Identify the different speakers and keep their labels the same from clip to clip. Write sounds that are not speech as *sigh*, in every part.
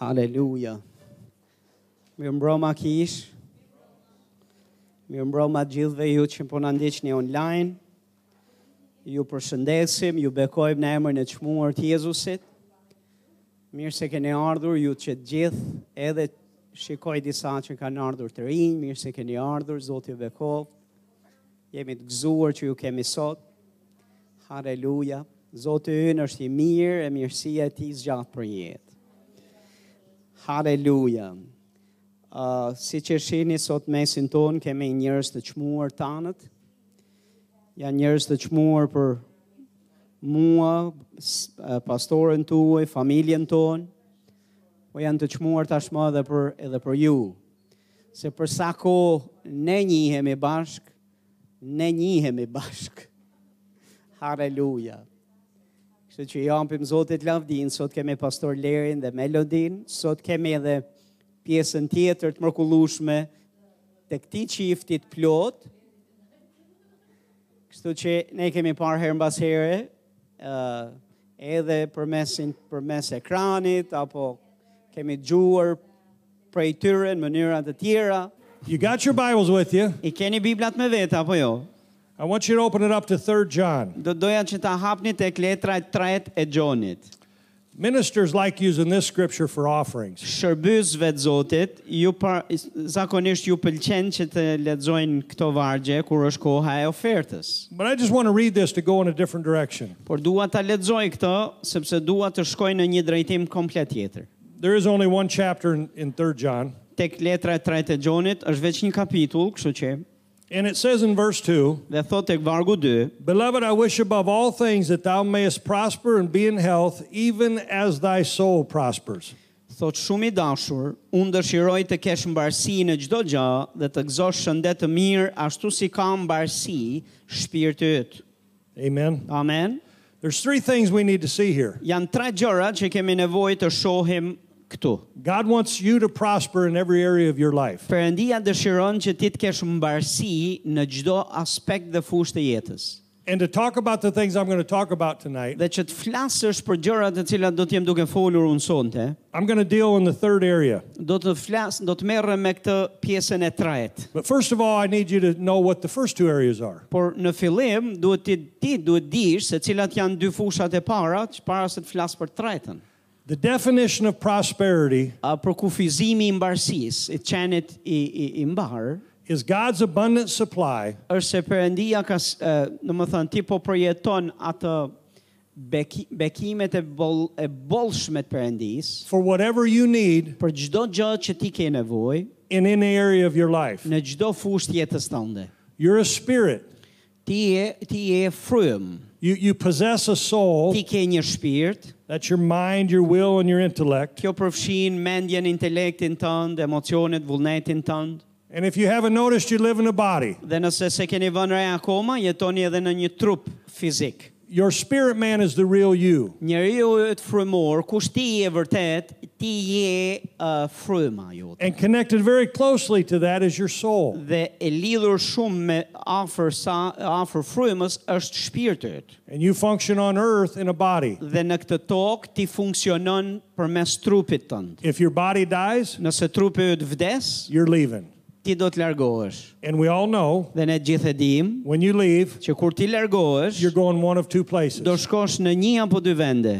Speaker 1: Haleluja. Mirë mbroma kish. Mirë mbroma gjithve ju që po na ndiqni online. Ju përshëndesim, ju bekojmë në emrin e çmuar të Jezusit. Mirë se keni ardhur ju që të gjithë, edhe shikoj disa që kanë ardhur të rinj, mirë se keni ardhur, Zoti ju bekoj. Jemi të gëzuar që ju kemi sot. Haleluja. Zoti ynë është i mirë e mirësia e tij zgjat për jetë. Haleluja. Uh, si që shini sot mesin tonë, kemi njërës të qmuar tanët. Janë njërës të qmuar për mua, s- uh, pastoren tuaj, familjen tonë. Po janë të qmuar tashmë edhe për, edhe për ju. Se për sa ko ne njihemi bashk, ne njihemi bashk. *laughs* Haleluja. Kështu që i ampim Zotit lavdin, sot kemi pastor Lerin dhe Melodin, sot kemi edhe pjesën tjetër të mërkullushme të këti qiftit plot. Kështu që ne kemi parë herë mbas here, uh, edhe për mesin, për mes ekranit, apo kemi gjuar prej tyre në mënyra të tjera.
Speaker 2: You got your Bibles with you.
Speaker 1: I keni biblat me vete, apo jo?
Speaker 2: I want you to open it up to 3 John.
Speaker 1: Do doja që ta hapni tek letra e tret e Gjonit.
Speaker 2: Ministers like using this scripture for offerings.
Speaker 1: shërbësve të Zotit, ju par, zakonisht ju pëlqen që të lexojnë këto vargje kur është koha e ofertës.
Speaker 2: But I just want to read this to go in a different direction.
Speaker 1: Por dua ta lexoj këto sepse dua të shkoj në një drejtim komplet tjetër.
Speaker 2: There is only one chapter in, in 3 John,
Speaker 1: Tek letra e tretë e Gjonit është veç një kapitull, kështu që
Speaker 2: and it says in verse 2
Speaker 1: dhe thot tek vargu 2,
Speaker 2: Beloved, I wish above all things that thou mayest prosper and be in health, even as thy soul prospers.
Speaker 1: thot shumë i dashur, unë dëshiroj të kesh mbarësi në çdo gjë dhe të gëzosh shëndet të mirë ashtu si ka mbarësi shpirti yt.
Speaker 2: Amen.
Speaker 1: Amen.
Speaker 2: There's three things we need to see here.
Speaker 1: Janë tre gjëra që kemi nevojë të shohim këtu.
Speaker 2: God wants you to prosper in every area of your life.
Speaker 1: Perëndia dëshiron që ti të kesh mbarësi në çdo aspekt dhe fushë të jetës.
Speaker 2: And to talk about the things I'm going to talk about tonight,
Speaker 1: Dhe që të flasësh për gjërat të cilat do të jem duke folur unë sonte,
Speaker 2: I'm going to deal in the third area.
Speaker 1: do të flas, do të merrem me këtë pjesën e tretë.
Speaker 2: But first of all, I need you to know what the first two areas are.
Speaker 1: Por në fillim duhet ti ti duhet dish se cilat janë dy fushat e para, që para se të flas për tretën.
Speaker 2: The definition of prosperity
Speaker 1: A, për kufizimi i mbarësisë, i qenit i, i, i mbarë,
Speaker 2: is God's abundant supply
Speaker 1: është se Perëndia ka, s- ë, në më thënë, ti po përjeton atë beki, bekimet e, bol, e bolshme të Perëndis,
Speaker 2: for whatever you need
Speaker 1: për çdo gjë që ti ke nevojë
Speaker 2: in any area of your life.
Speaker 1: në çdo fushë të jetës tënde.
Speaker 2: You're a spirit.
Speaker 1: Ti je ti je frym.
Speaker 2: You, you possess a soul.
Speaker 1: Ti ke një shpirt,
Speaker 2: That's your mind, your will, and your intellect.
Speaker 1: kjo përfshin mendjen, intelektin tënd, emocionet, vullnetin tënd.
Speaker 2: And if you haven't noticed, you live in a body.
Speaker 1: Dhe nëse se keni vënë re akoma, jetoni edhe në një trup fizik.
Speaker 2: Your spirit man is the real you.
Speaker 1: Njeriu është frymor, kush ti je vërtet, ti je uh, fryma jote.
Speaker 2: And connected very closely to that is your soul.
Speaker 1: dhe e lidhur shumë me afër sa afër frymës është shpirti yt.
Speaker 2: And you function on earth in a body.
Speaker 1: Dhe në këtë tokë ti funksionon përmes trupit tënd.
Speaker 2: If your body dies,
Speaker 1: Nëse trupi yt vdes,
Speaker 2: you're leaving.
Speaker 1: ti do të largohesh.
Speaker 2: And we all know
Speaker 1: Dhe ne gjithë e dim
Speaker 2: when you leave,
Speaker 1: që kur ti largohesh,
Speaker 2: you're going one of
Speaker 1: do
Speaker 2: two places.
Speaker 1: shkosh në një apo dy vende.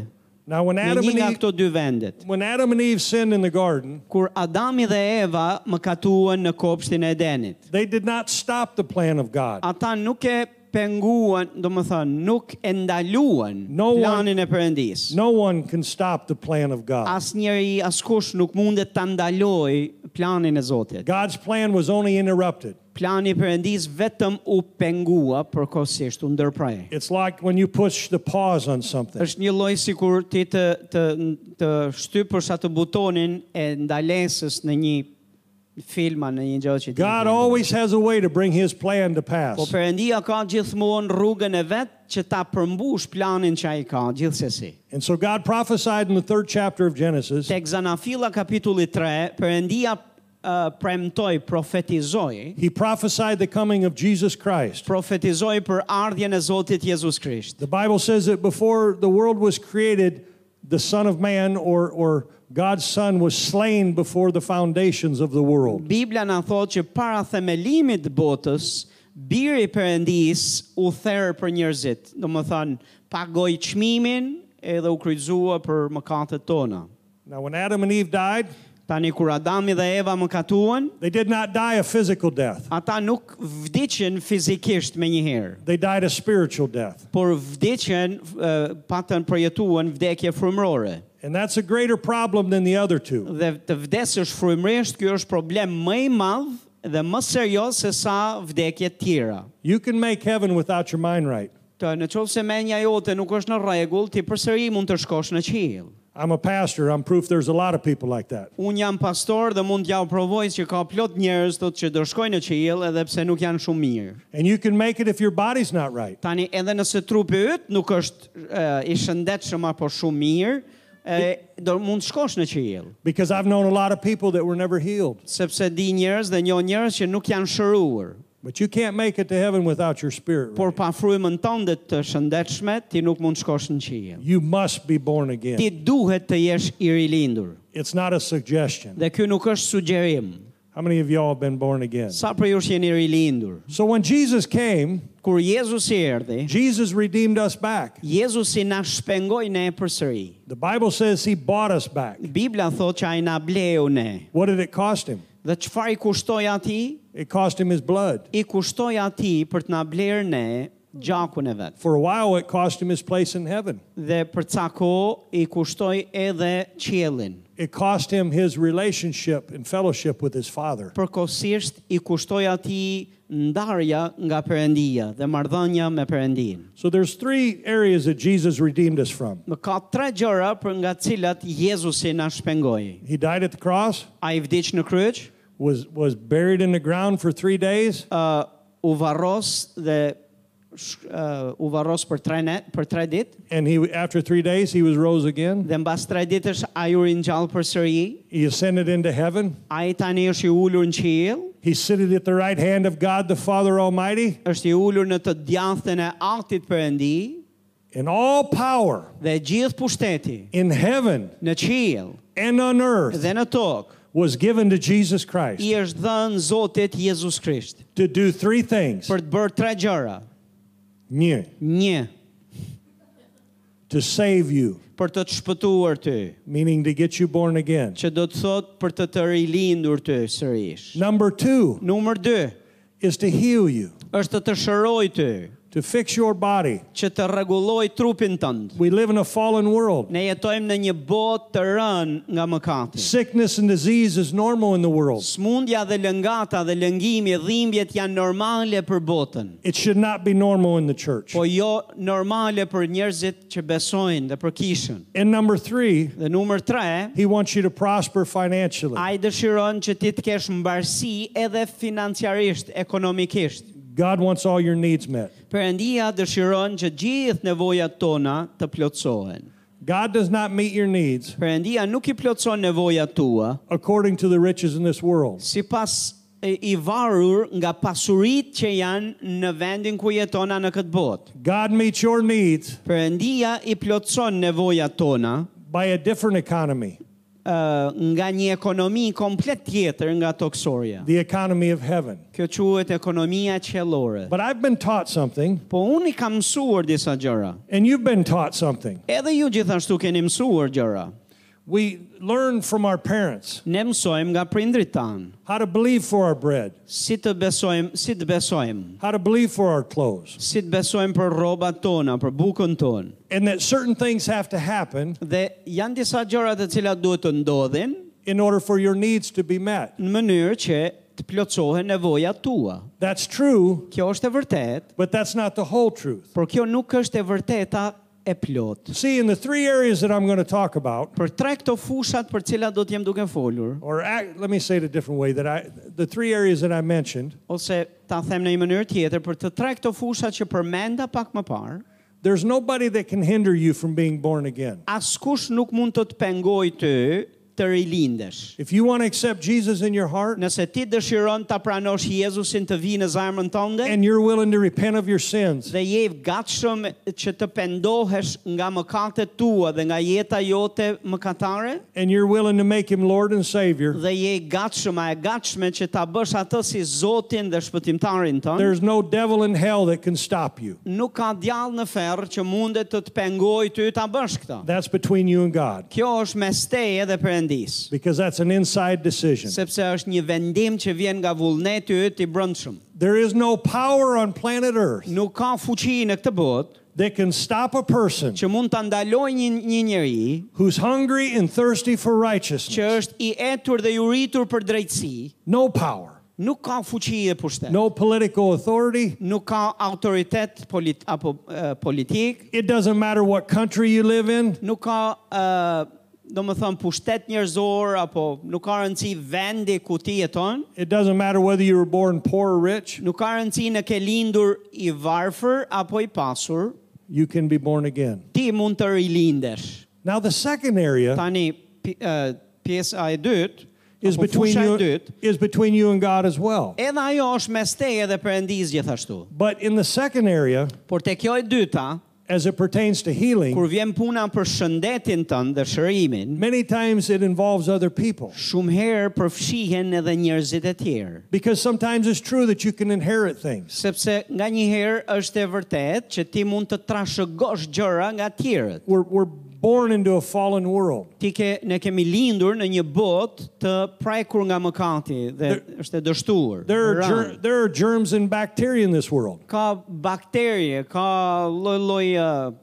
Speaker 2: Now, when
Speaker 1: Në
Speaker 2: Adam
Speaker 1: një nga
Speaker 2: and Eve,
Speaker 1: këto dy vendet.
Speaker 2: when Adam and Eve sinned in the garden,
Speaker 1: Kur Adami dhe Eva më katuan në kopshtin e Edenit.
Speaker 2: they did not stop the plan of God.
Speaker 1: Ata nuk e penguan, do më thënë, nuk e ndaluan
Speaker 2: No one-
Speaker 1: planin e përëndis.
Speaker 2: No one can stop the plan of God.
Speaker 1: asnjëri askush nuk mundet ta ndaloj planin e Zotit.
Speaker 2: God's plan was only interrupted.
Speaker 1: Plani i Perëndis vetëm u pengua përkohësisht u ndërprai.
Speaker 2: It's like when you push the pause on something.
Speaker 1: Është një lloj sikur ti të të të shtypësh atë butonin e ndalesës në një filma në një gjë që ti.
Speaker 2: God always has a way to bring his plan to pass.
Speaker 1: Po Perëndia ka gjithmonë rrugën e vet që ta përmbush planin që ai ka gjithsesi.
Speaker 2: And so God prophesied in the third chapter of Genesis
Speaker 1: Tek Zanafilla kapitulli 3, Perëndia uh, premtoi, profetizoi
Speaker 2: He prophesied the coming of Jesus Christ.
Speaker 1: profetizoi për ardhjen e Zotit Jezus Krisht.
Speaker 2: The Bible says that before the world was created, the Son of Man or, or God's Son was slain before the foundations of the world.
Speaker 1: Bibla na thotë që para themelimit të botës, biri i Perëndis u therë për njerëzit. Domethënë, pagoi çmimin edhe u kryqëzua për mëkatet tona.
Speaker 2: Now, when Adam and Eve died,
Speaker 1: Tani kur Adami dhe Eva mëkatuan,
Speaker 2: they did not die a physical death,
Speaker 1: ata nuk vdiqën fizikisht me njëherë,
Speaker 2: they died a spiritual death.
Speaker 1: por vdiqën, eh, patën projetuan vdekje frymërore.
Speaker 2: And that's a greater problem than the other two.
Speaker 1: Dhe të vdesësh frymërisht, ky është problem më i madh dhe më serioz se sa vdekje të tjera.
Speaker 2: You can make heaven without your mind right.
Speaker 1: Të në qovë se menja jote nuk është në regull, ti përsëri mund të shkosh në qilë.
Speaker 2: I'm a pastor. I'm proof there's a lot of people like that.
Speaker 1: Unë jam pastor dhe mund t'ja u provoj që ka plot njerëz thotë që do shkojnë në qilë edhe pse nuk janë shumë mirë.
Speaker 2: And you can make it if your body's not right.
Speaker 1: Tani edhe nëse trupi yt nuk është e, i shëndetshëm apo shumë mirë, e, do mund shkosh në qiell,
Speaker 2: Because I've known a lot of people that were never healed.
Speaker 1: sepse di njerëz dhe njoh njerëz që nuk janë shëruar.
Speaker 2: But you can't make it to heaven without your spirit.
Speaker 1: Por
Speaker 2: right.
Speaker 1: pa frymën tënde të shëndetshme, ti nuk mund shkosh në qiell.
Speaker 2: You must be born
Speaker 1: Ti
Speaker 2: again.
Speaker 1: duhet të jesh i rilindur.
Speaker 2: It's not a suggestion.
Speaker 1: Dhe ky nuk është sugjerim.
Speaker 2: How many of y'all have been born again?
Speaker 1: Sa për ju jeni rilindur?
Speaker 2: So when Jesus came,
Speaker 1: Kur Jezusi erdhi,
Speaker 2: Jesus redeemed us back.
Speaker 1: Jezusi na shpengoi ne përsëri.
Speaker 2: The Bible says he bought us back.
Speaker 1: Bibla thotë që ai na bleu ne.
Speaker 2: What did it cost him?
Speaker 1: Dhe çfarë i kushtoi atij?
Speaker 2: It cost him his blood.
Speaker 1: i kushtoj ati për të na blerë ne gjakun e vetë.
Speaker 2: For a while, it cost him his place in heaven.
Speaker 1: Dhe për ca ko i kushtoj edhe qiellin.
Speaker 2: It cost him his relationship and fellowship with his Father.
Speaker 1: Përkosisht i kushtoj ati ndarja nga përëndia dhe mardhënja me përëndin.
Speaker 2: So there's three areas that Jesus redeemed us from.
Speaker 1: Më ka tre gjëra për nga cilat Jezusi na shpengoi.
Speaker 2: He died at the cross,
Speaker 1: A i vdiq në kryq,
Speaker 2: was, was buried in the ground for three days,
Speaker 1: uh, u varros dhe sh- uh, u varros për tre, ne, për tre dit,
Speaker 2: and he after three days he was rose again.
Speaker 1: dhe mbas tre ditësh a ju rinjallë për sëri,
Speaker 2: He ascended into heaven.
Speaker 1: a i tani është i ullur në qiell,
Speaker 2: He sitteth at the right hand of God the Father Almighty,
Speaker 1: është i ulur në të djathtën e aktit përëndi
Speaker 2: and all power
Speaker 1: dhe gjithë pushteti
Speaker 2: in heaven
Speaker 1: në qiell
Speaker 2: and on earth
Speaker 1: dhe në tokë
Speaker 2: was given to Jesus
Speaker 1: i
Speaker 2: Christ
Speaker 1: është dhënë Zotit Jezus Krisht
Speaker 2: to do three things:
Speaker 1: për të bërë tre gjëra.
Speaker 2: Një,
Speaker 1: Një,
Speaker 2: to save you,
Speaker 1: për të të shpëtuar ty,
Speaker 2: meaning to get you born again.
Speaker 1: që do të thotë për të të rilindur ty sërish.
Speaker 2: Number two
Speaker 1: Numër 2
Speaker 2: is to heal you,
Speaker 1: është të të shëroj ty,
Speaker 2: to fix your body.
Speaker 1: që të rregulloj trupin tënd.
Speaker 2: We live in a fallen world.
Speaker 1: Ne jetojmë në një botë të rënë nga mëkati.
Speaker 2: Sickness and disease is normal in the world.
Speaker 1: Smundja dhe lëngata dhe lëngimi, dhimbjet janë normale për botën.
Speaker 2: It should not be normal in the church.
Speaker 1: po jo normale për njerëzit që besojnë dhe për kishën.
Speaker 2: And number three,
Speaker 1: Dhe numër 3,
Speaker 2: he wants you to prosper financially.
Speaker 1: ai dëshiron që ti të kesh mbarësi edhe financiarisht, ekonomikisht.
Speaker 2: God wants all your needs met.
Speaker 1: Perëndia dëshiron që gjithë nevojat tona të plotësohen.
Speaker 2: God does not meet your needs
Speaker 1: Perëndia nuk i plotëson nevojat tua
Speaker 2: according to the riches in this world.
Speaker 1: sipas e- i varur nga pasuritë që janë në vendin ku jetona në këtë botë.
Speaker 2: God meets your needs
Speaker 1: Perëndia i plotëson nevojat tona
Speaker 2: by a different economy,
Speaker 1: ë, nga një ekonomi komplet tjetër nga toksoria.
Speaker 2: the economy of heaven.
Speaker 1: Kjo quhet ekonomia qellore.
Speaker 2: But I've been taught something,
Speaker 1: Po unë i kam mësuar disa gjëra.
Speaker 2: and you've been taught something.
Speaker 1: Edhe ju gjithashtu keni mësuar gjëra.
Speaker 2: We learn from our parents
Speaker 1: Ne mësojmë nga prindrit tan
Speaker 2: how to believe for our bread,
Speaker 1: si të besojmë, si të besojmë,
Speaker 2: how to believe for our clothes,
Speaker 1: si të besojmë për rrobat tona, për bukën tonë.
Speaker 2: and that certain things have to happen
Speaker 1: Dhe janë disa gjëra të cilat duhet të ndodhin
Speaker 2: in order for your needs to be met.
Speaker 1: në mënyrë që të plotësohen nevojat tua.
Speaker 2: That's true,
Speaker 1: Kjo është e vërtetë,
Speaker 2: but that's not the whole truth.
Speaker 1: por kjo nuk është e vërteta e plot.
Speaker 2: See, in the three areas that I'm going to talk about,
Speaker 1: Për tre këto fushat për cilat do të jem duke folur,
Speaker 2: or act, let me say it a different way that I the three areas that I mentioned
Speaker 1: ose ta them në një mënyrë tjetër për të tre këto fusha që përmenda pak më parë,
Speaker 2: there's nobody that can hinder you from being born again
Speaker 1: askush nuk mund të të pengoj ty të rilindesh.
Speaker 2: If you want to accept Jesus in your heart
Speaker 1: Nëse ti dëshiron ta pranosh Jezusin të vijë në zemrën tënde
Speaker 2: and you're willing to repent of your sins,
Speaker 1: dhe je i gatshëm që të pendohesh nga mëkatet tua dhe nga jeta jote mëkatare
Speaker 2: and you're willing to make him Lord and Savior,
Speaker 1: dhe je i gatshëm a e gatshme që ta bësh atë si Zotin dhe shpëtimtarin tënd,
Speaker 2: there's no devil in hell that can stop you.
Speaker 1: nuk ka djallë në ferr që mundet të të pengoj ty ta bësh këtë.
Speaker 2: That's between you and God
Speaker 1: Kjo është mes teje dhe Perëndis,
Speaker 2: because that's an inside decision.
Speaker 1: sepse është një vendim që vjen nga vullneti yt i brëndshëm.
Speaker 2: There is no power on planet Earth
Speaker 1: Nuk ka fuqi në këtë botë
Speaker 2: that can stop a person
Speaker 1: që mund ta ndaloj një një njeri
Speaker 2: who's hungry and thirsty for
Speaker 1: që
Speaker 2: righteousness.
Speaker 1: është i etur dhe i uritur për drejtësi,
Speaker 2: No power,
Speaker 1: nuk ka fuqi e pushtet.
Speaker 2: no political authority.
Speaker 1: Nuk ka autoritet polit, apo e, politik,
Speaker 2: It doesn't matter what country you live in.
Speaker 1: nuk ka ë do më thëmë pushtet njerëzor, apo nuk ka rëndësi vendi ku ti jeton,
Speaker 2: It doesn't matter whether you were born poor or rich.
Speaker 1: nuk ka rëndësi në ke lindur i varfër apo i pasur,
Speaker 2: You can be born again.
Speaker 1: ti mund të rilindesh.
Speaker 2: Now, the second area
Speaker 1: Tani, pi- ë, pjesa e dytë,
Speaker 2: is
Speaker 1: apo
Speaker 2: between
Speaker 1: fusha e
Speaker 2: you,
Speaker 1: dytë,
Speaker 2: is between you and God as well.
Speaker 1: edhe ajo është mes teje dhe përëndiz gjithashtu.
Speaker 2: But in the second area,
Speaker 1: Por te kjo e dyta,
Speaker 2: as it pertains to healing,
Speaker 1: kur vjen puna për shëndetin tënd dhe shërimin,
Speaker 2: many times it involves other people.
Speaker 1: shumë herë përfshihen edhe njerëzit e tjerë.
Speaker 2: Because sometimes it's true that you can inherit things.
Speaker 1: sepse nga një herë është e vërtet që ti mund të trashëgosh gjëra nga tjerët.
Speaker 2: We're, we're born into a fallen world.
Speaker 1: Ti ke, ne kemi lindur në një botë të prekur nga mëkati dhe është e dështuar.
Speaker 2: There are,
Speaker 1: e rënë.
Speaker 2: ger- there are germs and bacteria in this world.
Speaker 1: ka bakterie, ka lloj-lloj ë,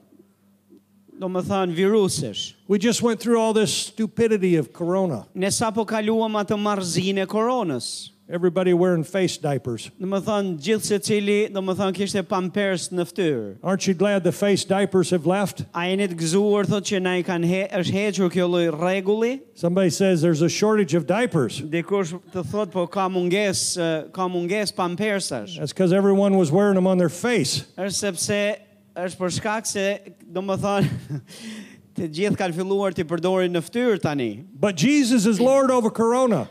Speaker 1: do më thënë virusesh.
Speaker 2: We just went through all this stupidity of corona.
Speaker 1: Ne sa po kaluam atë marrëzinë e koronës.
Speaker 2: Everybody wearing face diapers.
Speaker 1: Do më thënë gjithë se cili, do më thënë kishte pampers në ftyrë.
Speaker 2: Aren't you glad the face diapers have left?
Speaker 1: A jeni të gëzuar thotë që na i kanë he, është hequr kjo lloj rregulli?
Speaker 2: Somebody says there's a shortage of diapers.
Speaker 1: Dikush të thot po ka munges, ka munges pampersash.
Speaker 2: That's because everyone was wearing them on their face.
Speaker 1: Është sepse është për shkak se, do më thënë, *laughs* të gjithë kanë filluar të i përdorin në ftyrë tani.
Speaker 2: But Jesus is Lord over corona.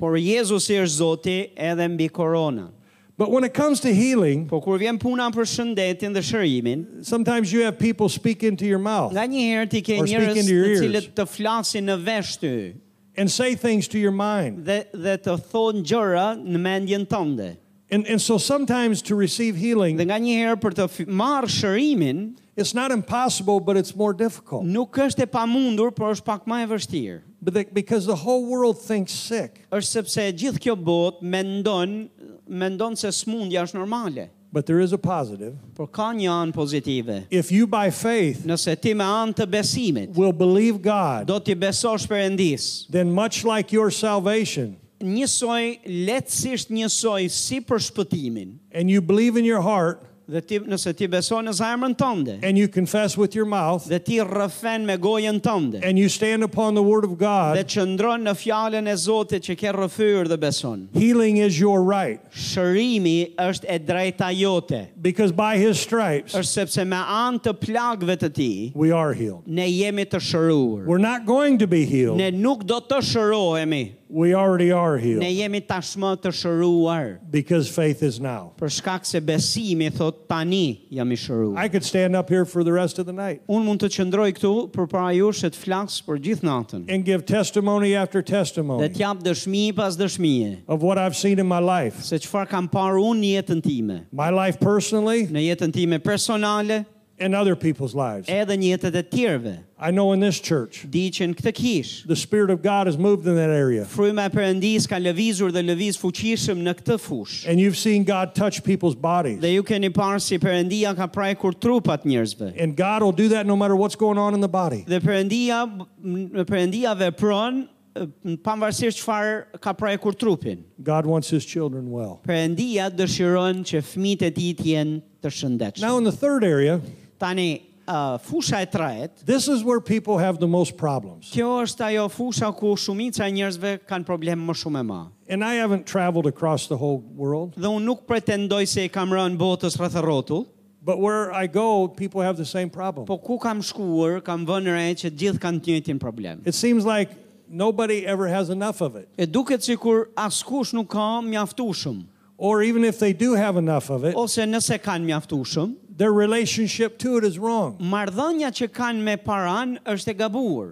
Speaker 1: Por Jezusi është Zoti edhe mbi korona.
Speaker 2: But when it comes to healing,
Speaker 1: Po kur vjen puna për shëndetin dhe shërimin,
Speaker 2: sometimes you have people speak into your mouth
Speaker 1: nga një herë ti ke
Speaker 2: Or speak
Speaker 1: njerëz
Speaker 2: into your
Speaker 1: të
Speaker 2: ears.
Speaker 1: cilët të flasin në vesh ty
Speaker 2: and say things to your mind.
Speaker 1: dhe dhe të thonë gjëra në mendjen tënde.
Speaker 2: And, and so sometimes to receive healing,
Speaker 1: Dhe nga një herë për të fi- marrë shërimin,
Speaker 2: it's not impossible, but it's more difficult.
Speaker 1: nuk është e pamundur, por është pak më e vështirë.
Speaker 2: But the, because the whole world thinks sick,
Speaker 1: është sepse gjithë kjo botë mendon, mendon se smundja është normale,
Speaker 2: but there is a positive.
Speaker 1: por ka një anë pozitive.
Speaker 2: If you by faith
Speaker 1: Nëse ti me anë të besimit,
Speaker 2: will believe God,
Speaker 1: do t'i besosh Perëndis.
Speaker 2: then much like your salvation,
Speaker 1: Njësoj lehtësisht njësoj si për shpëtimin.
Speaker 2: and you believe in your heart,
Speaker 1: Dhe ti nëse ti beson në zemrën tënde
Speaker 2: and you confess with your mouth,
Speaker 1: dhe ti rrëfen me gojën tënde
Speaker 2: and you stand upon the word of
Speaker 1: dhe
Speaker 2: God,
Speaker 1: qëndron në fjalën e Zotit që ke rrëfyer dhe beson.
Speaker 2: healing is your right.
Speaker 1: Shërimi është e drejta jote.
Speaker 2: Because by his stripes,
Speaker 1: Është sepse me anë të plagëve të tij
Speaker 2: we are healed.
Speaker 1: ne jemi të shëruar.
Speaker 2: We're not going to be healed.
Speaker 1: Ne nuk do të shërohemi.
Speaker 2: We already are
Speaker 1: Ne
Speaker 2: healed
Speaker 1: jemi tashmë të shëruar.
Speaker 2: because faith is now.
Speaker 1: Për shkak se besimi thot tani jam i shëruar.
Speaker 2: I could stand up here for the rest of the night
Speaker 1: Unë mund të qëndroj këtu për para jush e të flas për gjithë natën.
Speaker 2: and give testimony after
Speaker 1: Dhe
Speaker 2: testimony
Speaker 1: t'jap dëshmi pas dëshmije.
Speaker 2: of what I've seen in my life.
Speaker 1: Se qëfar kam parë unë në jetën time.
Speaker 2: My life personally
Speaker 1: Në jetën time personale
Speaker 2: and other people's lives.
Speaker 1: edhe në jetët e tjerve.
Speaker 2: I know in this church,
Speaker 1: Di që në këtë kish.
Speaker 2: the Spirit of God has moved in that area.
Speaker 1: Fryma e përëndis ka lëvizur dhe lëviz fuqishëm në këtë fush.
Speaker 2: And you've seen God touch people's
Speaker 1: Dhe
Speaker 2: bodies.
Speaker 1: ju keni parë si përëndia ka prajkur trupat njerëzve.
Speaker 2: And God will do that no matter what's going on in the body.
Speaker 1: Dhe Perëndia m- Perëndia vepron e, m- pavarësisht çfarë ka prekur trupin.
Speaker 2: God wants his children well.
Speaker 1: Perëndia dëshiron që fëmijët e tij të jenë të shëndetshëm.
Speaker 2: Now, in the third area,
Speaker 1: Tani uh, fusha e tretë,
Speaker 2: this is where people have the most problems.
Speaker 1: kjo është ajo fusha ku shumica e njerëzve kanë problem më shumë e ma.
Speaker 2: And I haven't traveled across the whole world,
Speaker 1: Dhe unë nuk pretendoj se i kam rënë botës rreth e rrotull,
Speaker 2: but where I go, people have the same problem.
Speaker 1: po ku kam shkuar, kam vënë re që gjithë kanë të njëjtin problem.
Speaker 2: It seems like nobody ever has enough of it.
Speaker 1: E duket sikur askush nuk ka mjaftueshëm,
Speaker 2: Or even if they do have enough of it,
Speaker 1: ose nëse kanë mjaftueshëm,
Speaker 2: their relationship to it is wrong.
Speaker 1: marrëdhënia që kanë me paran është e gabuar.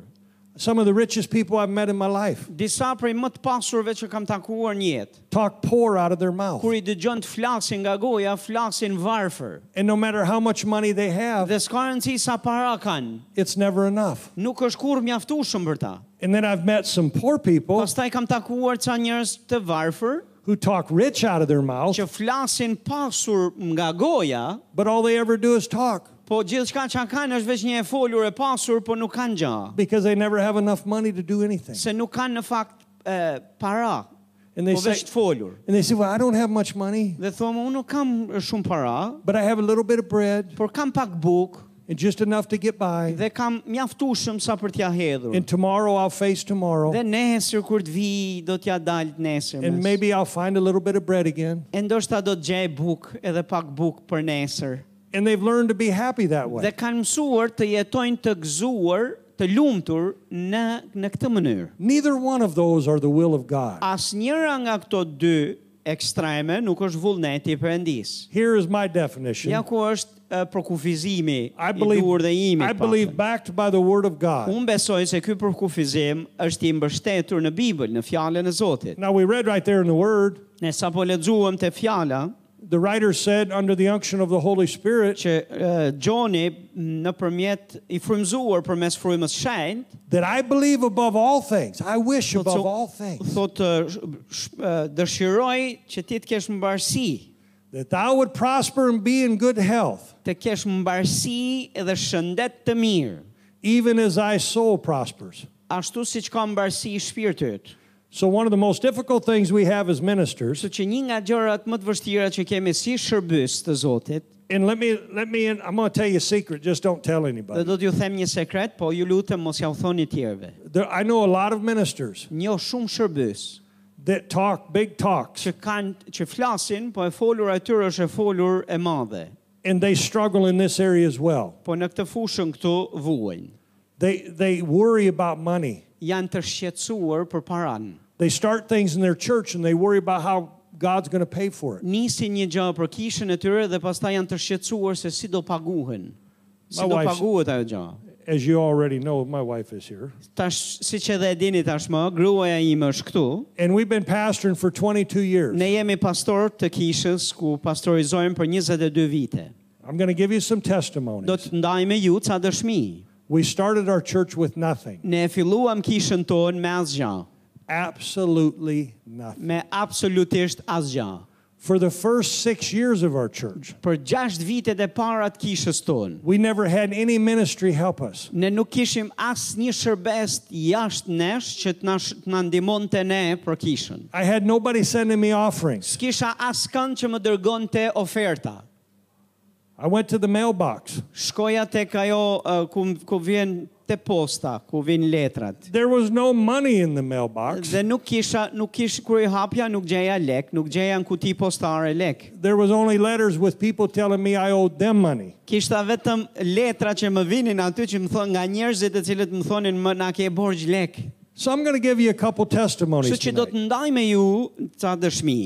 Speaker 2: Some of the richest people I've met in my life
Speaker 1: Disa prej më të pasurve që kam takuar në jetë,
Speaker 2: talk poor out of their mouth.
Speaker 1: kur i dëgjon të flasin nga goja, flasin varfër.
Speaker 2: And no matter how much money they have,
Speaker 1: Dhe s'ka rëndësi sa para kanë,
Speaker 2: it's never enough.
Speaker 1: nuk është kur mjaftueshëm për ta.
Speaker 2: And then I've met some poor people
Speaker 1: Pastaj kam takuar ca njerëz të varfër
Speaker 2: who talk rich out of their mouth,
Speaker 1: që flasin pasur nga goja,
Speaker 2: but all they ever do is talk
Speaker 1: po gjithçka që kanë është veç një e folur e pasur, po nuk kanë gjë,
Speaker 2: because they never have enough money to do anything.
Speaker 1: se nuk kanë në fakt e, para,
Speaker 2: And they
Speaker 1: po
Speaker 2: say,
Speaker 1: veç të folur.
Speaker 2: and they say, well, I don't have much money,
Speaker 1: Dhe thonë, unë nuk kam shumë para,
Speaker 2: but I have a little bit of bread
Speaker 1: por kam pak bukë
Speaker 2: and just enough to get by.
Speaker 1: dhe kam mjaftueshëm sa për t'ja hedhur.
Speaker 2: And tomorrow I'll face
Speaker 1: Dhe
Speaker 2: tomorrow,
Speaker 1: nesër kur të vi, do t'ja dalë të nesër.
Speaker 2: and maybe I'll find a little bit of bread again.
Speaker 1: E ndoshta do të gjej bukë edhe pak bukë për nesër.
Speaker 2: And they've learned to be happy that
Speaker 1: Dhe
Speaker 2: way.
Speaker 1: kanë mësuar të jetojnë të gëzuar, të lumtur në në këtë mënyrë.
Speaker 2: Neither one of those are the will of God.
Speaker 1: Asnjëra nga këto dy ekstreme nuk është vullneti i Perëndis.
Speaker 2: Here is my definition.
Speaker 1: Ja ku është uh, përkufizimi
Speaker 2: I
Speaker 1: i duhur
Speaker 2: believe,
Speaker 1: dhe i
Speaker 2: I
Speaker 1: imit.
Speaker 2: believe
Speaker 1: paktën.
Speaker 2: backed by the Word of God.
Speaker 1: Unë besoj se ky përkufizim është i mbështetur në Bibël, në fjalën e Zotit.
Speaker 2: Now, we read right there in the Word,
Speaker 1: Ne sapo lexuam te fjala
Speaker 2: the writer said, under the unction of the Holy Spirit,
Speaker 1: që uh, Gjoni nëpërmjet i frymzuar përmes frymës së shenjtë
Speaker 2: that I believe above all things. I wish
Speaker 1: Thot
Speaker 2: above
Speaker 1: so-
Speaker 2: all things
Speaker 1: Thot uh, sh- sh- uh, dëshiroj që ti të kesh mbarësi,
Speaker 2: that thou would prosper and be in good health,
Speaker 1: të kesh mbarësi edhe shëndet të mirë,
Speaker 2: even as thy soul prospers.
Speaker 1: ashtu si që ka mbarësi i shpirtit.
Speaker 2: So, one of the most difficult things we have as ministers,
Speaker 1: Kështu që një nga gjërat më të vështira që kemi si shërbys të Zotit,
Speaker 2: and let me, let me, I'm going to tell you a secret, just don't tell
Speaker 1: dhe
Speaker 2: anybody.
Speaker 1: do t'ju them një sekret, po ju lutem mos ja u thoni tjerëve.
Speaker 2: There, I know a lot of ministers
Speaker 1: Një shumë shërbys
Speaker 2: that talk big talks
Speaker 1: që kanë që flasin, po e folur atyre është e folur e madhe.
Speaker 2: and they struggle in this area as well.
Speaker 1: Po në këtë fushën këtu vuajnë.
Speaker 2: They, they worry about money.
Speaker 1: Janë të shqetësuar për paranë.
Speaker 2: They start things in their church and they worry about how God's going to pay for it.
Speaker 1: nisin një gjë për kishën e tyre dhe pastaj janë të shqetësuar se si do paguhen. Si
Speaker 2: My
Speaker 1: do
Speaker 2: wife-
Speaker 1: paguhet ajo gjë.
Speaker 2: As you already know, my wife is here.
Speaker 1: Tash siç edhe e dini tashmë, gruaja ime është këtu.
Speaker 2: And we've been pastoring for 22 years.
Speaker 1: Ne jemi pastor të kishës ku pastorizojmë për 22 vite.
Speaker 2: I'm going to give you some
Speaker 1: Do
Speaker 2: testimonies.
Speaker 1: të ndaj me ju ca dëshmi.
Speaker 2: We started our church with nothing,
Speaker 1: Ne e filluam kishën tonë me asgjë,
Speaker 2: absolutely nothing.
Speaker 1: me absolutisht asgjë.
Speaker 2: For the first six years of our church,
Speaker 1: Për 6 vitet e para të kishës tonë,
Speaker 2: we never had any ministry help us.
Speaker 1: ne nuk kishim asë një shërbes jashtë nesh që të na, sh- të na ndimon të ne për kishën.
Speaker 2: I had nobody sending me offerings.
Speaker 1: S'kisha askën që më dërgon të oferta.
Speaker 2: I went to the mailbox.
Speaker 1: Shkoja tek ajo uh, ku, ku vjen te posta, ku vjen letrat.
Speaker 2: There was no money in the mailbox.
Speaker 1: Dhe nuk kisha, nuk kish kur i hapja, nuk gjeja lek, nuk gjeja në kuti postare lek.
Speaker 2: There was only letters with people telling me I owed them money.
Speaker 1: Kishta vetëm letra që më vinin aty që më thon nga njerëzit e cilët më thonin më na ke borxh lek.
Speaker 2: So I'm going to give you a couple testimonies
Speaker 1: Kështu që do
Speaker 2: tonight,
Speaker 1: të ndaj me ju ca dëshmi,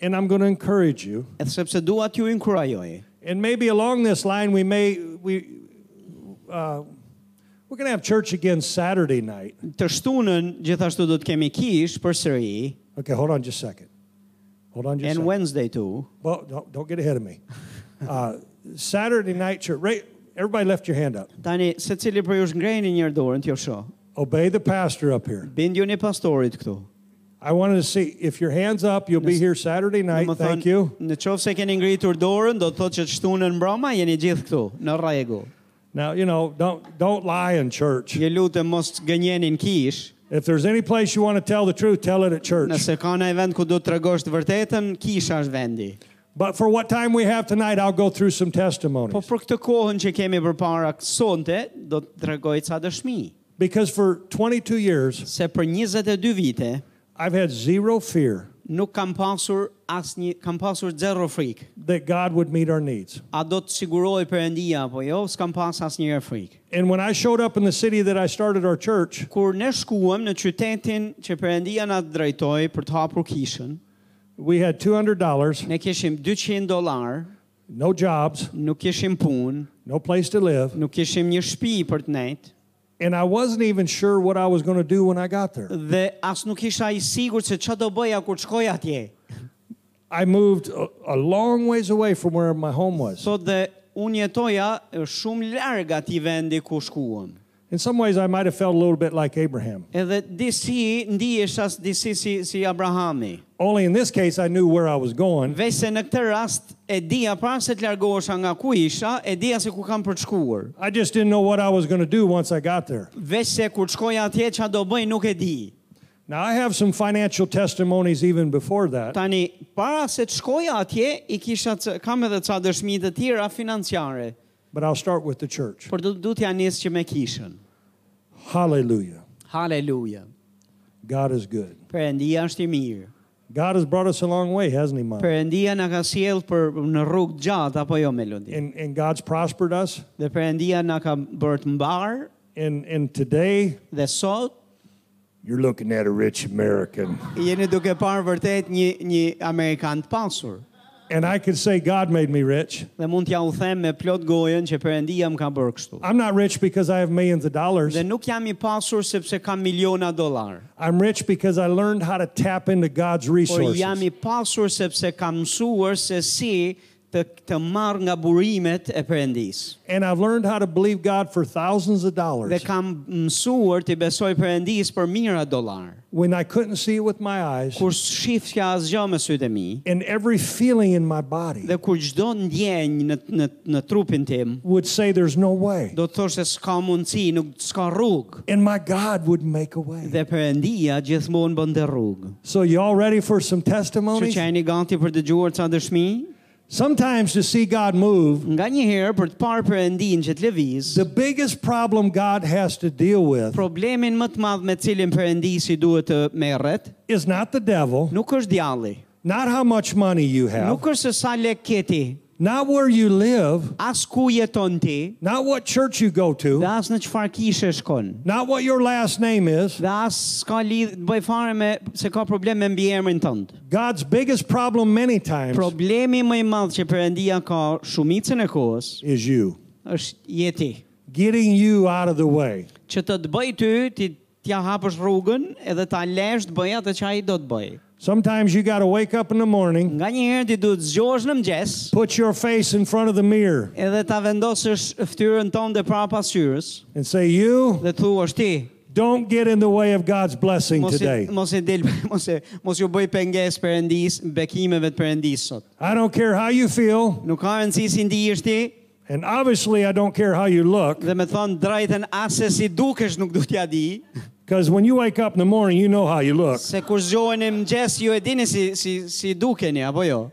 Speaker 2: and I'm going to encourage you.
Speaker 1: edhe sepse dua t'ju inkurajoj.
Speaker 2: And maybe along this line, we may we uh, we're going to have church again Saturday night.
Speaker 1: Të shtunën gjithashtu do të kemi kish përsëri,
Speaker 2: Okay, hold on just a second. Hold on just a
Speaker 1: and
Speaker 2: second.
Speaker 1: Wednesday too.
Speaker 2: well, don't, don't get ahead of me. Uh, Saturday night church. Right, everybody left your hand up.
Speaker 1: Tani, se cili për jush ngrejnë njërë dorën t'jo shoh.
Speaker 2: Obey the pastor up here.
Speaker 1: Bindju një pastorit këtu.
Speaker 2: I wanted to see if your hands up, you'll be here Saturday night.
Speaker 1: Më
Speaker 2: Thank
Speaker 1: thënë,
Speaker 2: you.
Speaker 1: Në qofë se keni ngritur dorën, do të thotë që të shtunën mbroma, jeni gjithë këtu, në rregull.
Speaker 2: Now you know. Don't don't lie in church.
Speaker 1: Ju lutem mos të gënjeni në kish,
Speaker 2: If there's any place you want to tell the truth, tell it at church.
Speaker 1: nëse ka në vend ku do të tregosh të vërtetën, kisha është vendi.
Speaker 2: But for what time we have tonight, I'll go through some testimonies.
Speaker 1: Po për këtë kohën që kemi përpara k- sonte, do të tregoj ca dëshmi,
Speaker 2: Because for 22 years,
Speaker 1: se për 22 vite
Speaker 2: I've had zero fear
Speaker 1: nuk kam pasur asnjë, kam pasur zero frikë.
Speaker 2: that God would meet our needs.
Speaker 1: A do të siguroj Perëndia apo jo, s'kam pas asnjëherë frikë.
Speaker 2: And when I showed up in the city that I started our church,
Speaker 1: Kur ne shkuam në qytetin që Perëndia na drejtoi për të hapur kishën,
Speaker 2: we had $200,
Speaker 1: ne kishim 200 dollar,
Speaker 2: no jobs,
Speaker 1: nuk kishim punë,
Speaker 2: no place to live,
Speaker 1: nuk kishim një shtëpi për të nejtë,
Speaker 2: and I wasn't even sure what I was going to do when I got there.
Speaker 1: dhe as nuk isha i sigurt se ç'a do bëja kur shkoja atje.
Speaker 2: I moved a, a long ways away from where my home was.
Speaker 1: Sot dhe unë jetoja shumë larg atij vendi ku shkuam.
Speaker 2: In some ways, I might have felt a little bit like Abraham.
Speaker 1: Edhe disi ndihesha s- disi si si Abrahami.
Speaker 2: Only in this case, I knew where I was going,
Speaker 1: Veç se në këtë rast e dija para se të largohesha nga ku isha, e dija se ku kam për të shkuar.
Speaker 2: I just didn't know what I was going to do once I got there.
Speaker 1: Veç se kur shkoja atje ç'a do bëj nuk e di.
Speaker 2: Now, I have some financial testimonies even before that.
Speaker 1: Tani para se të shkoja atje i kisha c- kam edhe ca dëshmi të tjera financiare,
Speaker 2: but I'll start with the church.
Speaker 1: por do do t'ja nis që me kishën.
Speaker 2: Hallelujah.
Speaker 1: Haleluja.
Speaker 2: God is good.
Speaker 1: Perëndia është i mirë.
Speaker 2: God has brought us a long way, hasn't He, Mom?
Speaker 1: Perëndia na ka sjell për në rrugë gjatë apo jo Melodi.
Speaker 2: And, and God's prospered us.
Speaker 1: Dhe Perëndia na ka bërë të mbar
Speaker 2: And, and today,
Speaker 1: dhe sot
Speaker 2: you're looking at a rich American.
Speaker 1: jeni duke parë vërtet një një amerikan të pasur.
Speaker 2: And I could say, God made me rich.
Speaker 1: Dhe mund t'ja u them me plot gojen që Perëndia më ka bërë kështu.
Speaker 2: I'm not rich because I have millions of dollars.
Speaker 1: Dhe nuk jam i pasur sepse kam miliona dollar.
Speaker 2: I'm rich because I learned how to tap into God's
Speaker 1: Por jam
Speaker 2: resources.
Speaker 1: i pasur sepse kam mësuar se si të të marr nga burimet e Perëndisë.
Speaker 2: And I've learned how to believe God for thousands of
Speaker 1: Dhe
Speaker 2: dollars
Speaker 1: kam mësuar të besoj Perëndisë për mijëra dollar.
Speaker 2: when I couldn't see it with my eyes
Speaker 1: Kur shifja asgjë me sytë e mi,
Speaker 2: and every feeling in my body
Speaker 1: dhe kur çdo ndjenjë në në në trupin tim,
Speaker 2: would say, There's no way.
Speaker 1: do të thoshte s'ka mundësi, nuk s'ka rrugë.
Speaker 2: And my God would make a way.
Speaker 1: Dhe Perëndia gjithmonë bën dhe rrugë.
Speaker 2: So y'all ready for some
Speaker 1: Që
Speaker 2: testimonies?
Speaker 1: që jeni ganti për dëgjuar ca dëshmi,
Speaker 2: Sometimes to see God move,
Speaker 1: nga një herë për të parë Perëndin që të lëviz,
Speaker 2: the biggest problem God has to deal with
Speaker 1: problemin më të madh me cilin Perëndisi duhet të merret,
Speaker 2: is not the devil,
Speaker 1: nuk është djalli,
Speaker 2: not how much money you have,
Speaker 1: nuk është se sa lek ke ti,
Speaker 2: not where you live,
Speaker 1: as ku jeton ti,
Speaker 2: not what church you go
Speaker 1: dhe
Speaker 2: to,
Speaker 1: as në çfarë kishe shkon.
Speaker 2: not what your last name is.
Speaker 1: Dhe as s'ka lidh bëj fare me se ka problem me mbiemrin tënd.
Speaker 2: God's biggest problem many times
Speaker 1: Problemi më i madh që Perëndia ka shumicën e kohës
Speaker 2: is you.
Speaker 1: është jeti.
Speaker 2: Getting you out of the way.
Speaker 1: Që të të bëj ty, ti t'ja hapësh rrugën edhe ta lesh të bëj atë që ai do të bëj.
Speaker 2: Sometimes you got to wake up in the morning,
Speaker 1: Nga një herë ti duhet zgjohesh në mëngjes
Speaker 2: put your face in front of the mirror,
Speaker 1: edhe ta vendosësh fytyrën tënde para pasyrës
Speaker 2: and say, You
Speaker 1: dhe thua është ti
Speaker 2: don't get in the way of God's blessing
Speaker 1: mos i,
Speaker 2: today.
Speaker 1: mos i del *laughs* mos e mos ju bëj pengesë perëndis bekimeve të perëndis sot.
Speaker 2: I don't care how you feel,
Speaker 1: Nuk ka rëndësi si ndihesh ti
Speaker 2: and obviously I don't care how you look,
Speaker 1: dhe me thon drejtën as se si dukesh nuk duhet ja di,
Speaker 2: because when you wake up in the morning, you know how you look.
Speaker 1: se kur zgjoheni në mëngjes ju e dini si si si dukeni apo jo.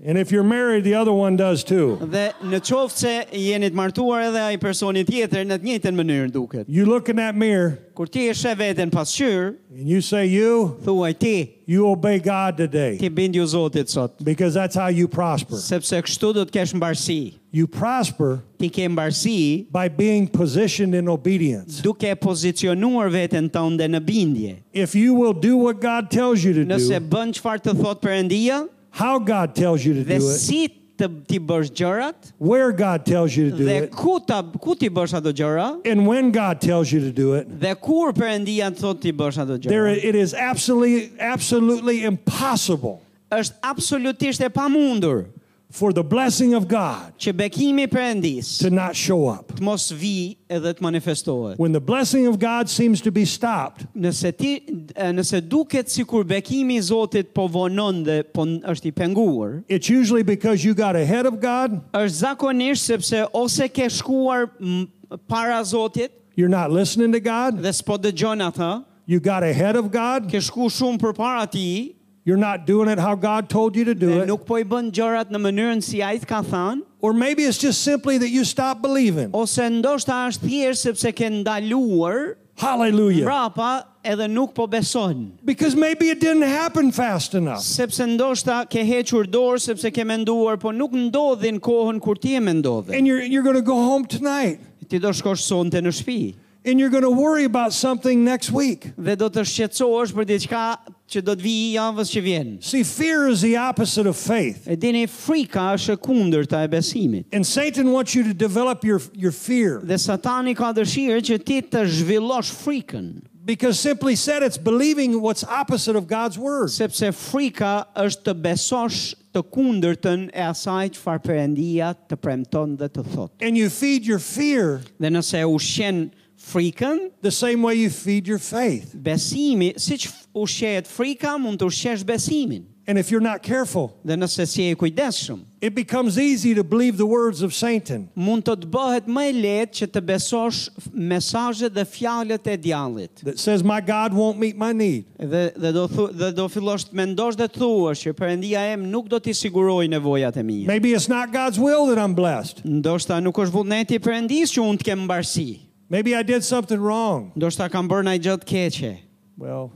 Speaker 2: And if you're married, the other one does too.
Speaker 1: Dhe në qoftë se jeni të martuar edhe ai personi tjetër në të njëjtën mënyrë duket.
Speaker 2: You look in that mirror
Speaker 1: Kur ti e sheh veten pasqyr,
Speaker 2: and you say, You,
Speaker 1: thuaj ti,
Speaker 2: you obey God today,
Speaker 1: ti bindju Zotit sot,
Speaker 2: because that's how you prosper.
Speaker 1: sepse kështu do të kesh mbarësi.
Speaker 2: You prosper
Speaker 1: Ti ke mbarësi
Speaker 2: by being positioned in obedience.
Speaker 1: duke pozicionuar veten tënde në bindje.
Speaker 2: If you will do what God tells you to
Speaker 1: Nëse
Speaker 2: do,
Speaker 1: bën çfarë të thot Perëndia
Speaker 2: how God tells you to
Speaker 1: dhe
Speaker 2: do it,
Speaker 1: si të ti bësh gjërat
Speaker 2: where God tells you to do
Speaker 1: dhe
Speaker 2: it,
Speaker 1: ku ta ku ti bësh ato gjëra
Speaker 2: and when God tells you to do it,
Speaker 1: dhe kur Perëndia të thot ti bësh ato
Speaker 2: there
Speaker 1: gjëra.
Speaker 2: it is absolutely absolutely impossible
Speaker 1: Është absolutisht e pamundur
Speaker 2: for the blessing of God
Speaker 1: që bekimi i Perëndis
Speaker 2: to not show up.
Speaker 1: të mos vi edhe të manifestohet.
Speaker 2: When the blessing of God seems to be stopped,
Speaker 1: Nëse ti nëse duket sikur bekimi i Zotit po vonon dhe po n- është i penguar,
Speaker 2: it's usually because you got ahead of God,
Speaker 1: është zakonisht sepse ose ke shkuar m- para Zotit
Speaker 2: you're not listening to God,
Speaker 1: dhe s'po dëgjon atë,
Speaker 2: you got ahead of God,
Speaker 1: ke shku shumë përpara ti
Speaker 2: you're not doing it how God told you to do
Speaker 1: dhe
Speaker 2: it,
Speaker 1: nuk po i bën gjërat në mënyrën si ai të ka thënë,
Speaker 2: or maybe it's just simply that you stop believing.
Speaker 1: ose ndoshta është thjesht sepse ke ndaluar
Speaker 2: Hallelujah.
Speaker 1: mbrapa edhe nuk po beson.
Speaker 2: Because maybe it didn't happen fast enough.
Speaker 1: Sepse ndoshta ke hequr dorë sepse ke menduar, po nuk ndodhin kohën kur ti e mendove.
Speaker 2: And you're, you're going to go home tonight
Speaker 1: ti do shkosh sonte në shtëpi
Speaker 2: and you're going to worry about something next week.
Speaker 1: dhe do të shqetësohesh për diçka që do të vijë javës që vjen.
Speaker 2: See, fear is the opposite of faith.
Speaker 1: E dini frika është e kundërta e besimit.
Speaker 2: And Satan wants you to develop your, your fear
Speaker 1: Dhe Satani ka dëshirë që ti të zhvillosh frikën,
Speaker 2: because simply said, it's believing what's opposite of God's word.
Speaker 1: sepse frika është të besosh të kundërtën e asaj çfarë Perëndia të premton dhe të thotë.
Speaker 2: And you feed your fear
Speaker 1: Dhe nëse ushqen frikën,
Speaker 2: the same way you feed your faith.
Speaker 1: besimi, siç ushqehet frika, mund të ushqesh besimin.
Speaker 2: And if you're not careful,
Speaker 1: Dhe nëse si e kujdesshëm,
Speaker 2: it becomes easy to believe the words of Satan.
Speaker 1: mund të të bëhet më e lehtë që të besosh mesazhet dhe fjalët e djallit.
Speaker 2: that says my God won't meet my need.
Speaker 1: Dhe dhe do thu, dhe do fillosh të mendosh dhe të thuash që Perëndia em nuk do t'i siguroj nevojat e mia.
Speaker 2: Maybe it's not God's will that I'm blessed.
Speaker 1: Ndoshta nuk është vullneti i Perëndisë që unë të kem mbarësi.
Speaker 2: Maybe I did something wrong.
Speaker 1: Ndoshta kam bërë ndaj gjë të keqe.
Speaker 2: Well,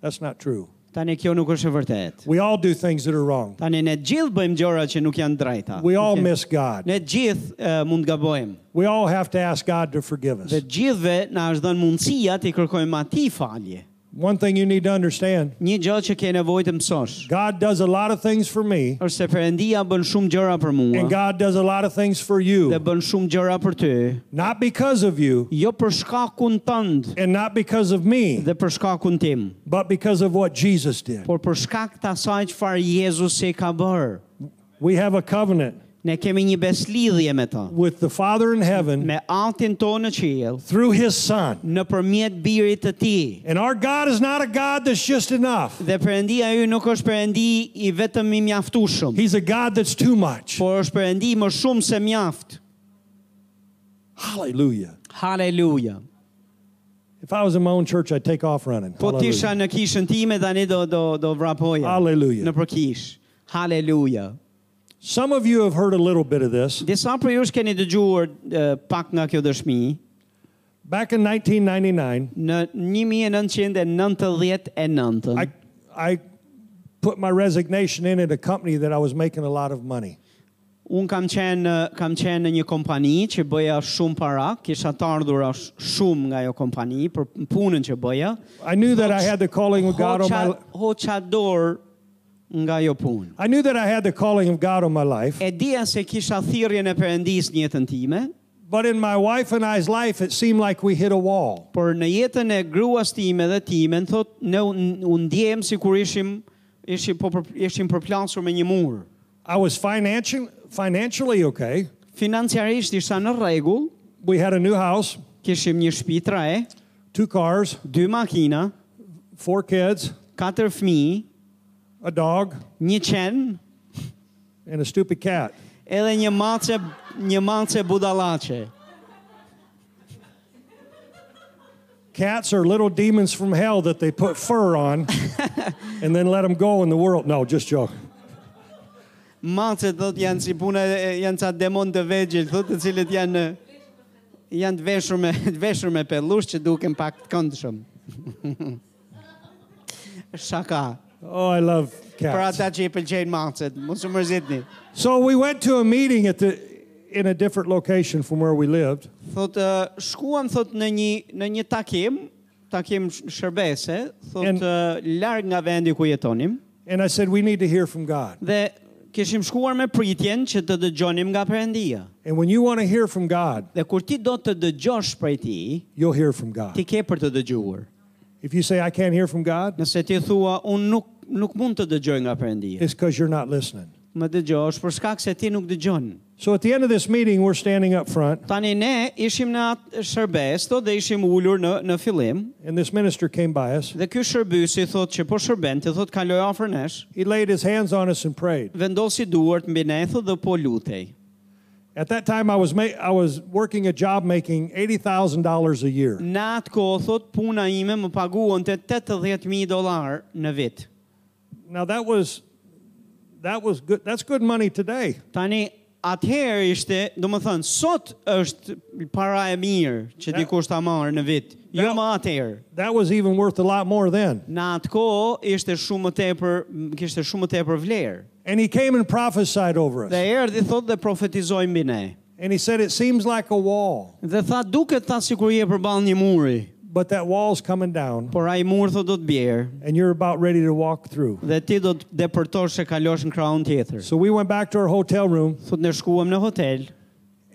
Speaker 2: that's not true.
Speaker 1: Tani kjo nuk është e vërtetë.
Speaker 2: We all do things that are wrong.
Speaker 1: Tani ne gjithë bëjmë gjëra që nuk janë drejta.
Speaker 2: We all
Speaker 1: Që-
Speaker 2: miss God.
Speaker 1: Ne gjithë eh, mund gabojmë.
Speaker 2: We all have to ask God to forgive us.
Speaker 1: Dhe gjithëve na është dhënë mundësia t'i kërkojmë atij falje.
Speaker 2: One thing you need to understand
Speaker 1: Një gjë që ke nevojë të mësosh.
Speaker 2: God does a lot of things for me,
Speaker 1: është se Perëndia bën shumë gjëra për mua
Speaker 2: and God does a lot of things for
Speaker 1: dhe
Speaker 2: you,
Speaker 1: bën shumë gjëra për ty,
Speaker 2: not because of you
Speaker 1: jo për shkakun tënd
Speaker 2: and not because of me,
Speaker 1: dhe për shkakun tim,
Speaker 2: but because of what Jesus did.
Speaker 1: por për shkak të asaj çfarë Jezusi ka bërë.
Speaker 2: We have a covenant
Speaker 1: Ne kemi një beslidhje me të,
Speaker 2: with the Father in heaven
Speaker 1: me Atin tonë në qiell,
Speaker 2: through his Son.
Speaker 1: nëpërmjet birit të tij.
Speaker 2: And our God is not a God that's just enough.
Speaker 1: Dhe Perëndia ju nuk është Perëndi i vetëm i mjaftueshëm,
Speaker 2: He's a God that's too much.
Speaker 1: por është Perëndi më shumë se mjaft.
Speaker 2: Hallelujah.
Speaker 1: Haleluja.
Speaker 2: If I was in my own church, I'd take off running.
Speaker 1: Po të isha
Speaker 2: Hallelujah.
Speaker 1: në kishën time tani do do do vrapoja.
Speaker 2: Hallelujah.
Speaker 1: Në përkish. Haleluja.
Speaker 2: Some of you have heard a little bit of this.
Speaker 1: Disa për jush keni dëgjuar e, pak nga kjo dëshmi.
Speaker 2: Back in 1999,
Speaker 1: Në 1999,
Speaker 2: I, I put my resignation in at a company that I was making a lot of money.
Speaker 1: unë kam qenë, në- kam qenë në një kompani që bëja shumë para, kisha të ardhura sh- shumë nga jo kompani për punën që bëja.
Speaker 2: I knew that I had the calling of God on my
Speaker 1: Hoqa, hoqa dorë nga jo punë.
Speaker 2: I knew that I had the calling of God on my life,
Speaker 1: E dija se kisha thirrjen e Perëndis në jetën time,
Speaker 2: but in my wife and I's life, it seemed like we hit a wall.
Speaker 1: por në jetën e gruas time dhe time, në thot, në u ndjehem sikur ishim ishim po për, ishim përplasur me një mur.
Speaker 2: I was financial, financially okay.
Speaker 1: Financiarisht isha në rregull,
Speaker 2: We had a new house,
Speaker 1: kishim një shtëpi tre,
Speaker 2: two cars,
Speaker 1: dy makina,
Speaker 2: four kids,
Speaker 1: katër fëmijë,
Speaker 2: a dog,
Speaker 1: një qen,
Speaker 2: and a stupid cat.
Speaker 1: edhe një mace një mace budallaçe.
Speaker 2: Cats are little demons from hell that they put fur on and then let them go in the world. No, just joking.
Speaker 1: Macet thot janë si puna e- janë ca demon të vegjël, thot të cilët janë janë të veshur me të veshur me pellush që duken pak të këndshëm. *laughs* Shaka.
Speaker 2: Oh, I love
Speaker 1: Për
Speaker 2: cats.
Speaker 1: ata që i pëlqejnë macet, mos u mërzitni.
Speaker 2: So we went to a meeting at the in a different location from where we lived,
Speaker 1: Thot ë, shkuam thot në një në një takim, takim sh- shërbese, thot
Speaker 2: En-
Speaker 1: ë, larg nga vendi ku jetonim
Speaker 2: and I said we need to hear from God.
Speaker 1: dhe kishim shkuar me pritjen që të dëgjonim nga Perëndia.
Speaker 2: And when you want to hear from God,
Speaker 1: Dhe kur ti do të dëgjosh prej tij,
Speaker 2: you'll hear from God.
Speaker 1: ti ke për të dëgjuar.
Speaker 2: If you say I can't hear from God,
Speaker 1: Nëse ti thua unë nuk nuk mund të dëgjoj nga Perëndia,
Speaker 2: it's cuz you're not listening.
Speaker 1: më dëgjosh për shkak se ti nuk dëgjon.
Speaker 2: So at the end of this meeting, we're standing up front,
Speaker 1: Tani ne ishim në atë shërbes, thot dhe ishim ulur në në fillim
Speaker 2: and this minister came by us.
Speaker 1: dhe ky shërbysi thot që po shërben, ti thot kaloj afër nesh,
Speaker 2: He laid his hands on us and prayed.
Speaker 1: vendosi duart mbi ne thot dhe po lutej.
Speaker 2: At that time, I was ma- I was working a job making eighty thousand dollars a year.
Speaker 1: Në atë kohë thot puna ime më paguon të 80.000 dollar në vit.
Speaker 2: Now that was that was good. That's good money today.
Speaker 1: Tani atëherë ishte, do më thënë, sot është para e mirë që
Speaker 2: That-
Speaker 1: dikush ta marrë në vit, jo
Speaker 2: That-
Speaker 1: më atëherë.
Speaker 2: That was even worth a lot more then.
Speaker 1: Në atë kohë ishte shumë më tepër, m- kishte shumë më tepër vlerë.
Speaker 2: And he came and prophesied over
Speaker 1: Dhe
Speaker 2: us.
Speaker 1: erdhi thot dhe profetizoi mbi ne.
Speaker 2: And he said, It seems like a wall,
Speaker 1: Dhe tha duket tha sikur je përballë një muri,
Speaker 2: but that wall's coming down,
Speaker 1: por ai mur thot do të bjerë
Speaker 2: and you're about ready to walk through.
Speaker 1: dhe ti do të depërtosh e kalosh në krahun tjetër.
Speaker 2: So we went back to our hotel room,
Speaker 1: Thot ne shkuam në hotel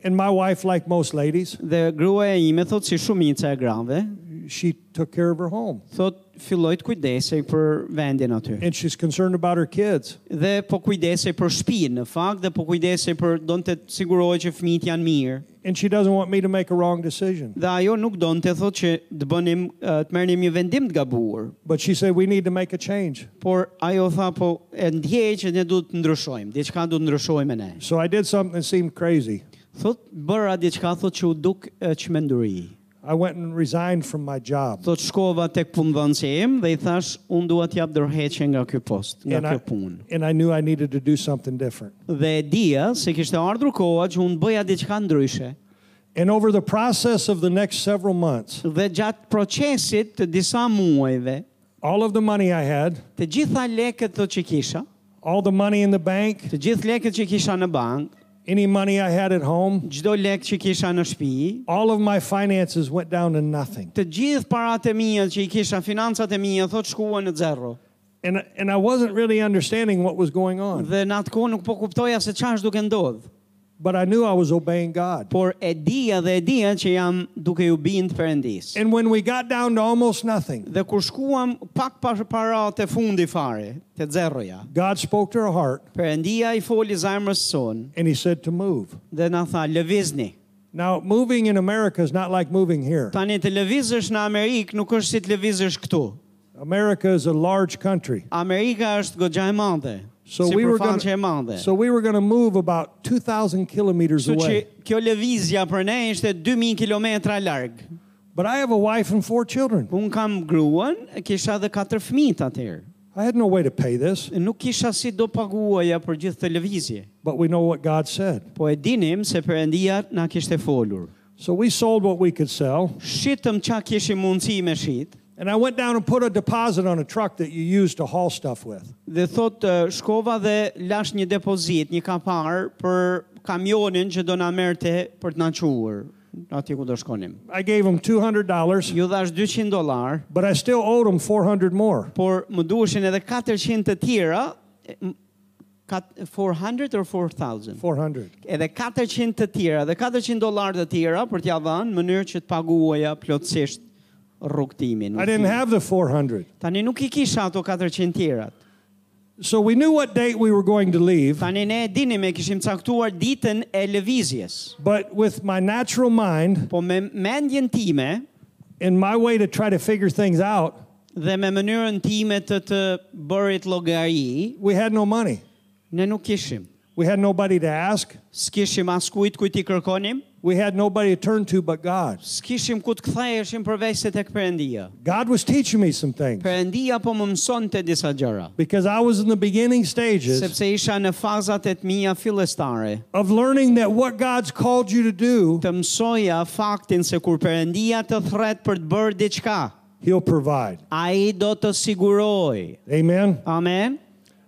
Speaker 2: and my wife, like most ladies,
Speaker 1: dhe gruaja ime thot si shumica e grave,
Speaker 2: she took care of her home,
Speaker 1: thot filloi të kujdesej për vendin aty.
Speaker 2: and she's concerned about her kids.
Speaker 1: dhe po kujdesej për shtëpinë në fakt dhe po kujdesej për donte të sigurohej që fëmijët janë mirë.
Speaker 2: And she doesn't want me to make a wrong decision.
Speaker 1: Dhe ajo nuk donte thotë që të bënim eh, të merrnim një vendim të gabuar.
Speaker 2: But she said, We need to make a change.
Speaker 1: Por ajo tha po e ndjej që ne duhet të ndryshojmë, diçka duhet të ndryshojmë ne.
Speaker 2: So I did something that seemed crazy.
Speaker 1: Thot bëra diçka thot që u duk eh, çmenduri.
Speaker 2: I went and resigned from my job.
Speaker 1: Thot shkova tek punëdhënësi im dhe i thash unë dua të jap dorëheqje nga ky post, nga
Speaker 2: And I,
Speaker 1: kjo punë.
Speaker 2: and I knew I needed to do something different.
Speaker 1: Dhe e dija se kishte ardhur koha që unë bëja diçka ndryshe.
Speaker 2: And over the process of the next several months,
Speaker 1: Dhe gjatë procesit të disa muajve,
Speaker 2: all of the money I had,
Speaker 1: Të gjitha lekët të që kisha,
Speaker 2: all the money in the bank,
Speaker 1: të gjithë lekët që kisha në bank,
Speaker 2: any money I had at home,
Speaker 1: çdo lek që kisha në shtëpi,
Speaker 2: all of my finances went down to nothing.
Speaker 1: të gjithë paratë e mia që i kisha, financat e mia, thot shkuan në zero.
Speaker 2: And, and I wasn't really understanding what was going on,
Speaker 1: Dhe në atë kohë nuk po kuptoja se çfarë është duke ndodhur.
Speaker 2: but I knew I was obeying God.
Speaker 1: Por e dija dhe e dija që jam duke ju bindë Perëndis.
Speaker 2: And when we got down to almost nothing,
Speaker 1: Dhe kur shkuam pak pa para të fundi fare, të zerroja,
Speaker 2: God spoke to our heart
Speaker 1: Perëndia i foli zemrës son
Speaker 2: and He said to move.
Speaker 1: dhe na tha lëvizni.
Speaker 2: Now, moving in America is not like moving here.
Speaker 1: Tani të lëvizësh në Amerikë nuk është si të lëvizësh këtu.
Speaker 2: America is a large country.
Speaker 1: Amerika është goxha e madhe.
Speaker 2: So
Speaker 1: So si
Speaker 2: we were
Speaker 1: përfaqe e
Speaker 2: gonna,
Speaker 1: madhe.
Speaker 2: so we were going to move about 2,000 kilometers
Speaker 1: Kështu që
Speaker 2: away.
Speaker 1: kjo lëvizja për ne ishte 2000 kilometra larg.
Speaker 2: But I have a wife and four children.
Speaker 1: Unë kam gruan, kisha edhe katër fëmijë atëherë.
Speaker 2: I had no way to pay this,
Speaker 1: Nuk kisha si do paguaja për gjithë të lëvizje.
Speaker 2: but we know what God said.
Speaker 1: Po e dinim se Perëndia na kishte folur.
Speaker 2: So we sold what we could sell,
Speaker 1: Shitëm qa kishim mundësi me shit,
Speaker 2: and I went down and put a deposit on a truck that you use to haul stuff with.
Speaker 1: dhe thot eh, shkova dhe lash një depozit, një kapar për kamionin që do na merrte për të na çuar atje ku do shkonim.
Speaker 2: I gave them $200,
Speaker 1: Ju dhash 200 dollar,
Speaker 2: but I still owed them 400 more.
Speaker 1: por më duheshin edhe 400 të tjera, e, m- kat- 400 or 4000.
Speaker 2: 400.
Speaker 1: Edhe 400 të tjera dhe 400 dollar të tjera për t'ja dhënë në mënyrë që të paguaja plotësisht rrugtimin.
Speaker 2: I didn't have the 400.
Speaker 1: Tani nuk i kisha ato 400 tjerat.
Speaker 2: So we knew what date we were going to leave,
Speaker 1: Tani ne e dinim e kishim caktuar ditën e lëvizjes.
Speaker 2: but with my natural mind
Speaker 1: Po me mendjen time
Speaker 2: and my way to try to figure things out,
Speaker 1: dhe me mënyrën time të të bërit llogari,
Speaker 2: we had no money.
Speaker 1: ne nuk kishim.
Speaker 2: We had nobody to ask.
Speaker 1: S'kishim as kujt kujt i kërkonim,
Speaker 2: We had nobody to turn to but God.
Speaker 1: s'kishim ku të ktheheshim përveç se tek Perëndia.
Speaker 2: God was teaching me some things
Speaker 1: Perëndia po më mësonte disa gjëra,
Speaker 2: because I was in the beginning stages
Speaker 1: sepse isha në fazat e të mia fillestare.
Speaker 2: of learning that what God's called you to do,
Speaker 1: Të mësoja faktin se kur Perëndia të thret për të bërë diçka,
Speaker 2: He'll provide.
Speaker 1: ai do të siguroj.
Speaker 2: Amen.
Speaker 1: Amen.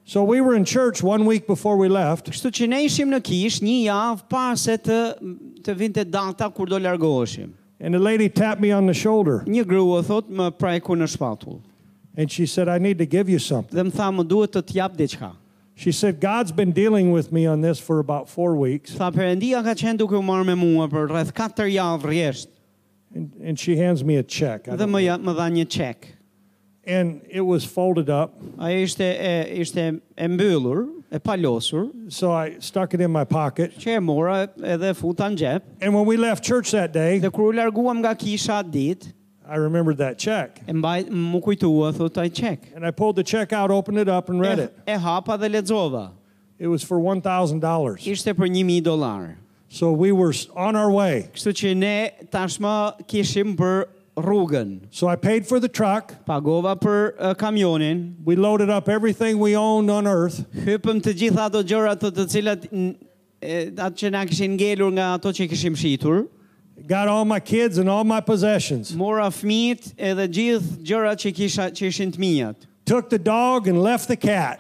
Speaker 2: So we were in church one week before we left,
Speaker 1: Kështu që ne ishim në kish një javë pas se të të vinte data kur do largoheshim.
Speaker 2: and the lady tapped me on the shoulder
Speaker 1: Një grua thot më preku në shpatull
Speaker 2: and she said, I need to give you something.
Speaker 1: dhe më tha më duhet të t'jap diçka.
Speaker 2: She said, God's been dealing with me on this for about four weeks.
Speaker 1: Tha Perëndia ka qenë duke u marrë me mua për rreth 4 javë rresht.
Speaker 2: And, and she hands me a check. I
Speaker 1: dhe
Speaker 2: don't-
Speaker 1: më ja, më dha një çek.
Speaker 2: and it was folded up.
Speaker 1: Ai ishte e ishte e mbyllur, e palosur,
Speaker 2: So I stuck it in my pocket.
Speaker 1: që e mora edhe e futa në xhep.
Speaker 2: And when we left church that day,
Speaker 1: Dhe kur u larguam nga kisha atë ditë,
Speaker 2: I remembered that check.
Speaker 1: e mbaj më kujtua thotë ai çek.
Speaker 2: And I pulled the check out, opened it up, and
Speaker 1: E,
Speaker 2: read it.
Speaker 1: e hapa dhe lexova.
Speaker 2: It was for $1,000.
Speaker 1: Ishte për 1000 dollar.
Speaker 2: So we were s- on our way.
Speaker 1: Kështu që ne tashmë kishim për rrugën.
Speaker 2: So I paid for the truck.
Speaker 1: Pagova për e, kamionin,
Speaker 2: We loaded up everything we owned on earth.
Speaker 1: hypëm të gjitha ato gjëra të të cilat n- e, atë që na kishin ngelur nga ato që kishim shitur.
Speaker 2: Got all my kids and all my possessions.
Speaker 1: Mora fëmijët edhe gjithë gjërat që kisha që ishin të mijat.
Speaker 2: Took the dog and left the cat.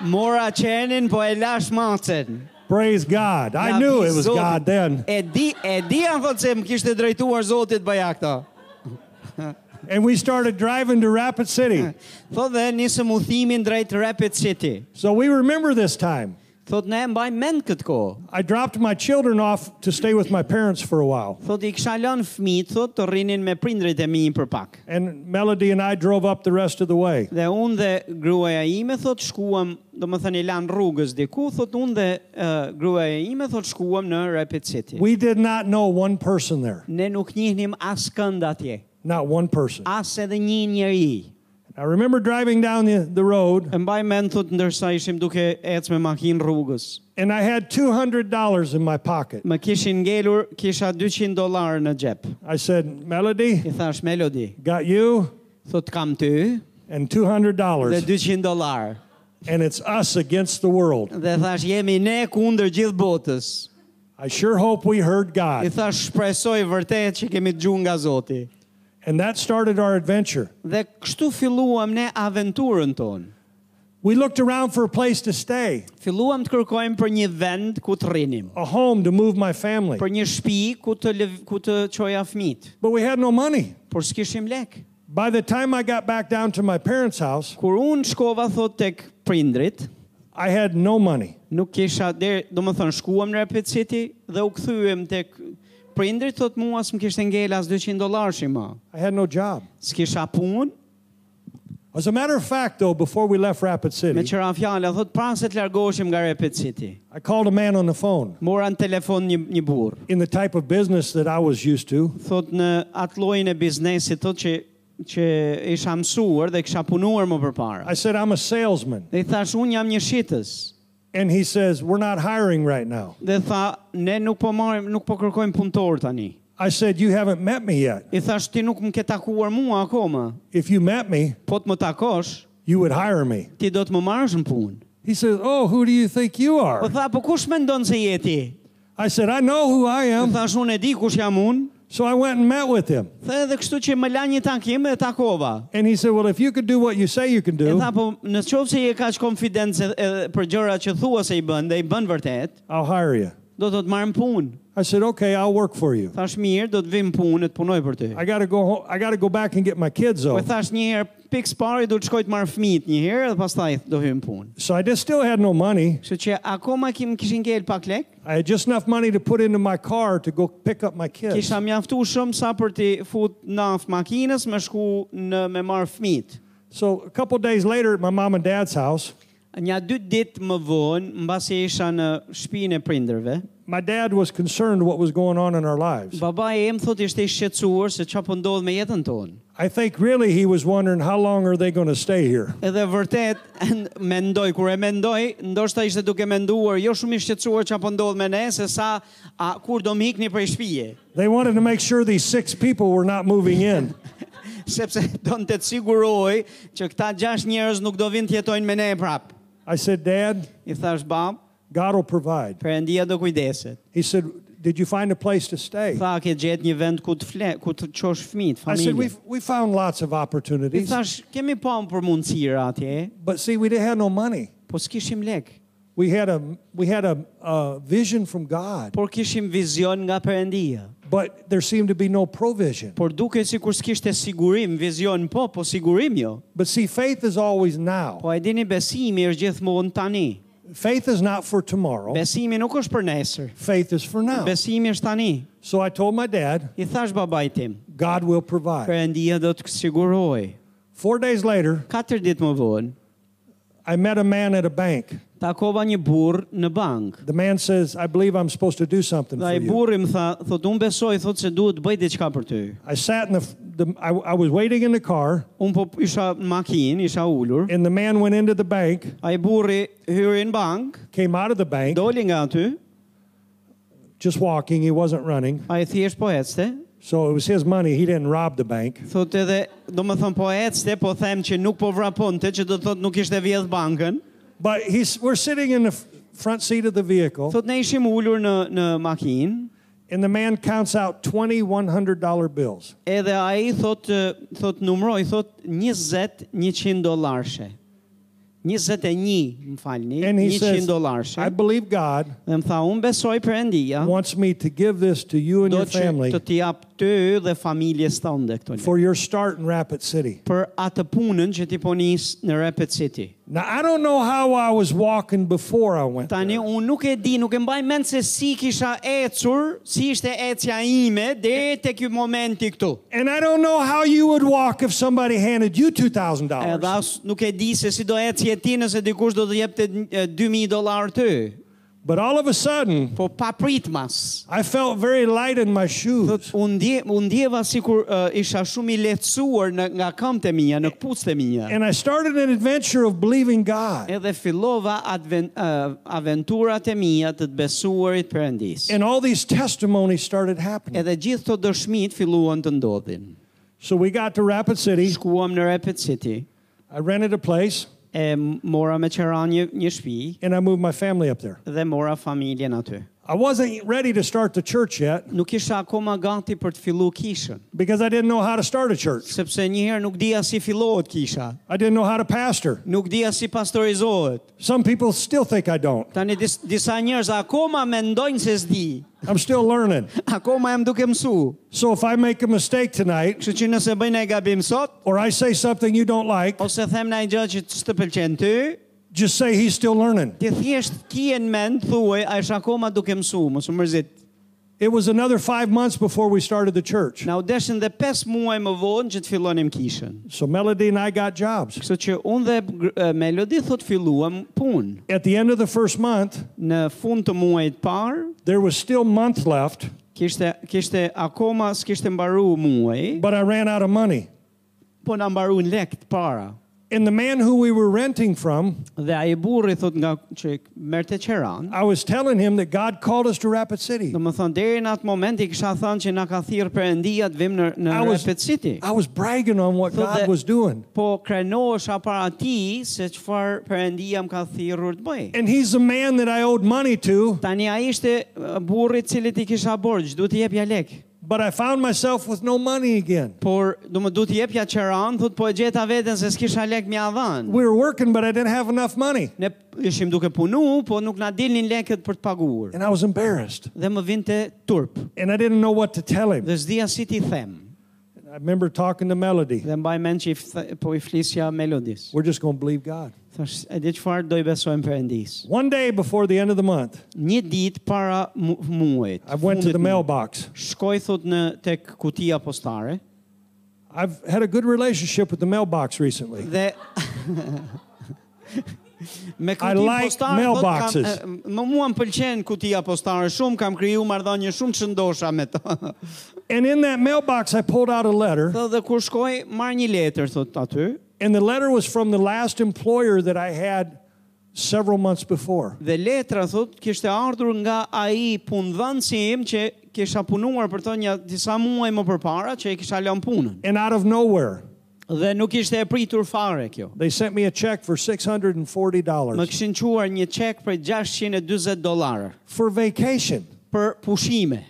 Speaker 1: Mora qenin, po e lash macen.
Speaker 2: Praise God. I
Speaker 1: Ja,
Speaker 2: knew
Speaker 1: bi
Speaker 2: it was
Speaker 1: Zotit.
Speaker 2: God then.
Speaker 1: E di, e di anë thotë se më kishte drejtuar Zotit bëja këta.
Speaker 2: And we started driving to Rapid City.
Speaker 1: Thotë dhe nisëm udhimin drejt Rapid City.
Speaker 2: So we remember this time.
Speaker 1: Thotë ne mbaj mend këtë kohë.
Speaker 2: I dropped my children off to stay with my parents for a while.
Speaker 1: Thotë i kisha lënë fëmijët thotë të rrinin me prindrit e mi për pak.
Speaker 2: And Melody and I drove up the rest of the way.
Speaker 1: Dhe unë dhe gruaja ime thot shkuam, do më thënë i lanë rrugës diku, thot unë dhe uh, gruaja ime thot shkuam në Rapid City.
Speaker 2: We did not know one person there.
Speaker 1: Ne nuk njihnim as kënd atje,
Speaker 2: Not one person.
Speaker 1: as edhe një njeri.
Speaker 2: I remember driving down the, the road
Speaker 1: E mbaj mend thot ndërsa ishim duke ecë me makinë rrugës.
Speaker 2: and I had $200 in my pocket.
Speaker 1: Më kishin ngelur, kisha 200 dollar në xhep.
Speaker 2: I said, Melody,
Speaker 1: I thash Melodi,
Speaker 2: got you
Speaker 1: thot kam ty
Speaker 2: and
Speaker 1: dhe
Speaker 2: $200.
Speaker 1: 200 dollar.
Speaker 2: And it's us against the world.
Speaker 1: Dhe thash jemi ne kundër gjithë botës.
Speaker 2: I sure hope we heard
Speaker 1: I
Speaker 2: God.
Speaker 1: thash shpresoj vërtet që kemi dëgjuar nga Zoti.
Speaker 2: And that started our adventure.
Speaker 1: Dhe kështu filluam ne aventurën tonë.
Speaker 2: We looked around for a place to stay,
Speaker 1: Filluam të kërkojmë për një vend ku të rrinim,
Speaker 2: a home to move my family.
Speaker 1: për një shtëpi ku të lëv, ku të çoja fëmit,
Speaker 2: But we had no money.
Speaker 1: por s'kishim lek.
Speaker 2: By the time I got back down to my parents' house,
Speaker 1: Kur unë shkova thot tek prindrit,
Speaker 2: I had no money.
Speaker 1: nuk kisha deri, do më thënë, shkuam në Rapid City dhe u kthyem tek prindrit thot mua s'm kishte ngel as 200 dollarshi më.
Speaker 2: I had no job.
Speaker 1: S'kisha punë,
Speaker 2: As a matter of fact, though, before we left Rapid
Speaker 1: me
Speaker 2: City,
Speaker 1: qëra fjala thot para se të largoheshim nga Rapid City.
Speaker 2: I called a man on the phone
Speaker 1: Mora në telefon një një burr.
Speaker 2: in the type of business that I was used to.
Speaker 1: thot në atë llojin e biznesit thot që që isha mësuar dhe kisha punuar më përpara.
Speaker 2: I said, I'm a salesman.
Speaker 1: Dhe i thash unë jam një shitës.
Speaker 2: And he says, We're not hiring right now.
Speaker 1: Dhe tha ne nuk po marrim nuk po kërkojmë punëtor tani.
Speaker 2: I said, You haven't met me yet.
Speaker 1: I thash ti nuk më ke takuar mua akoma.
Speaker 2: If you met me,
Speaker 1: Po të më takosh,
Speaker 2: you would hire me.
Speaker 1: ti do të më marrësh në punë.
Speaker 2: He says, Oh, who do you think you
Speaker 1: Po
Speaker 2: are?
Speaker 1: tha, po kush mendon se je ti?
Speaker 2: I said, I know who I
Speaker 1: Dhe
Speaker 2: am.
Speaker 1: thash unë e di kush jam unë.
Speaker 2: So I went and met with him.
Speaker 1: Dhe edhe kështu që më la një takim dhe takova.
Speaker 2: And he said, Well, if you could do what you say you can
Speaker 1: E
Speaker 2: do,
Speaker 1: tha, po në qovë se je kaq konfidencë edhe për gjëra që thua se i bën dhe i bën vërtet,
Speaker 2: I'll hire you.
Speaker 1: do të të marrë në punë.
Speaker 2: I said, Okay, I'll work for you.
Speaker 1: Thash mirë, do të vim punë, të punoj për ty.
Speaker 2: I gotta go home. I gotta go back and get my kids
Speaker 1: Po
Speaker 2: though.
Speaker 1: e thash një herë, pikë pari do të shkoj të marr fëmijët një herë dhe pastaj do hym punë.
Speaker 2: So I just still had no money.
Speaker 1: Kështu që akoma kim kishin ngel pak lek,
Speaker 2: I had just enough money to put into my car to go pick up my kids.
Speaker 1: kisha mjaftu shumë sa për t'i fut naf makinës me shku në me marr fëmijët.
Speaker 2: So a couple days later at my mom and dad's house,
Speaker 1: Nja dy ditë më vonë, mbasi isha në shtëpinë e prindërve,
Speaker 2: my dad was concerned what was going on in our lives.
Speaker 1: babai im thotë ishte i shqetësuar se çfarë po ndodh me jetën tonë.
Speaker 2: I think really he was wondering how long are they going to stay here?
Speaker 1: Edhe vërtet *laughs* mendoj kur e mendoj, ndoshta ishte duke menduar jo shumë i shqetësuar çfarë po ndodh me ne se sa a, kur do mhikni prej shtëpije,
Speaker 2: They wanted to make sure these six people were not moving in.
Speaker 1: *laughs* sepse donte të sigurohej që këta gjashtë njerëz nuk do vinë të jetojnë me ne prap.
Speaker 2: I said, "Dad,
Speaker 1: I thash bab,
Speaker 2: God will provide."
Speaker 1: Perëndia do kujdeset.
Speaker 2: He said, "Did you find a place to stay?"
Speaker 1: Tha ke gjet një vend ku të fle, ku të çosh fëmijët,
Speaker 2: I said, "We
Speaker 1: familje.
Speaker 2: we found lots of
Speaker 1: I
Speaker 2: opportunities,
Speaker 1: thash kemi pam për mundësira atje,
Speaker 2: but see, we didn't have no money."
Speaker 1: po s'kishim lek,
Speaker 2: We had a we had a, a vision from God,
Speaker 1: por kishim vizion nga Perëndia.
Speaker 2: but there seemed to be no provision.
Speaker 1: Por duke sikur s'kishte sigurim, vizion po, po sigurim jo.
Speaker 2: But see, faith is always now.
Speaker 1: Po e dini besimi është gjithmonë tani.
Speaker 2: Faith is not for tomorrow.
Speaker 1: Besimi nuk është për nesër.
Speaker 2: Faith is for now.
Speaker 1: Besimi është tani.
Speaker 2: So I told my dad,
Speaker 1: I thash babait tim,
Speaker 2: God will provide.
Speaker 1: Perëndia do të siguroj.
Speaker 2: Four days later,
Speaker 1: Katër ditë më vonë,
Speaker 2: I met a man at a bank.
Speaker 1: takova një burr në bank.
Speaker 2: The man says, "I believe I'm supposed to do something
Speaker 1: Dhe
Speaker 2: for
Speaker 1: ai
Speaker 2: you."
Speaker 1: burri më tha, thotë unë besoj, thotë se duhet të bëj diçka për ty.
Speaker 2: I sat in the, the I, I was waiting in the car,
Speaker 1: Unë po isha në makinë, isha ulur.
Speaker 2: and the man went into the bank,
Speaker 1: Ai burri hyri në bank,
Speaker 2: came out of the bank,
Speaker 1: doli nga aty,
Speaker 2: just walking. He wasn't running,
Speaker 1: ai thjesht po ecte.
Speaker 2: so it was his money. He didn't rob the bank.
Speaker 1: Thotë edhe, do më thëmë po ecte, po them që nuk po vraponte, që do të thotë nuk ishte vjedh bankën.
Speaker 2: But he's, we're sitting in the f- front seat of the vehicle,
Speaker 1: Thotë ne ishim ulur në, në makinë,
Speaker 2: and the man counts out 20 $100 bills.
Speaker 1: Edhe ai thot ë, thot numroi thot 20 100 dollarshe. 21, më falni,
Speaker 2: And he
Speaker 1: 100
Speaker 2: says, I
Speaker 1: dollarshë.
Speaker 2: believe God
Speaker 1: Dhe më tha, unë besoj për endia,
Speaker 2: wants me to give this to you and
Speaker 1: do
Speaker 2: your
Speaker 1: që
Speaker 2: family
Speaker 1: të t'i jap ty dhe familjes tënde këto lekë.
Speaker 2: for your start in Rapid City.
Speaker 1: Për atë punën që ti po nis në Rapid City.
Speaker 2: Now, I don't know how I was walking before I went.
Speaker 1: Tani unë nuk e di, nuk e mbaj mend se si kisha ecur, si ishte ecja ime deri te ky momenti këtu.
Speaker 2: And I don't know how you would walk if somebody handed you
Speaker 1: Edhe
Speaker 2: $2,000.
Speaker 1: as nuk e di se si do ecje ti nëse dikush do të jepte eh, 2000 dollar ty.
Speaker 2: But all of a sudden,
Speaker 1: Po pa pritmas.
Speaker 2: I felt very light in my shoes.
Speaker 1: Thot, unë ndje, unë ndjeva sikur eh, isha shumë i lehtësuar në, nga këmbët e mia, në këpucët e mia.
Speaker 2: And I started an adventure of believing God
Speaker 1: Edhe fillova adven, eh, aventurat e mia të të besuarit Perëndis.
Speaker 2: and all these testimonies started happening.
Speaker 1: Edhe gjithë këto dëshmit filluan të ndodhin.
Speaker 2: So we got to Rapid City.
Speaker 1: Shkuam në Rapid City,
Speaker 2: I rented a place
Speaker 1: e m- mora me qëra një, një shpi
Speaker 2: and I moved my family up there.
Speaker 1: dhe mora familjen aty.
Speaker 2: I wasn't ready to start the church yet
Speaker 1: Nuk isha akoma gati për të fillu kishën,
Speaker 2: because I didn't know how to start a church.
Speaker 1: sepse njëherë nuk dija si fillohet kisha,
Speaker 2: I didn't know how to pastor.
Speaker 1: nuk dija si pastorizohet.
Speaker 2: Some people still think I don't.
Speaker 1: Tani dis, disa njerëz akoma mendojnë se s'di,
Speaker 2: I'm still learning.
Speaker 1: akoma jam duke mësu.
Speaker 2: So if I make a mistake tonight
Speaker 1: Kështu që nëse bëjnë e gabim sot,
Speaker 2: or I say something you don't like,
Speaker 1: ose them në gjë që s'të pëlqen ty,
Speaker 2: just say he's still learning.
Speaker 1: ti thjesht ki në mend thuaj, a është akoma duke mësu, mos u mërzit.
Speaker 2: It was another five months before we started the church.
Speaker 1: Na u deshën dhe 5 muaj më vonë që të fillonim kishën.
Speaker 2: So Melody and I got jobs.
Speaker 1: Kështu që unë dhe gr- e, Melodi thot filluam punë.
Speaker 2: At the end of the first month,
Speaker 1: Në fund të muajit parë,
Speaker 2: there was still month left,
Speaker 1: kishte kishte akoma s'kishte mbaru muaji,
Speaker 2: but I ran out of money.
Speaker 1: po na mbaruan lekt para.
Speaker 2: And the man who we were renting from,
Speaker 1: Dhe ai burri thot nga që merrte qeran.
Speaker 2: I was telling him that God called us to Rapid City.
Speaker 1: Do më thonë, deri në atë moment i kisha thënë që na ka thirë për endia të vim në, në
Speaker 2: I was,
Speaker 1: Rapid City.
Speaker 2: I was bragging on what
Speaker 1: So
Speaker 2: God
Speaker 1: that-
Speaker 2: was doing.
Speaker 1: Po krenohesha para ti se qëfar për endia më ka thirrur të bëj.
Speaker 2: And he's the man that I owed money to,
Speaker 1: Tani a ishte uh, burri i cili ti kisha borxh, duhet i jepja lek.
Speaker 2: but I found myself with no money again.
Speaker 1: Por do më duhet i jepja qeran, thot po e gjeta veten se s'kisha lek mja dhën.
Speaker 2: We were working, but I didn't have enough money.
Speaker 1: Ne ishim duke punu, po nuk na dilnin lekët për të paguar.
Speaker 2: And I was embarrassed.
Speaker 1: Dhe më vinte turp.
Speaker 2: And I didn't know what to tell him.
Speaker 1: Dhe s'dia si ti them.
Speaker 2: I remember talking to Melody.
Speaker 1: Dhe mbaj mend që i fthe- po i flisja melodis.
Speaker 2: We're just going to believe God.
Speaker 1: Thash, e di çfarë do i besojmë Perëndis.
Speaker 2: One day before the end of the month,
Speaker 1: Një ditë para mu- muajit.
Speaker 2: I went to
Speaker 1: fundit
Speaker 2: the
Speaker 1: muajit,
Speaker 2: mailbox.
Speaker 1: Shkoj thot në tek kutia postare
Speaker 2: I've had a good relationship with the mailbox recently.
Speaker 1: dhe *laughs* me
Speaker 2: I
Speaker 1: kutia
Speaker 2: like
Speaker 1: postare
Speaker 2: mailboxes.
Speaker 1: thot, kam, e, më mua më pëlqen kutia postare shumë kam kriju marrëdhënie shumë të shëndosha me to. *laughs*
Speaker 2: And in that mailbox, I pulled out a letter,
Speaker 1: Tho, dhe kur shkoj marr një letër thot aty
Speaker 2: and the letter was from the last employer that I had several months before.
Speaker 1: dhe letra thot kishte ardhur nga ai punëdhënësi im që kisha punuar për to një disa muaj më përpara që e kisha lënë punën
Speaker 2: And out of nowhere,
Speaker 1: dhe nuk ishte e pritur fare kjo.
Speaker 2: they sent me a check for
Speaker 1: Më
Speaker 2: $640
Speaker 1: kishin quar një çek për 640 dollarë
Speaker 2: for vacation.
Speaker 1: për pushime.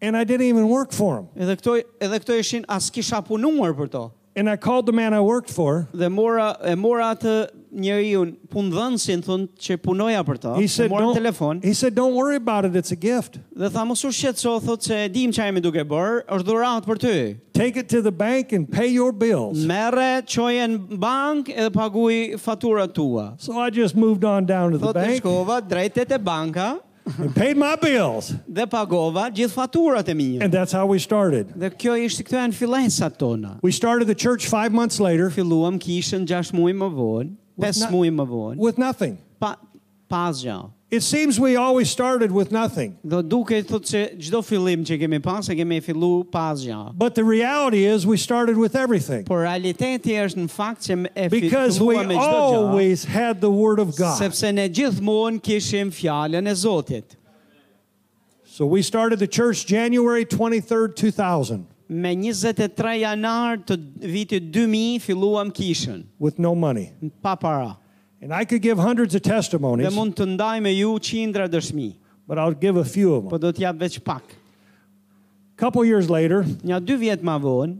Speaker 2: And I didn't even work for them.
Speaker 1: Edhe këto edhe këto ishin as kisha punuar për to.
Speaker 2: And I called the man I worked for.
Speaker 1: Dhe mora e mora atë njeriu punëdhënësin thonë që punoja për to.
Speaker 2: He said,
Speaker 1: mora në
Speaker 2: don't,
Speaker 1: telefon
Speaker 2: he said, don't worry about it. It's a gift.
Speaker 1: dhe tha mos u shqetëso thotë se e dim çfarë jemi duke bër, është dhuratë për ty.
Speaker 2: Take it to the bank and pay your bills.
Speaker 1: Merre, çoje në bank edhe paguaj faturat tua.
Speaker 2: So I just moved on down to the
Speaker 1: Thotë
Speaker 2: bank
Speaker 1: shkova drejt te banka
Speaker 2: and paid my bills.
Speaker 1: dhe pagova gjithë faturat e mia.
Speaker 2: And that's how we started.
Speaker 1: Dhe kjo ishte këto janë fillesat tona.
Speaker 2: We started the church five months later
Speaker 1: filluam kishën 6 muaj më vonë, 5
Speaker 2: na-
Speaker 1: muaj më vonë,
Speaker 2: with nothing.
Speaker 1: pa pas gjë.
Speaker 2: It seems we always started with nothing.
Speaker 1: Do duket thotë se çdo fillim që kemi pas e kemi fillu pas gjë.
Speaker 2: But the reality is we started with everything
Speaker 1: Por realiteti është në fakt që e fi-
Speaker 2: because we
Speaker 1: filluam me çdo gjë.
Speaker 2: always had the Word of God.
Speaker 1: Sepse ne gjithmonë kishim fjalën e Zotit.
Speaker 2: So we started the church January 23rd, 2000
Speaker 1: Me 23 janar të vitit 2000 filluam kishën
Speaker 2: with no money.
Speaker 1: pa para.
Speaker 2: And I could give hundreds of
Speaker 1: Dhe
Speaker 2: testimonies,
Speaker 1: mund të ndaj me ju qindra dëshmi,
Speaker 2: but I'll give a few of them.
Speaker 1: po do t'jap veç pak.
Speaker 2: couple years later,
Speaker 1: Nja dy vjet ma vonë,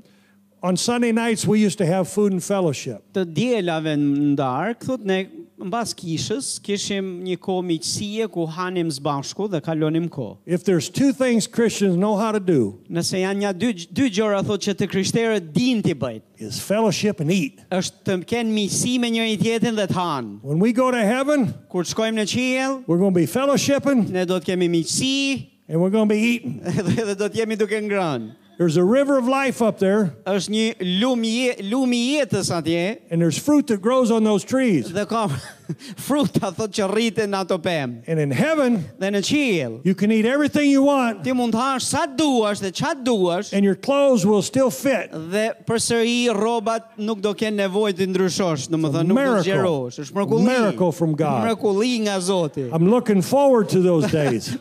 Speaker 2: on Sunday nights, we used to have food and fellowship.
Speaker 1: të dielave në darkë, thot ne mbas kishës kishim një kohë miqësie ku hanim së bashku dhe kalonim kohë.
Speaker 2: If there's two things Christians know how to do,
Speaker 1: Nëse janë një dy dy gjëra thotë që të krishterët din ti bëjnë.
Speaker 2: is fellowship and eat.
Speaker 1: Është të kenë miqësi me njëri tjetrin dhe të hanë.
Speaker 2: When we go to heaven,
Speaker 1: Kur të shkojmë në qiell,
Speaker 2: we're going to be fellowshipping
Speaker 1: ne do të kemi miqësi *laughs*
Speaker 2: and we're going to be eating.
Speaker 1: dhe, dhe do të jemi duke ngrënë.
Speaker 2: There's a river of life up there,
Speaker 1: Është një lumi je- lumi i jetës atje
Speaker 2: and there's fruit that grows on those trees.
Speaker 1: dhe ka *laughs* fruta thotë që rriten në ato pemë.
Speaker 2: And in heaven,
Speaker 1: Dhe në qiell
Speaker 2: you can eat everything you want,
Speaker 1: ti mund të hash sa duash dhe çfarë duash
Speaker 2: and your clothes will still fit.
Speaker 1: dhe përsëri rrobat nuk do kenë nevojë të ndryshosh, domethënë nuk do
Speaker 2: miracle.
Speaker 1: zgjerosh. Është mrekulli.
Speaker 2: Miracle from God.
Speaker 1: Mrekulli nga Zoti.
Speaker 2: I'm looking forward to those days.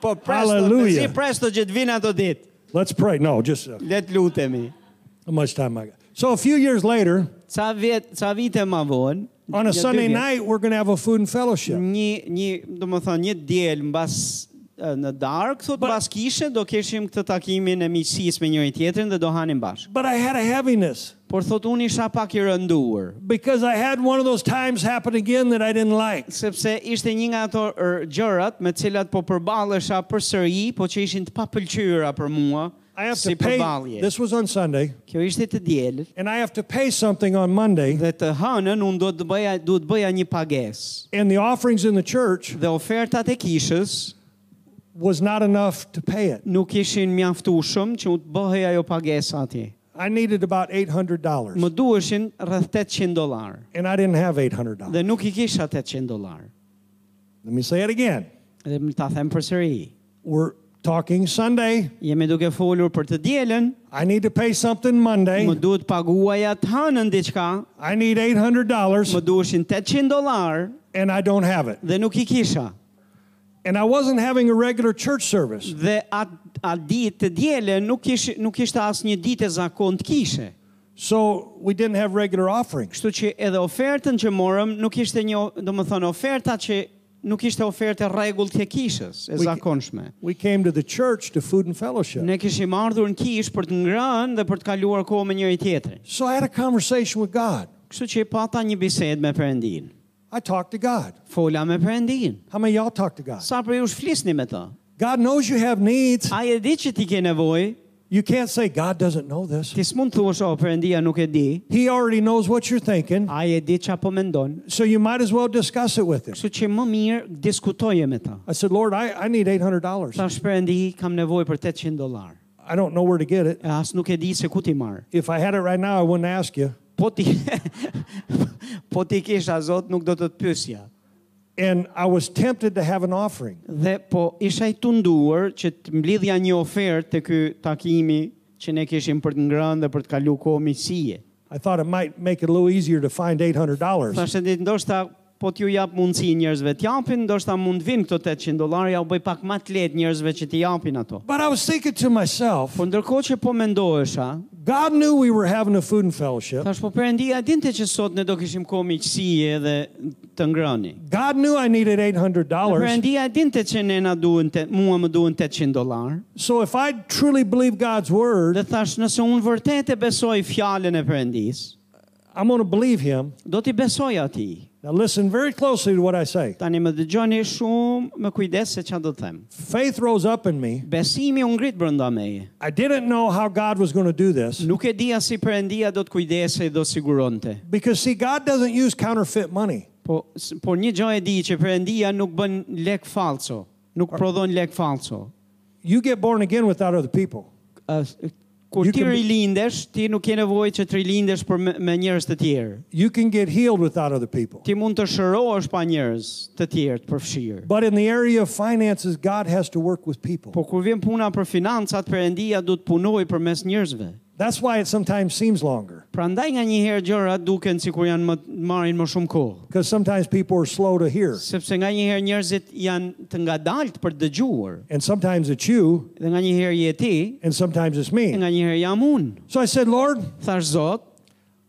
Speaker 1: Po presto,
Speaker 2: Hallelujah.
Speaker 1: si presto që të vinë ato ditë.
Speaker 2: Let's pray. No, just uh,
Speaker 1: Le të lutemi.
Speaker 2: how much time I got. So a few years later,
Speaker 1: Ca vjet, ca vite më vonë,
Speaker 2: on
Speaker 1: një
Speaker 2: a
Speaker 1: dy
Speaker 2: Sunday
Speaker 1: vjet,
Speaker 2: night, we're going to have a food and fellowship.
Speaker 1: një një, domethënë një diel mbas e, në darkë, thot mbas kishe do kishim këtë takimin e miqësisë me njëri tjetrin dhe do hanim bashkë.
Speaker 2: But I had a heaviness
Speaker 1: Por thot unë isha pak i rënduar,
Speaker 2: because I had one of those times happen again that I didn't like.
Speaker 1: sepse ishte një nga ato er, gjërat me të cilat po përballesha përsëri, po që ishin të papëlqyera për mua
Speaker 2: I have
Speaker 1: si
Speaker 2: to pay.
Speaker 1: përballje.
Speaker 2: This was on Sunday,
Speaker 1: Kjo ishte të dielët
Speaker 2: and I have to pay something on Monday,
Speaker 1: dhe të hënën unë do të bëja duhet bëja një pagesë.
Speaker 2: and the offerings in the church
Speaker 1: Dhe ofertat e kishës
Speaker 2: was not enough to pay it.
Speaker 1: nuk ishin mjaftueshëm që u të bëhej ajo pagesa atje.
Speaker 2: I needed about eight hundred dollars,
Speaker 1: Më duheshin rreth 800 dollar
Speaker 2: and I didn't have eight hundred dollars.
Speaker 1: dhe nuk i kisha 800 dollar.
Speaker 2: Let me say it again.
Speaker 1: Dhe më ta them përsëri.
Speaker 2: We're talking Sunday.
Speaker 1: Jemi duke folur për të dielën,
Speaker 2: I need to pay something
Speaker 1: më
Speaker 2: Monday.
Speaker 1: duhet paguaja të hënën diçka,
Speaker 2: I need eight hundred dollars,
Speaker 1: më duheshin 800 dollar
Speaker 2: and I don't have it.
Speaker 1: dhe nuk i kisha.
Speaker 2: And I wasn't having a regular church service.
Speaker 1: Dhe atë at ditë të dielën nuk kish nuk ishte asnjë ditë e zakont kishe.
Speaker 2: So we didn't have regular offerings.
Speaker 1: Kështu që edhe ofertën që morëm nuk ishte një, do më thënë, oferta që nuk ishte ofertë e rregullt e kishës, e
Speaker 2: We-
Speaker 1: zakonshme.
Speaker 2: We came to the church to food and fellowship.
Speaker 1: Ne kishim ardhur në kishë për të ngrënë dhe për të kaluar kohë me njëri tjetrin.
Speaker 2: So I had a conversation with God.
Speaker 1: Kështu që pata një bisedë me Perëndin.
Speaker 2: I talked to God.
Speaker 1: Fola me Perëndin.
Speaker 2: How many of y'all talk to God?
Speaker 1: Sa për ju flisni me ta?
Speaker 2: God knows you have needs.
Speaker 1: Ai e di që ti ke nevojë,
Speaker 2: You can't say God doesn't know this.
Speaker 1: ti s'mund të thuash, "O Perëndia nuk e di."
Speaker 2: He already knows what you're thinking,
Speaker 1: Ai e di çfarë po mendon.
Speaker 2: so you might as well discuss it with him.
Speaker 1: Kështu që më mirë diskutoje me ta.
Speaker 2: I said, Lord, I, I need $800.
Speaker 1: Tash Perëndi kam nevojë për 800 dollar.
Speaker 2: I don't know where to get it.
Speaker 1: E as nuk e di se ku ti marr.
Speaker 2: If I had it right now, I wouldn't ask you.
Speaker 1: Po ti *laughs* po ti kisha Zot nuk do të të pyesja.
Speaker 2: And I was tempted to have an offering.
Speaker 1: Dhe po isha i tunduar që të mblidhja një ofertë të ky takimi që ne kishim për të ngrënë dhe për të kalu kohë miqësie.
Speaker 2: I thought it might make it a little easier to find $800.
Speaker 1: Thashë ditë ndoshta po t'ju jap mundësi njerëzve të japin, ndoshta mund vinë këto 800 dollar ja u bëj pak më të lehtë njerëzve që t'i japin ato.
Speaker 2: But I was thinking to myself,
Speaker 1: Po ndërkohë që po mendohesha,
Speaker 2: God knew we were having a food and fellowship.
Speaker 1: thash po Perëndia dinte që sot ne do kishim kohë miqësie dhe të ngrëni.
Speaker 2: God knew I needed $800.
Speaker 1: Perëndia dinte që ne na duhen te, mua më duhen 800 dollar.
Speaker 2: So if I truly believe God's word,
Speaker 1: Dhe thash nëse unë vërtet e besoj fjalën e Perëndis,
Speaker 2: I'm going to believe him.
Speaker 1: do t'i besoj atij.
Speaker 2: Now listen very closely to what I say.
Speaker 1: Tani më dëgjoni shumë me kujdes se çfarë do të them.
Speaker 2: Faith rose up in me.
Speaker 1: Besimi u ngrit brenda meje.
Speaker 2: I didn't know how God was going to do this
Speaker 1: Nuk e dija si Perëndia do të kujdesej do siguronte.
Speaker 2: because, see, God doesn't use counterfeit money.
Speaker 1: Po s- por një gjë e di që Perëndia nuk bën lek falso, nuk prodhon lek falso.
Speaker 2: You get born again without other people.
Speaker 1: Ë, s- Kur
Speaker 2: You
Speaker 1: ti
Speaker 2: can be-
Speaker 1: rilindesh, ti nuk ke nevojë që të rilindesh për me, me njerëz të tjerë.
Speaker 2: You can get healed without other people.
Speaker 1: Ti mund të shërohesh pa njerëz të tjerë të përfshirë.
Speaker 2: But in the area of finances, God has to work with people.
Speaker 1: Po kur vjen puna për financat, Perëndia do të punojë përmes njerëzve.
Speaker 2: That's why it sometimes seems longer
Speaker 1: Prandaj nga një herë gjërat duken sikur janë më marrin më shumë kohë.
Speaker 2: because sometimes people are slow to hear.
Speaker 1: sepse nga një herë njerëzit janë të ngadalt për të dëgjuar,
Speaker 2: And sometimes it's you,
Speaker 1: dhe nga një herë je ti,
Speaker 2: and sometimes it's
Speaker 1: dhe
Speaker 2: me.
Speaker 1: nga një herë jam unë.
Speaker 2: So I said, Lord,
Speaker 1: Thash Zot,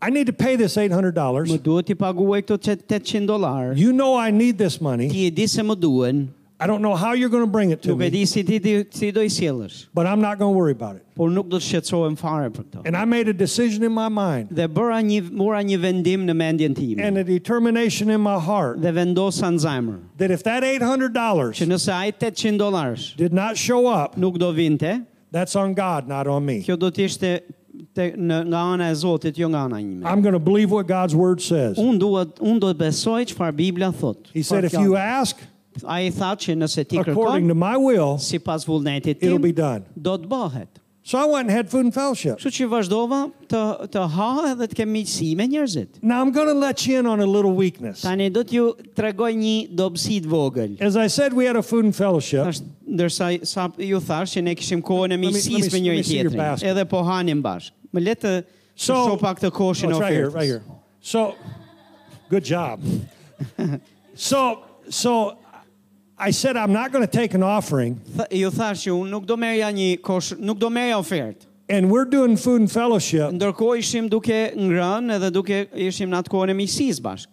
Speaker 2: I need to pay this
Speaker 1: më
Speaker 2: $800.
Speaker 1: duhet t'i paguaj këto qe- 800 dollar.
Speaker 2: You know I need this money.
Speaker 1: Ti e di se më duhen.
Speaker 2: I don't know how you're going to bring it to
Speaker 1: Nuk e
Speaker 2: me,
Speaker 1: di si ti di- si do i sjellësh,
Speaker 2: but I'm not going to worry about it.
Speaker 1: por nuk do të shqetësohem fare për këtë.
Speaker 2: And I made a decision in my mind
Speaker 1: Dhe bëra një mora një vendim në mendjen time
Speaker 2: and a determination in my heart
Speaker 1: dhe vendosa në zemër
Speaker 2: that if that
Speaker 1: që
Speaker 2: $800
Speaker 1: nëse ai 800 dollarësh
Speaker 2: did not show up,
Speaker 1: nuk do vinte,
Speaker 2: that's on God, not on me.
Speaker 1: kjo do të ishte te, në, nga ana e Zotit, jo nga ana ime.
Speaker 2: I'm going to believe what God's word says.
Speaker 1: Unë duhet unë do të besoj çfarë Bibla thot.
Speaker 2: He said, if you ask
Speaker 1: Ai tha që nëse ti
Speaker 2: according
Speaker 1: kërkon
Speaker 2: to my will,
Speaker 1: sipas vullnetit
Speaker 2: it'll
Speaker 1: tim
Speaker 2: be done.
Speaker 1: do të bëhet.
Speaker 2: So I went and had food and fellowship.
Speaker 1: Kështu që vazhdova të të ha edhe të kem miqësi me njerëzit.
Speaker 2: Now I'm going to let you in on a little weakness.
Speaker 1: Tani do t'ju tregoj një dobësi të vogël.
Speaker 2: As I said, we had a food and fellowship.
Speaker 1: Tash ndërsa sa ju thash që ne kishim kohën e
Speaker 2: me- let me-
Speaker 1: miqësisë me
Speaker 2: let me
Speaker 1: njëri
Speaker 2: see your
Speaker 1: tjetrin,
Speaker 2: basket.
Speaker 1: edhe po hanim bashkë. Më le të shoh
Speaker 2: So,
Speaker 1: pak të
Speaker 2: Oh,
Speaker 1: koshin
Speaker 2: it's right here,
Speaker 1: ofertës.
Speaker 2: right here. So, good job. so, so I said I'm not going to take an offering,
Speaker 1: Tha- ju thash që unë nuk do merja një kosh, nuk do merja ofertë.
Speaker 2: and we're doing food and fellowship,
Speaker 1: Ndërkohë ishim duke ngrënë edhe duke ishim në atë kohën e miqësisë bashkë.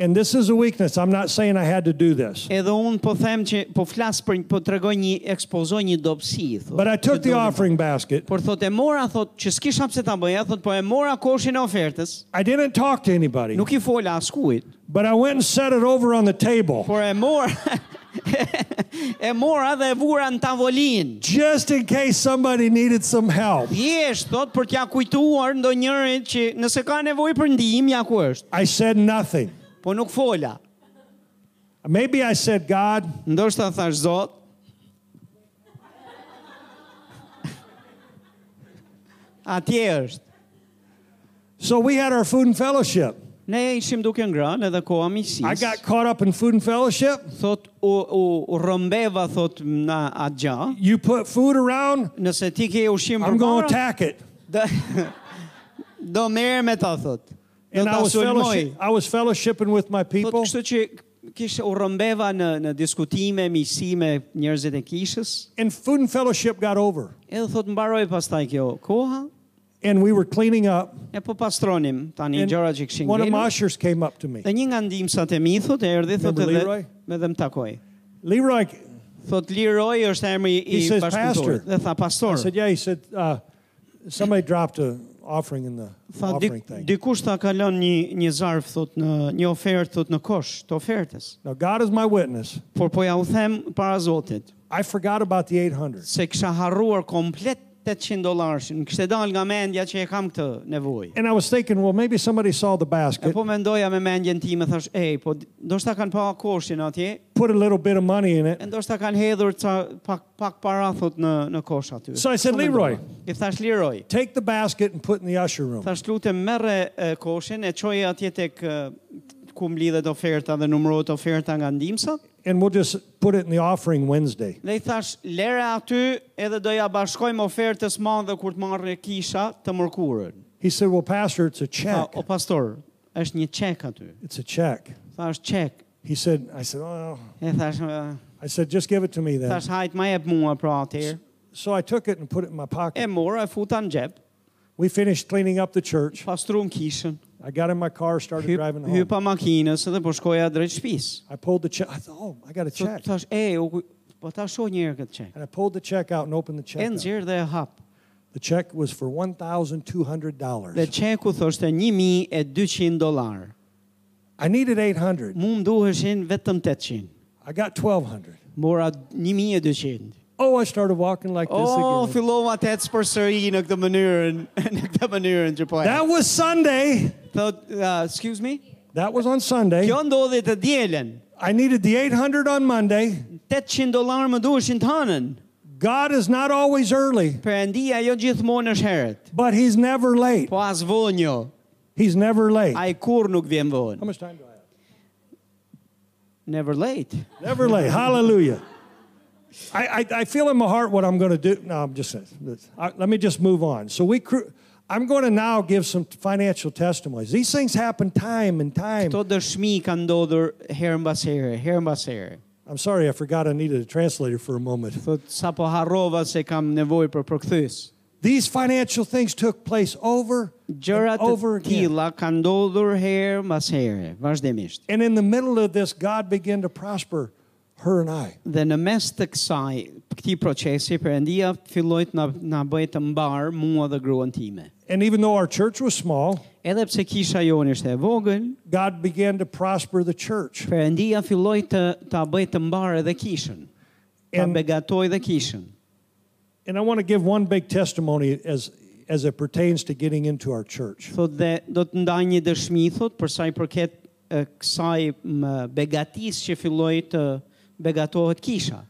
Speaker 2: and this is a weakness. I'm not saying I had to do this,
Speaker 1: Edhe unë po them që po flas për po tregoj një ekspozoj një dobësi, thotë.
Speaker 2: but I took
Speaker 1: që
Speaker 2: the
Speaker 1: doli-
Speaker 2: offering basket.
Speaker 1: Por thot e mora thot që s'kisha pse ta bëja, thot po e mora koshin e ofertës.
Speaker 2: I didn't talk to anybody,
Speaker 1: Nuk i fola askujt,
Speaker 2: but I went and set it over on the table
Speaker 1: por e mora *laughs* e mora dhe e vura në tavolinë.
Speaker 2: just in case somebody needed some help.
Speaker 1: Thjesht thot për t'ja kujtuar ndonjërit që nëse ka nevojë për ndihmë ja ku është,
Speaker 2: I said nothing.
Speaker 1: po nuk fola.
Speaker 2: Maybe I said, God,
Speaker 1: Ndoshta thash Zot, *laughs* atje është.
Speaker 2: so we had our food and fellowship.
Speaker 1: Ne ishim duke ngrënë edhe koha
Speaker 2: I
Speaker 1: miqësisë.
Speaker 2: got caught up in food and fellowship.
Speaker 1: Thot u, u, u rëmbeva thot në atë gjë.
Speaker 2: You put food around,
Speaker 1: Nëse ti ke ushqim
Speaker 2: I'm going to
Speaker 1: për
Speaker 2: attack it.
Speaker 1: do, *laughs* do merë me ta thot. Do
Speaker 2: And I
Speaker 1: ta
Speaker 2: was,
Speaker 1: sulmoj.
Speaker 2: fellowship, I was fellowshipping with my
Speaker 1: Thot
Speaker 2: people,
Speaker 1: kështu që kishe u rëmbeva në, në diskutime, miqësi me njerëzit e kishës.
Speaker 2: and food and fellowship got over.
Speaker 1: Edhe thot mbaroi pastaj kjo koha.
Speaker 2: And we were cleaning up.
Speaker 1: E po pastronim tani
Speaker 2: And
Speaker 1: gjërat që kishin
Speaker 2: one of my
Speaker 1: ngelur.
Speaker 2: ushers came up to me.
Speaker 1: Dhe një nga ndihmësat e mi thot e erdhi thot
Speaker 2: Remember
Speaker 1: edhe
Speaker 2: Leroy?
Speaker 1: edhe më takoi.
Speaker 2: Leroy
Speaker 1: Thot Leroy është emri i
Speaker 2: He says, "Pastor."
Speaker 1: bashkëpunëtorit. Dhe tha pastor.
Speaker 2: said, Yeah, he said, uh, somebody dropped an offering in the
Speaker 1: Tha
Speaker 2: offering
Speaker 1: dik,
Speaker 2: thing.
Speaker 1: dikush ta ka lënë një një zarf thot në një ofertë thot në kosh të ofertës.
Speaker 2: Now, God is my witness.
Speaker 1: Por po ja u them para Zotit
Speaker 2: I forgot about the 800.
Speaker 1: se kisha harruar komplet 800 dollarshin. Kishte dal nga mendja që e kam këtë nevojë.
Speaker 2: And I was thinking, well, maybe somebody saw the
Speaker 1: E
Speaker 2: basket,
Speaker 1: po mendoja me mendjen time thash, "Ej, po ndoshta kanë pa koshin atje,
Speaker 2: put a little bit of money in
Speaker 1: e
Speaker 2: it.
Speaker 1: ndoshta kanë hedhur ca pak pak para thot në në kosh aty."
Speaker 2: So I said,
Speaker 1: Kështu mendova.
Speaker 2: "Leroy."
Speaker 1: I thash Leroy.
Speaker 2: Take the basket and put it in the usher room.
Speaker 1: Thash lutem merre e, koshin e çoje atje tek e, ku mlidhet oferta dhe numërohet oferta nga ndimsat.
Speaker 2: and we'll just put it in the offering Wednesday.
Speaker 1: Dhe i thash, lere aty edhe do ja bashkojmë ofertës madhe kur të marrë kisha të mërkurën.
Speaker 2: He said, Well, Pastor, it's a
Speaker 1: Tha,
Speaker 2: check.
Speaker 1: o pastor, është një çek aty.
Speaker 2: It's a check.
Speaker 1: Tha, është çek.
Speaker 2: He said, I said, Well,
Speaker 1: E thash, "Eh,
Speaker 2: I said, just give it to me then.
Speaker 1: thash hajt ma jep mua pra atëherë.
Speaker 2: So I took it and put it in my
Speaker 1: E
Speaker 2: pocket.
Speaker 1: mora, e futa në xhep,
Speaker 2: We finished cleaning up the church.
Speaker 1: pastrum kishën,
Speaker 2: I got in my car, started
Speaker 1: hyp,
Speaker 2: driving home.
Speaker 1: hypa makinës edhe po shkoja drejt shtëpisë.
Speaker 2: I pulled the check. I thought, Oh, I got a
Speaker 1: Thot-
Speaker 2: check.
Speaker 1: Thash, e, u, ku- po ta shoh një herë këtë çek.
Speaker 2: And I pulled the check out and opened the
Speaker 1: E
Speaker 2: check. up.
Speaker 1: nxjerr dhe e hap.
Speaker 2: The check was for
Speaker 1: Dhe
Speaker 2: $1,200.
Speaker 1: çeku thoshte 1200 dollar.
Speaker 2: I needed 800.
Speaker 1: Mu më duheshin vetëm 800.
Speaker 2: I got 1200.
Speaker 1: Mora 1200.
Speaker 2: Oh, I started walking like this
Speaker 1: O,
Speaker 2: again.
Speaker 1: fillova të ecë përsëri në këtë mënyrën, *laughs* në këtë mënyrën që po e.
Speaker 2: That was Sunday.
Speaker 1: Thot, uh, excuse me.
Speaker 2: That was on Sunday.
Speaker 1: Kjo ndodhi të dielën.
Speaker 2: I needed the 800 on Monday.
Speaker 1: 800 dollar më duheshin të hanën.
Speaker 2: God is not always early,
Speaker 1: Perëndia jo gjithmonë është herët.
Speaker 2: but He's never late.
Speaker 1: Po as vonë jo.
Speaker 2: He's never late.
Speaker 1: Ai kur nuk vjen
Speaker 2: How
Speaker 1: vonë.
Speaker 2: much time do I have?
Speaker 1: Never late.
Speaker 2: Never late. Hallelujah. I, I, I feel in my heart what I'm going to do. No, I'm just I, let me just move on. So we, cru- I'm going to now give some financial testimonies. These things happen time and time.
Speaker 1: Këto dëshmi kanë ndodhur herë mbas here, herë mbas here.
Speaker 2: I'm sorry, I forgot I needed a translator for a moment.
Speaker 1: Thot sa po harrova se kam nevojë për përkthyes.
Speaker 2: These financial things took place over and
Speaker 1: Gjërat
Speaker 2: over
Speaker 1: të
Speaker 2: again.
Speaker 1: tilla kanë ndodhur herë mbas here, vazhdimisht.
Speaker 2: And in the middle of this, God began to prosper her and I.
Speaker 1: Dhe në mes të kësaj, këtij procesi, Perëndia filloi të na na bëj të mbar mua dhe gruan time.
Speaker 2: And even though our church was small,
Speaker 1: Edhe pse kisha jonë ishte e vogël,
Speaker 2: God began to prosper the church.
Speaker 1: Perëndia filloi të ta bëj të mbar edhe kishën. Ta
Speaker 2: And-
Speaker 1: begatoi dhe kishën.
Speaker 2: And I want to give one big testimony as as it pertains to getting into our church.
Speaker 1: Thot dhe do të ndaj një dëshmi thot për sa i përket e, kësaj më, begatisë që filloi të begatohet kisha.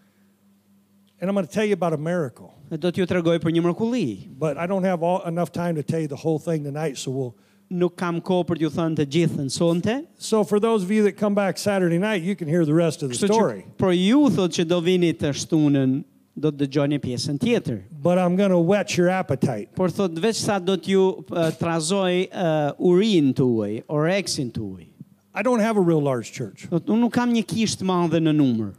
Speaker 2: And I'm going to tell you about a miracle.
Speaker 1: Dhe do t'ju tregoj për një mërkulli.
Speaker 2: But I don't have all, enough time to tell you the whole thing tonight, so we'll
Speaker 1: Nuk kam kohë për t'ju thënë të gjithën sonte.
Speaker 2: So for those of you that come back Saturday night, you can hear the rest of the
Speaker 1: Kështu që
Speaker 2: story.
Speaker 1: për ju thot që do vini të shtunën, do të dëgjoni pjesën tjetër.
Speaker 2: But I'm going to whet your appetite.
Speaker 1: Por thot veç sa do t'ju e, trazoj uh, urin tuaj, oreksin tuaj.
Speaker 2: I don't have a real large church,
Speaker 1: Thot unë nuk kam një kishë të madhe në numër.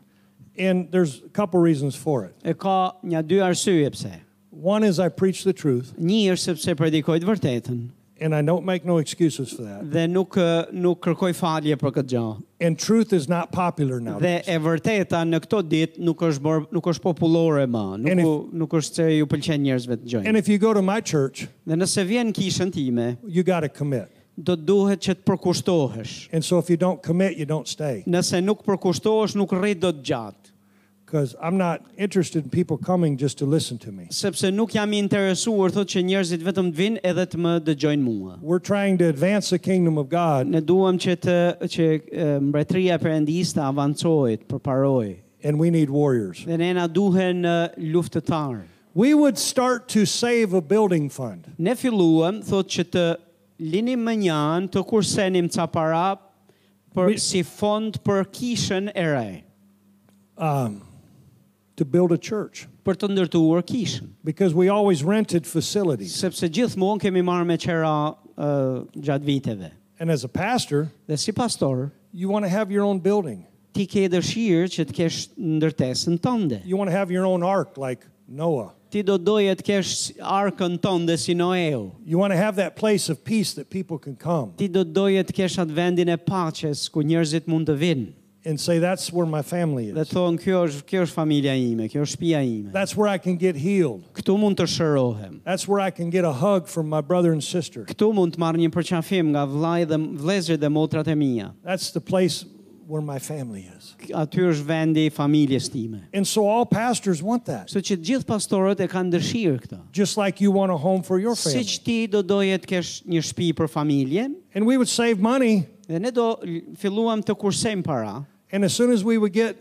Speaker 2: and there's a couple reasons for it.
Speaker 1: E ka një dy arsye pse.
Speaker 2: One is I preach the truth,
Speaker 1: Një është sepse predikoj të vërtetën
Speaker 2: and I don't make no excuses for that.
Speaker 1: dhe nuk e, nuk kërkoj falje për këtë gjë.
Speaker 2: And truth is not popular
Speaker 1: Dhe
Speaker 2: now.
Speaker 1: e vërteta në këto ditë nuk është bër, nuk është popullore më, nuk
Speaker 2: And if-
Speaker 1: u- nuk është se ju pëlqen njerëzve të gjojnë.
Speaker 2: And if you go to my church,
Speaker 1: Dhe nëse vjen kishën time,
Speaker 2: you got to commit.
Speaker 1: do të duhet që të përkushtohesh.
Speaker 2: And so if you don't commit, you don't stay.
Speaker 1: Nëse nuk përkushtohesh, nuk rrit dot gjatë,
Speaker 2: Because I'm not interested in people coming just to listen to me.
Speaker 1: sepse nuk jam i interesuar thotë që njerëzit vetëm të vinë edhe të më dëgjojnë mua.
Speaker 2: We're trying to advance the kingdom of God,
Speaker 1: Ne duam që të që e, mbretëria e Perëndisë të avancojë, të përparojë.
Speaker 2: and we need warriors.
Speaker 1: Dhe ne na duhen e, luftëtarë.
Speaker 2: We would start to save a building fund.
Speaker 1: Ne filluam thotë që të linim më njanë të kursenim ca para për si fond për kishën e re,
Speaker 2: um, to build a church
Speaker 1: për të ndërtuar kishën.
Speaker 2: because we always rented facilities.
Speaker 1: sepse gjithmonë kemi marrë me qera uh, gjatë viteve.
Speaker 2: And as a pastor,
Speaker 1: Dhe si pastor,
Speaker 2: you want to have your own building.
Speaker 1: ti ke dëshirë që të kesh ndërtesën tënde.
Speaker 2: You want to have your own ark like Noah.
Speaker 1: Ti do doje të kesh arkën tënde si Noeu.
Speaker 2: You want to have that place of peace that people can come
Speaker 1: Ti do doje të kesh atë vendin e paches ku njerëzit mund të vinë.
Speaker 2: and say, that's where my family
Speaker 1: Dhe
Speaker 2: is.
Speaker 1: thonë, kjo është, kjo është familja ime, kjo është shtëpia ime.
Speaker 2: That's where I can get healed.
Speaker 1: Këtu mund të shërohem.
Speaker 2: That's where I can get a hug from my brother and sister.
Speaker 1: Këtu mund të marr një përqafim nga vllai dhe vlezërit dhe motrat e mia.
Speaker 2: That's the place where my family is.
Speaker 1: K- Aty është vendi i familjes time.
Speaker 2: And so all pastors want that,
Speaker 1: Kështu që të gjithë pastorët e kanë dëshirë këtë.
Speaker 2: just like you want a home for your
Speaker 1: Si
Speaker 2: family.
Speaker 1: që ti do doje të kesh një shtëpi për familjen,
Speaker 2: And we would save money
Speaker 1: dhe ne do l- filluam të kursejmë para,
Speaker 2: And as soon as we would get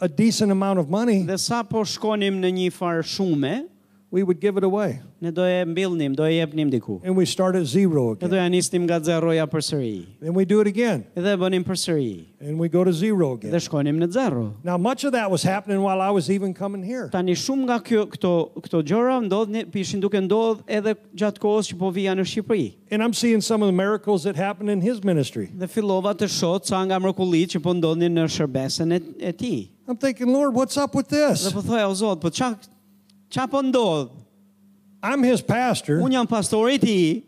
Speaker 2: a decent amount of money,
Speaker 1: dhe sa po shkonim në një farë shume,
Speaker 2: we would give it away.
Speaker 1: ne do e mbilnim, do e jepnim diku.
Speaker 2: And we start at zero
Speaker 1: Ne do
Speaker 2: again.
Speaker 1: ja nisnim nga zeroja për sëri,
Speaker 2: And we do it again.
Speaker 1: dhe e bënim për sëri,
Speaker 2: And we go to zero
Speaker 1: dhe
Speaker 2: again.
Speaker 1: shkonim në zero.
Speaker 2: Now, much of that was happening while I was even coming here.
Speaker 1: Tani shumë nga kjo, këto, këto gjora ndodhni, ishin duke ndodh edhe gjatë kohës që po vija në Shqipëri.
Speaker 2: And I'm seeing some of the miracles that happened in his ministry.
Speaker 1: Dhe fillova të shoh ca nga mrekullitë që po ndodhnin në shërbesën e, e tij.
Speaker 2: I'm thinking, Lord, what's up with
Speaker 1: Dhe
Speaker 2: this?
Speaker 1: po thoya o Zot, po ç'a ç'a po ndodh?
Speaker 2: I'm his pastor.
Speaker 1: Unë jam pastori i ti,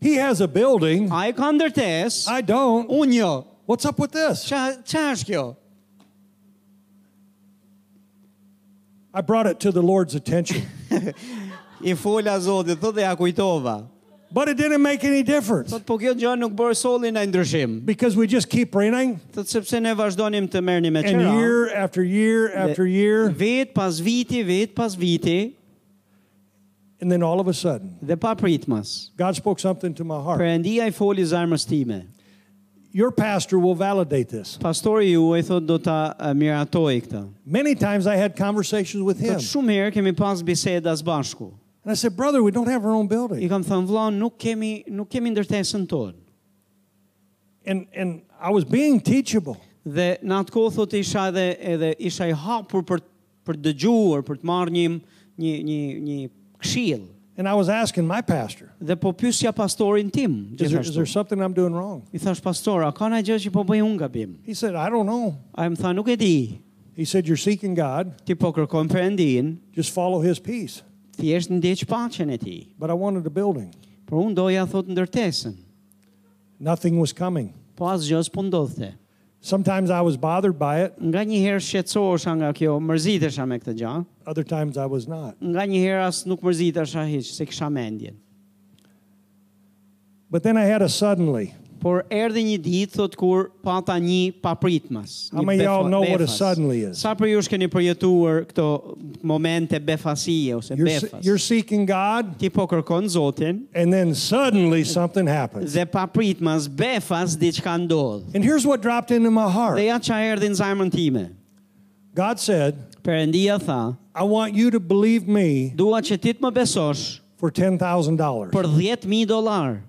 Speaker 2: He has a building.
Speaker 1: a e ka ndërtes,
Speaker 2: I don't.
Speaker 1: unë jo.
Speaker 2: What's up with this?
Speaker 1: Qa, qa është kjo?
Speaker 2: I brought it to the Lord's attention.
Speaker 1: I fola Zotit, thot dhe ja kujtova.
Speaker 2: But it didn't make any difference
Speaker 1: Thot, po kjo gjë nuk bërë solli në ndryshim.
Speaker 2: because we just keep renting.
Speaker 1: Thot, sepse ne vazhdonim të merrnim me
Speaker 2: And
Speaker 1: qëra.
Speaker 2: year after year after year.
Speaker 1: Vit pas viti, vit pas viti,
Speaker 2: And then all of a sudden,
Speaker 1: dhe pa pritmas.
Speaker 2: God spoke something to my heart.
Speaker 1: Perëndia i foli zarmës time.
Speaker 2: Your pastor will validate this.
Speaker 1: Pastori juaj thot do ta e, miratoj këtë.
Speaker 2: Many times I had conversations with him.
Speaker 1: Thot shumë herë kemi pas biseda së bashku.
Speaker 2: And I said, Brother, we don't have our own
Speaker 1: I
Speaker 2: building.
Speaker 1: kam thënë vëlla, nuk kemi nuk kemi ndërtesën tonë.
Speaker 2: And, and I was being teachable.
Speaker 1: Dhe në atë kohë thotë isha edhe edhe isha i hapur për për të dëgjuar, për të marrë një një një një këshill.
Speaker 2: And I was asking my pastor,
Speaker 1: Dhe po pyesja pastorin tim,
Speaker 2: Is there, is
Speaker 1: gjithashtu.
Speaker 2: there something I'm doing wrong?
Speaker 1: I thash pastor, a ka ndonjë gjë që po bëj unë gabim?
Speaker 2: He said, I don't know.
Speaker 1: Ai më tha, nuk e di.
Speaker 2: He said, You're seeking God,
Speaker 1: Ti po kërkon Perëndin,
Speaker 2: just follow his peace.
Speaker 1: thjesht ndjeq paqen e tij.
Speaker 2: But I wanted a building.
Speaker 1: Por unë doja thot ndërtesën.
Speaker 2: Nothing was coming.
Speaker 1: Po asgjë s'po ndodhte.
Speaker 2: Sometimes I was bothered by it,
Speaker 1: Nga një herë shqetësohesha nga kjo, mërzitesha me këtë gjë.
Speaker 2: other times I was not.
Speaker 1: Nga një herë as nuk mërzitesha hiç, se kisha mendjen.
Speaker 2: But then I had a suddenly.
Speaker 1: Por erdhi një ditë thot kur pata një papritmas.
Speaker 2: How
Speaker 1: një
Speaker 2: many y'all
Speaker 1: befa-
Speaker 2: know what a
Speaker 1: befas.
Speaker 2: suddenly is?
Speaker 1: Sa për ju keni përjetuar këto momente befasie ose
Speaker 2: You're, se-
Speaker 1: befas?
Speaker 2: you're seeking God,
Speaker 1: Ti po kërkon Zotin
Speaker 2: and then suddenly something happens.
Speaker 1: dhe papritmas befas diçka ndodh.
Speaker 2: And here's what dropped into my
Speaker 1: Dhe
Speaker 2: heart
Speaker 1: ja qa erdi në zajmën time.
Speaker 2: God said,
Speaker 1: Perëndia tha,
Speaker 2: I want you to believe me
Speaker 1: dua që ti të më besosh
Speaker 2: for $10,000.
Speaker 1: për 10.000 dolar.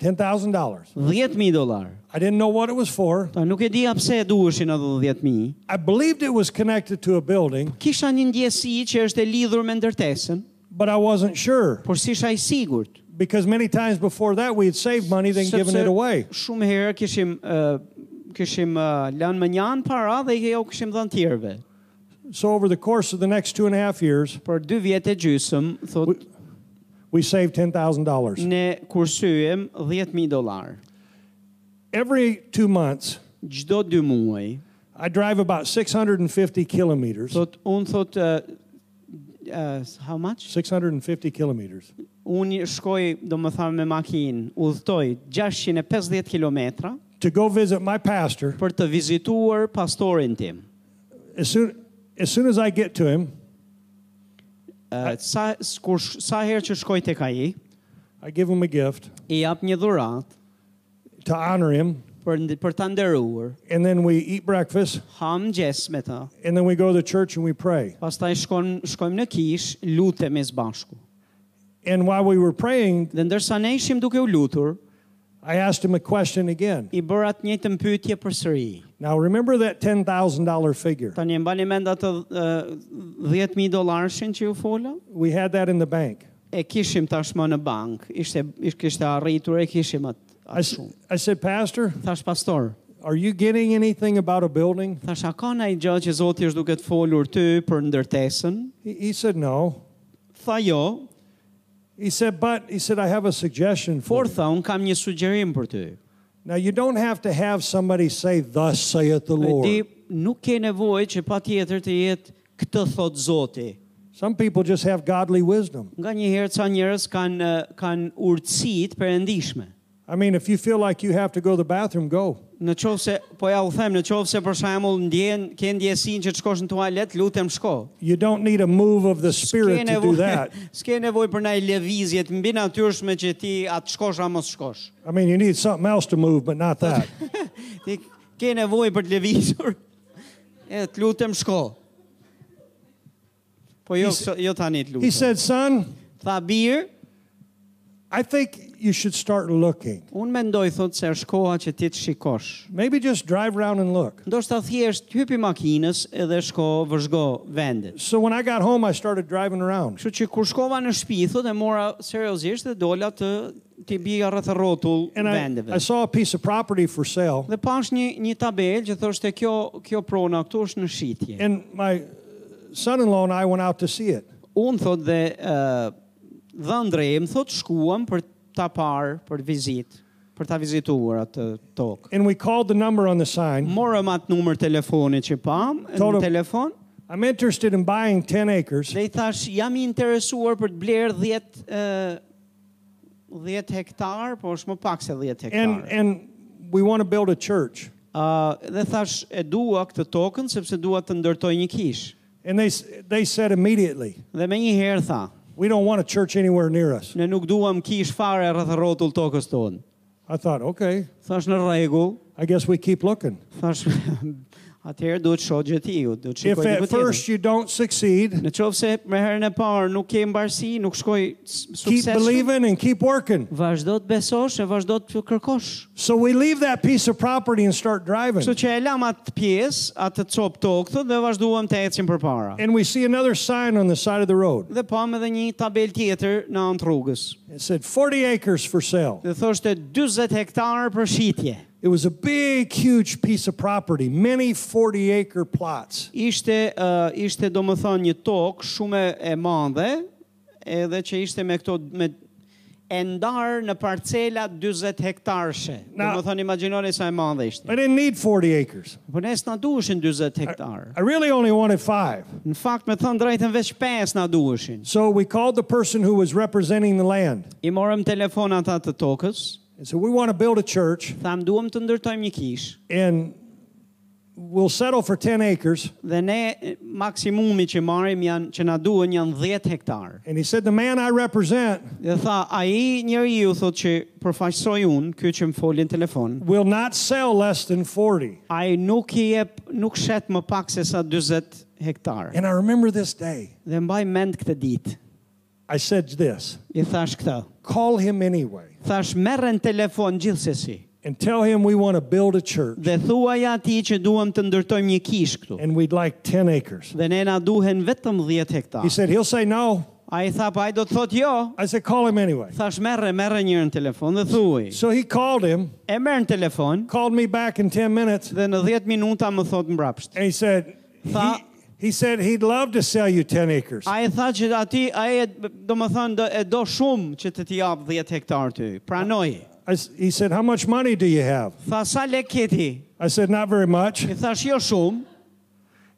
Speaker 2: $10,000.
Speaker 1: 10.000 dolar.
Speaker 2: I didn't know what it was for.
Speaker 1: Ta nuk e dija pse e duheshin edhe 10.000.
Speaker 2: I believed it was connected to a building,
Speaker 1: Kisha një ndjesi që është e lidhur me ndërtesën,
Speaker 2: but I wasn't sure
Speaker 1: por si isha i sigurt.
Speaker 2: because many times before that we had saved money then given
Speaker 1: sepse
Speaker 2: it away.
Speaker 1: Shumë herë kishim uh, kishim uh, lënë më njanë para dhe jo kishim dhënë tjerëve.
Speaker 2: So over the course of the next two and a half years,
Speaker 1: Për dy vjet e gjysëm, thot,
Speaker 2: we saved $10,000.
Speaker 1: ne kursyem 10.000 dolar.
Speaker 2: Every two months,
Speaker 1: Gjdo dy muaj,
Speaker 2: I drive about 650 kilometers.
Speaker 1: thot, unë thot, uh, uh, how much?
Speaker 2: 650 kilometers.
Speaker 1: Unë shkoj, do më thamë me makinë, udhtoj 650 kilometra
Speaker 2: To go visit my pastor,
Speaker 1: për të vizituar pastorin tim.
Speaker 2: as soon as, soon as I get to him,
Speaker 1: Uh, sa, kur, sh- sa herë që shkoj tek ai,
Speaker 2: I give him a gift
Speaker 1: i jap një dhurat
Speaker 2: to honor him,
Speaker 1: për, ndi- për ta nderuar,
Speaker 2: and then we eat breakfast,
Speaker 1: ham gjes me ta,
Speaker 2: and then we go to church and we pray.
Speaker 1: pastaj shkon, shkojmë në kish, lutemi së bashku.
Speaker 2: And while we were praying,
Speaker 1: Dhe ndërsa ne ishim duke u lutur,
Speaker 2: I asked him a question again.
Speaker 1: i bëra të njëjtën pyetje përsëri.
Speaker 2: Now remember that $10,000 figure.
Speaker 1: Tani e mbani mend atë uh, 10000 dollarshin që ju fola?
Speaker 2: We had that in the bank.
Speaker 1: E kishim tashmë në bank, ishte ish- kishte arritur, e kishim atë
Speaker 2: I,
Speaker 1: atë
Speaker 2: s-
Speaker 1: shumë.
Speaker 2: I said, Pastor,
Speaker 1: Thash pastor,
Speaker 2: are you getting anything about a building?
Speaker 1: thash a ka ndaj gjë që Zoti është duke të folur ty për ndërtesën?
Speaker 2: He, he said, No.
Speaker 1: Tha jo,
Speaker 2: He said, But, he said, I have a suggestion for
Speaker 1: Por
Speaker 2: you.
Speaker 1: tha, unë kam një sugjerim për ty.
Speaker 2: Now, you don't have to have somebody say, Thus saith the
Speaker 1: E Di,
Speaker 2: Lord.
Speaker 1: nuk ke nevoj që pa tjetër të jetë këtë thot Zoti.
Speaker 2: Some people just have godly wisdom.
Speaker 1: Nga një herë ca njerëz kanë eh, kanë urtësit perëndishme.
Speaker 2: I mean, if you feel like you have to go to the bathroom, go.
Speaker 1: Në qovë se, po ja u them, në qovë se për shembull ndjen, ke ndjesin që të shkosh në tualet, lutem shko.
Speaker 2: You don't need a move of the
Speaker 1: S'ke *laughs*
Speaker 2: Spirit to do
Speaker 1: nevoj,
Speaker 2: that.
Speaker 1: s'ke nevoj për ndaj lëvizje të mbi natyrshme që ti atë shkosh a mos shkosh.
Speaker 2: *laughs* I mean, you need something else to move, but not that.
Speaker 1: Ti ke nevoj për të lëvizur, e të lutem shko. Po jo,
Speaker 2: He s-
Speaker 1: këso- jo tani të
Speaker 2: He
Speaker 1: lutem.
Speaker 2: said, Son,
Speaker 1: Tha birë,
Speaker 2: I think you should start looking.
Speaker 1: unë mendoj thot se është koha që ti të shikosh.
Speaker 2: Maybe just drive around and look.
Speaker 1: Ndoshta thjesht hypi makinës edhe shko vëzhgo vendet.
Speaker 2: So when I got home, I started driving around.
Speaker 1: Kështu që kur shkova në shtëpi, thot e mora seriozisht dhe dola të ti bija rreth rrotull
Speaker 2: And I,
Speaker 1: vendeve.
Speaker 2: I saw a piece of property for sale.
Speaker 1: Dhe pash një një tabelë që thoshte kjo kjo prona këtu është në shitje.
Speaker 2: And my son in law and I went out to see it.
Speaker 1: Unë thot dhe ë dhëndre im thot shkuam për ta parë, për vizitë, për ta vizituar atë tokë.
Speaker 2: And we called the number on the sign.
Speaker 1: Morëm atë numër telefonit që pam, në
Speaker 2: Tolëm-
Speaker 1: telefon,
Speaker 2: I'm interested in buying 10 acres.
Speaker 1: Dhe i thash, jam i interesuar për të blerë 10 ë 10 hektar, po është më pak se 10
Speaker 2: and
Speaker 1: hektar.
Speaker 2: and we want to build a church.
Speaker 1: Uh, dhe thash, e dua këtë tokën, sepse dua të ndërtoj një kish.
Speaker 2: And they s- they said immediately,
Speaker 1: Dhe me një herë tha,
Speaker 2: we don't want a church anywhere near us.
Speaker 1: ne nuk duam kish fare rreth rrotull tokës tonë.
Speaker 2: I thought, okay,
Speaker 1: Thash në rregull,
Speaker 2: I guess we keep looking.
Speaker 1: thash, *laughs* atëherë duhet shoh gjetiu, duhet
Speaker 2: If
Speaker 1: shikoj diku
Speaker 2: at
Speaker 1: tjetër.
Speaker 2: first you don't succeed,
Speaker 1: Në qovë se me herën e parë nuk ke mbarësi, nuk shkoj
Speaker 2: keep
Speaker 1: sukseshëm,
Speaker 2: believing and keep working.
Speaker 1: vazhdo të besosh e vazhdo të kërkosh.
Speaker 2: So we leave that piece of property and start driving.
Speaker 1: Kështu që e lam atë pjesë, atë cop tokë thot, dhe vazhduam të ecim përpara.
Speaker 2: And we see another sign on the side of the road.
Speaker 1: Dhe pam edhe një tabel tjetër në anë rrugës.
Speaker 2: It said 40 acres for sale.
Speaker 1: Dhe thoshte 40 hektarë për shitje.
Speaker 2: It was a big, huge piece of property, many 40 acre plots.
Speaker 1: Ishte uh, ishte domethënë një tokë shumë e- e madhe, edhe që ishte me këto me e ndarë në parcela 40 hektarshe.
Speaker 2: Na-
Speaker 1: Na, do më thënë, imaginoni sa e madhe ishte.
Speaker 2: I didn't need 40 acres.
Speaker 1: Po nesë na duheshin 40 hektarë.
Speaker 2: I really only wanted five.
Speaker 1: Në fakt, me thënë drejtën veç 5 na duheshin.
Speaker 2: So we called the person who was representing the land
Speaker 1: I morëm telefonat atë të tokës,
Speaker 2: and said, We want to build a church
Speaker 1: thamë duhem të ndërtojmë një kishë.
Speaker 2: and we'll settle for 10 acres.
Speaker 1: Dhe ne e, maksimumi që marim janë, që na duhen janë 10 hektarë.
Speaker 2: And he said, The man I represent
Speaker 1: Dhe tha, a i njëri ju thot që përfaqësoj unë, kjo që më folin telefon,
Speaker 2: will not sell less than 40.
Speaker 1: a i nuk i jep, nuk shet më pak se sa 40 hektarë.
Speaker 2: And I remember this day.
Speaker 1: Dhe mbaj mend këtë ditë,
Speaker 2: I said this
Speaker 1: i thash këtë,
Speaker 2: call him anyway
Speaker 1: thash merren telefon gjithsesi
Speaker 2: and tell him we want to build a church
Speaker 1: dhe thuaj atij që duam të ndërtojmë një kishë këtu.
Speaker 2: and we'd like 10 acres.
Speaker 1: Dhe ne na duhen vetëm 10
Speaker 2: He
Speaker 1: hektarë.
Speaker 2: said, He'll say no.
Speaker 1: Ai tha, pa ai do të thotë jo.
Speaker 2: I said, Call him anyway.
Speaker 1: Thash merre, merre njërin telefon dhe thuaj.
Speaker 2: So he called him,
Speaker 1: E merr në telefon
Speaker 2: called me back in 10 minutes,
Speaker 1: dhe në 10 minuta më thot mbrapsht.
Speaker 2: and he said, he,
Speaker 1: Tha-
Speaker 2: he said he'd love to sell you 10 acres.
Speaker 1: A e tha që ati, a e, do më thënë, do, e do shumë që të t'i japë 10 hektarë ty. Pranoj.
Speaker 2: I s he said, How much money do you have?
Speaker 1: Tha, sa le keti?
Speaker 2: I said, Not very much.
Speaker 1: I thash, jo shumë.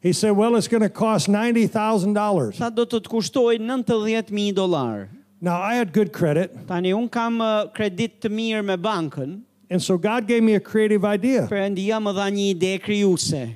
Speaker 2: He said, Well, it's going to cost $90,000.
Speaker 1: Tha, do të të kushtoj 90.000 dolarë.
Speaker 2: Now, I had good credit,
Speaker 1: Tani, unë kam eh, kredit të mirë me bankën,
Speaker 2: and so God gave me a creative idea.
Speaker 1: për endia më dha një ide kryuse.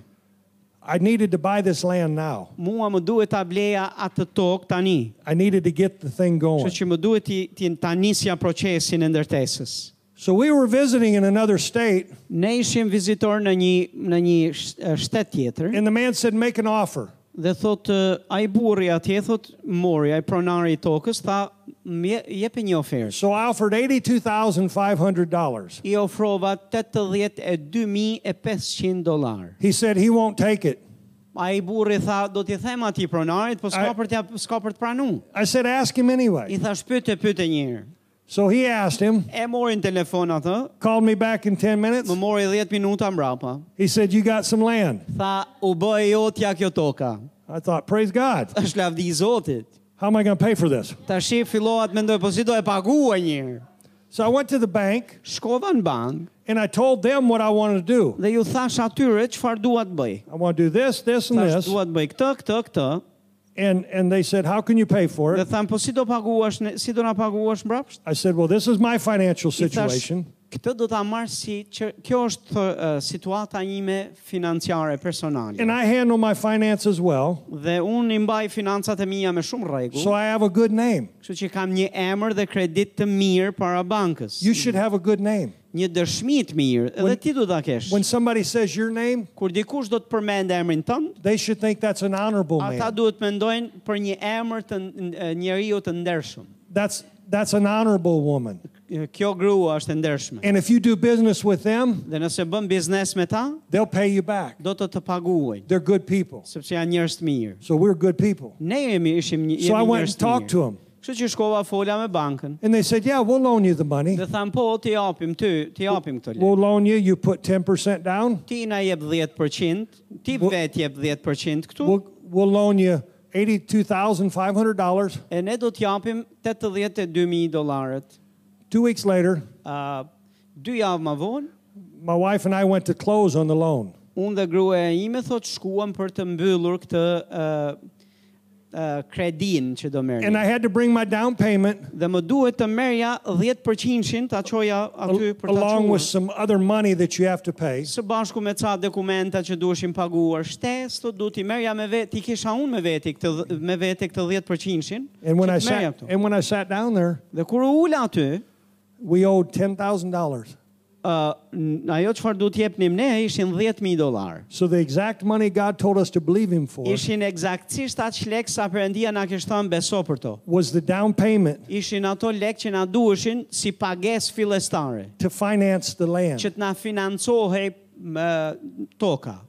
Speaker 2: I needed to buy this land now.
Speaker 1: Mua më duhet ta bleja atë tokë tani.
Speaker 2: I needed to get the thing
Speaker 1: Që
Speaker 2: going.
Speaker 1: që më duhet t'i, t'i ta nisja procesin e ndërtesës.
Speaker 2: So we were visiting in another state,
Speaker 1: Ne ishim vizitor në një, në një sh- eh, shtet tjetër.
Speaker 2: and the man said, Make an offer.
Speaker 1: Dhe thot, eh, ai burri atje, thot, mori, ai pronari i tokës, tha, "Mje- jepi një ofertë.
Speaker 2: So I offered $82,500.
Speaker 1: I ofrova 82.500 dolar.
Speaker 2: He said, He won't take it.
Speaker 1: Ai burri tha, do t'i them atij pronarit, po
Speaker 2: Ai-
Speaker 1: s'ka për t'ja s'ka për të pranu.
Speaker 2: I said, Ask him
Speaker 1: I
Speaker 2: anyway.
Speaker 1: thash pyete pyete një herë.
Speaker 2: So he asked him,
Speaker 1: E morin telefon atë,
Speaker 2: called me back in 10 minutes.
Speaker 1: më mori 10 minuta mbrapa.
Speaker 2: He said, You got some land.
Speaker 1: Tha, u bë e jotja kjo toka. *laughs*
Speaker 2: I thought, Praise God.
Speaker 1: Është lavdi i Zotit.
Speaker 2: How am I going to pay for this?
Speaker 1: Tash i fillohat mendoj, po si do e pagua një herë?
Speaker 2: So I went to the bank
Speaker 1: Shkova në bank
Speaker 2: and I told them what I wanted to do.
Speaker 1: dhe ju thash atyre çfarë dua të bëj.
Speaker 2: I want to do this, this, and
Speaker 1: Thash
Speaker 2: this.
Speaker 1: dua të bëj këtë, këtë, këtë.
Speaker 2: And, and they said, How can you pay for
Speaker 1: Dhe
Speaker 2: it?
Speaker 1: tham, po si do paguash, ne- si do na paguash mbrapsht?
Speaker 2: I said, Well, this is my financial
Speaker 1: I thash,
Speaker 2: situation.
Speaker 1: Këtë do ta marr si që kjo është thë, ë, situata ime financiare personale.
Speaker 2: And I handle my finances well,
Speaker 1: Dhe unë i mbaj financat e mia me shumë rregull,
Speaker 2: so I have a good name.
Speaker 1: kështu që kam një emër dhe kredit të mirë para bankës.
Speaker 2: You should have a good name.
Speaker 1: Një dëshmi të mirë, dhe ti do ta kesh.
Speaker 2: When somebody says your name,
Speaker 1: Kur dikush do të përmend emrin tënd,
Speaker 2: they should think that's an honorable
Speaker 1: ata
Speaker 2: Oh, man.
Speaker 1: duhet mendojnë për një emër të n- n- njeriu të ndershëm.
Speaker 2: That's that's an honorable woman.
Speaker 1: Kjo grua është e ndershme.
Speaker 2: And if you do business with them,
Speaker 1: Dhe nëse bën biznes me ta,
Speaker 2: they'll pay you back.
Speaker 1: do të të paguajnë,
Speaker 2: They're good people.
Speaker 1: sepse janë njerëz të mirë.
Speaker 2: So we're good people.
Speaker 1: Ne jemi ishim një
Speaker 2: So I
Speaker 1: jemi
Speaker 2: went
Speaker 1: njerëz
Speaker 2: and
Speaker 1: të
Speaker 2: talked
Speaker 1: mirë.
Speaker 2: to them.
Speaker 1: Kështu që shkova fola me bankën
Speaker 2: And they said, Yeah, we'll loan you the money.
Speaker 1: dhe tham po ti japim ty, ti japim këto lekë.
Speaker 2: We'll loan you. You put 10% down.
Speaker 1: Ti na jep 10%, ti
Speaker 2: Wo-
Speaker 1: vetë jep 10% këtu
Speaker 2: We'll, we'll loan you $82,500.
Speaker 1: e ne do të japim 82000 dollarët.
Speaker 2: Two weeks later,
Speaker 1: Ë dy javë më vonë
Speaker 2: my wife and I went to close on the loan.
Speaker 1: unë dhe gruaja ime thot shkuam për të mbyllur këtë ë ë kredin që do
Speaker 2: And
Speaker 1: merrni.
Speaker 2: I had to bring my down payment
Speaker 1: Dhe më duhet të merja 10%-shin ta çoja aty për ta
Speaker 2: along
Speaker 1: çuar.
Speaker 2: with some other money that you have to pay.
Speaker 1: së bashku me ca dokumenta që duheshin paguar shtes, do du t'i merja me veti, i kisha unë me veti këtë dh- me veti këtë 10%-shin.
Speaker 2: And when
Speaker 1: që
Speaker 2: I
Speaker 1: t'merja
Speaker 2: sat
Speaker 1: këtu.
Speaker 2: and when I sat down there,
Speaker 1: Dhe kur u ula aty,
Speaker 2: we owed ten thousand dollars.
Speaker 1: uh, ajo çfarë du t'jepnim ne ishin 10000 dollar.
Speaker 2: So the exact money God told us to believe Him for
Speaker 1: Ishin eksaktësisht atë lek sa Perëndia na kishte thënë beso për to.
Speaker 2: was the down payment
Speaker 1: Ishin ato lek që na duheshin si pagesë fillestare,
Speaker 2: to finance the
Speaker 1: që
Speaker 2: land.
Speaker 1: të na financohej më, toka.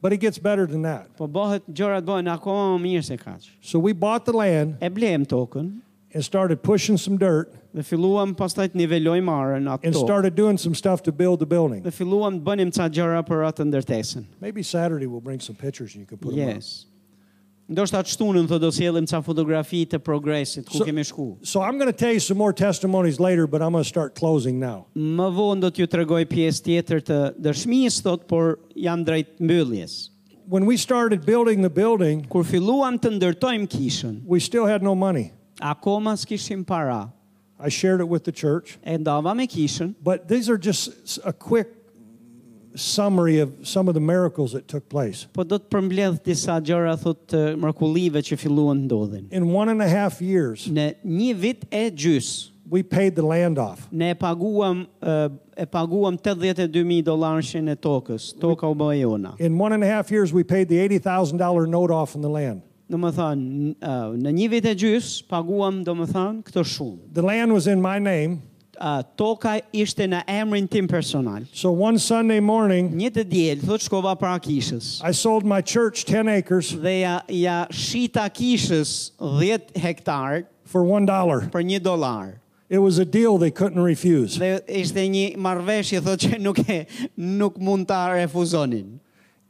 Speaker 2: But it gets better than that.
Speaker 1: Po bëhet gjërat bëhen akoma më mirë se kaq.
Speaker 2: So we bought the land
Speaker 1: E blem tokën,
Speaker 2: and started pushing some dirt
Speaker 1: Dhe filluam pastaj të nivelojmë arën atë
Speaker 2: and
Speaker 1: tokë.
Speaker 2: started doing some stuff to build the building.
Speaker 1: Dhe filluam të bënim ca gjëra për atë ndërtesën.
Speaker 2: Maybe Saturday we'll bring some pictures and you can put them up.
Speaker 1: Yes. Ndoshta të shtunën thotë do sjellim ca fotografi të progresit ku
Speaker 2: So-
Speaker 1: kemi shku.
Speaker 2: So I'm going to tell you some more testimonies later, but I'm going to start closing now.
Speaker 1: Më vonë do t'ju tregoj pjesë tjetër të dëshmisë thot, por jam drejt mbylljes.
Speaker 2: When we started building the building,
Speaker 1: Kur filluam të ndërtojmë kishën,
Speaker 2: we still had no money.
Speaker 1: akoma s'kishim para.
Speaker 2: I shared it with the church,
Speaker 1: E ndava me kishën,
Speaker 2: but these are just s- a quick summary of some of the miracles that took place.
Speaker 1: po do të përmbledh disa gjëra thot të mrekullive që filluan të ndodhin.
Speaker 2: In one and a half years,
Speaker 1: Në një vit e gjys,
Speaker 2: we paid the land off.
Speaker 1: ne e paguam e- e paguam 82000 dollarëshin e tokës. Toka u bë jona.
Speaker 2: In one and a half years, we paid the $80,000 note off on the land.
Speaker 1: Do më thënë, n- uh, në një vit e gjys, paguam do më thënë këtë shumë.
Speaker 2: The land was in my name.
Speaker 1: Uh, toka ishte në emrin tim personal.
Speaker 2: So one Sunday morning,
Speaker 1: Një të djelë, thot shkova para kishës.
Speaker 2: I sold my church 10 acres
Speaker 1: Dhe ja, ja shita kishës 10 hektarë
Speaker 2: for $1.
Speaker 1: për një dolarë.
Speaker 2: It was a deal they couldn't refuse.
Speaker 1: Dhe ishte një marrëveshje thotë që nuk e nuk mund ta refuzonin.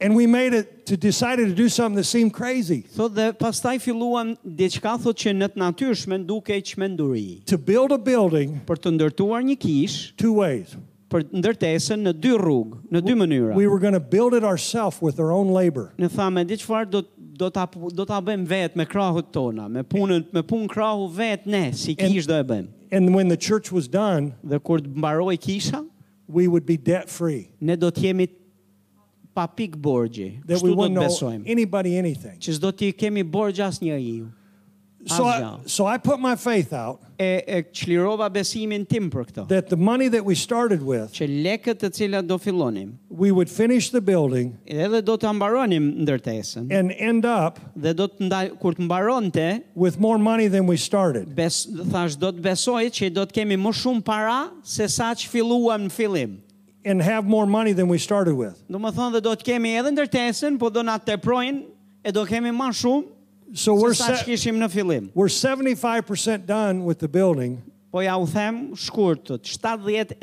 Speaker 2: And we made it to decided to do something that seemed crazy
Speaker 1: Thotë dhe pastaj filluam diçka thotë që në të natyrshmen duke çmenduri.
Speaker 2: to build a building
Speaker 1: Për të ndërtuar një kishë,
Speaker 2: two ways.
Speaker 1: për ndërtesën në dy rrugë, në dy mënyra.
Speaker 2: We were going to build it ourselves with our own labor.
Speaker 1: Në thamë, di çfarë do do ta pu- do ta bëjmë vetë me krahut tona, me punën me punë krahu vetë ne, si kishë do e bëjmë.
Speaker 2: And when the church was done,
Speaker 1: Dhe kur të mbaroi kisha,
Speaker 2: we would be debt free.
Speaker 1: ne do të jemi pa pikë borgji.
Speaker 2: That
Speaker 1: Kështu
Speaker 2: we
Speaker 1: do të
Speaker 2: wouldn't owe
Speaker 1: besojmë.
Speaker 2: anybody anything.
Speaker 1: Që s'do t'i kemi borgj as njeriu.
Speaker 2: So I,
Speaker 1: Azja.
Speaker 2: so I put my faith out
Speaker 1: e, e çlirova besimin tim për këtë.
Speaker 2: that the money that we started with,
Speaker 1: Që lekët të cilat do fillonim,
Speaker 2: we would finish the building
Speaker 1: edhe do të mbaronim ndërtesën.
Speaker 2: and end up
Speaker 1: Dhe do të ndaj, kur të mbaronte,
Speaker 2: with more money than we started.
Speaker 1: bes, thash do të besoj që do të kemi më shumë para se sa që filluam në fillim.
Speaker 2: and have more money than we started with.
Speaker 1: Do më thonë dhe do të kemi edhe ndërtesën, po do na teprojnë e do kemi më shumë
Speaker 2: So
Speaker 1: se
Speaker 2: we're
Speaker 1: sa që
Speaker 2: se-
Speaker 1: kishim në fillim.
Speaker 2: we're 75% done with the building,
Speaker 1: Po ja u them shkurtët,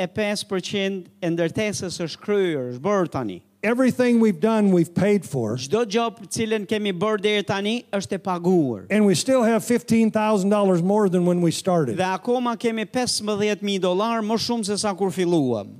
Speaker 1: 75% e ndërtesës është kryer, është bërë tani.
Speaker 2: everything we've done we've paid for,
Speaker 1: Çdo gjë për cilën kemi bërë deri tani është e paguar.
Speaker 2: and we still have $15,000 more than when we started.
Speaker 1: Dhe akoma kemi 15.000 dollar më shumë se sa kur filluam.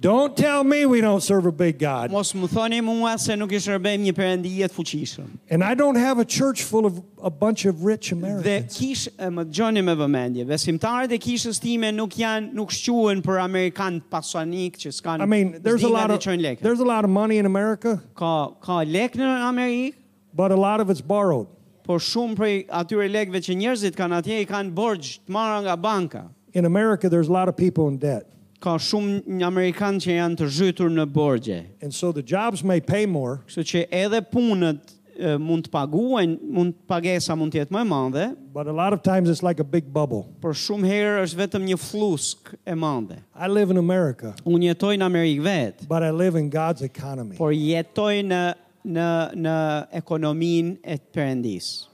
Speaker 2: Don't tell me we don't serve a big God.
Speaker 1: Mos më thoni mua se nuk i shërbejmë një perëndije të fuqishëm.
Speaker 2: And I don't have a church full of a bunch of rich
Speaker 1: Dhe
Speaker 2: Americans.
Speaker 1: kish e, më dëgjoni me vëmendje, besimtarët e kishës time nuk janë nuk shquhen për amerikan pasanik që s'kan.
Speaker 2: I mean, there's a
Speaker 1: s'dinë
Speaker 2: lot
Speaker 1: atë
Speaker 2: of
Speaker 1: çojnë lekë.
Speaker 2: there's a lot of money in America,
Speaker 1: Ka ka lek në Amerikë,
Speaker 2: but a lot of it's borrowed.
Speaker 1: por shumë prej atyre lekëve që njerëzit kanë atje i kanë borxh të marra nga banka.
Speaker 2: In America there's a lot of people in debt.
Speaker 1: Ka shumë një amerikan që janë të zhytur në borxhe.
Speaker 2: And so the jobs may pay more,
Speaker 1: Kështu që edhe punët e, mund të paguajnë, mund pagesa mund të jetë më e madhe,
Speaker 2: but a lot of times it's like a big bubble.
Speaker 1: por shumë herë është vetëm një flusk e madhe.
Speaker 2: I live in America,
Speaker 1: Unë jetoj në Amerikë vetë,
Speaker 2: but I live in God's economy.
Speaker 1: por jetoj në në në ekonominë e Perëndisë.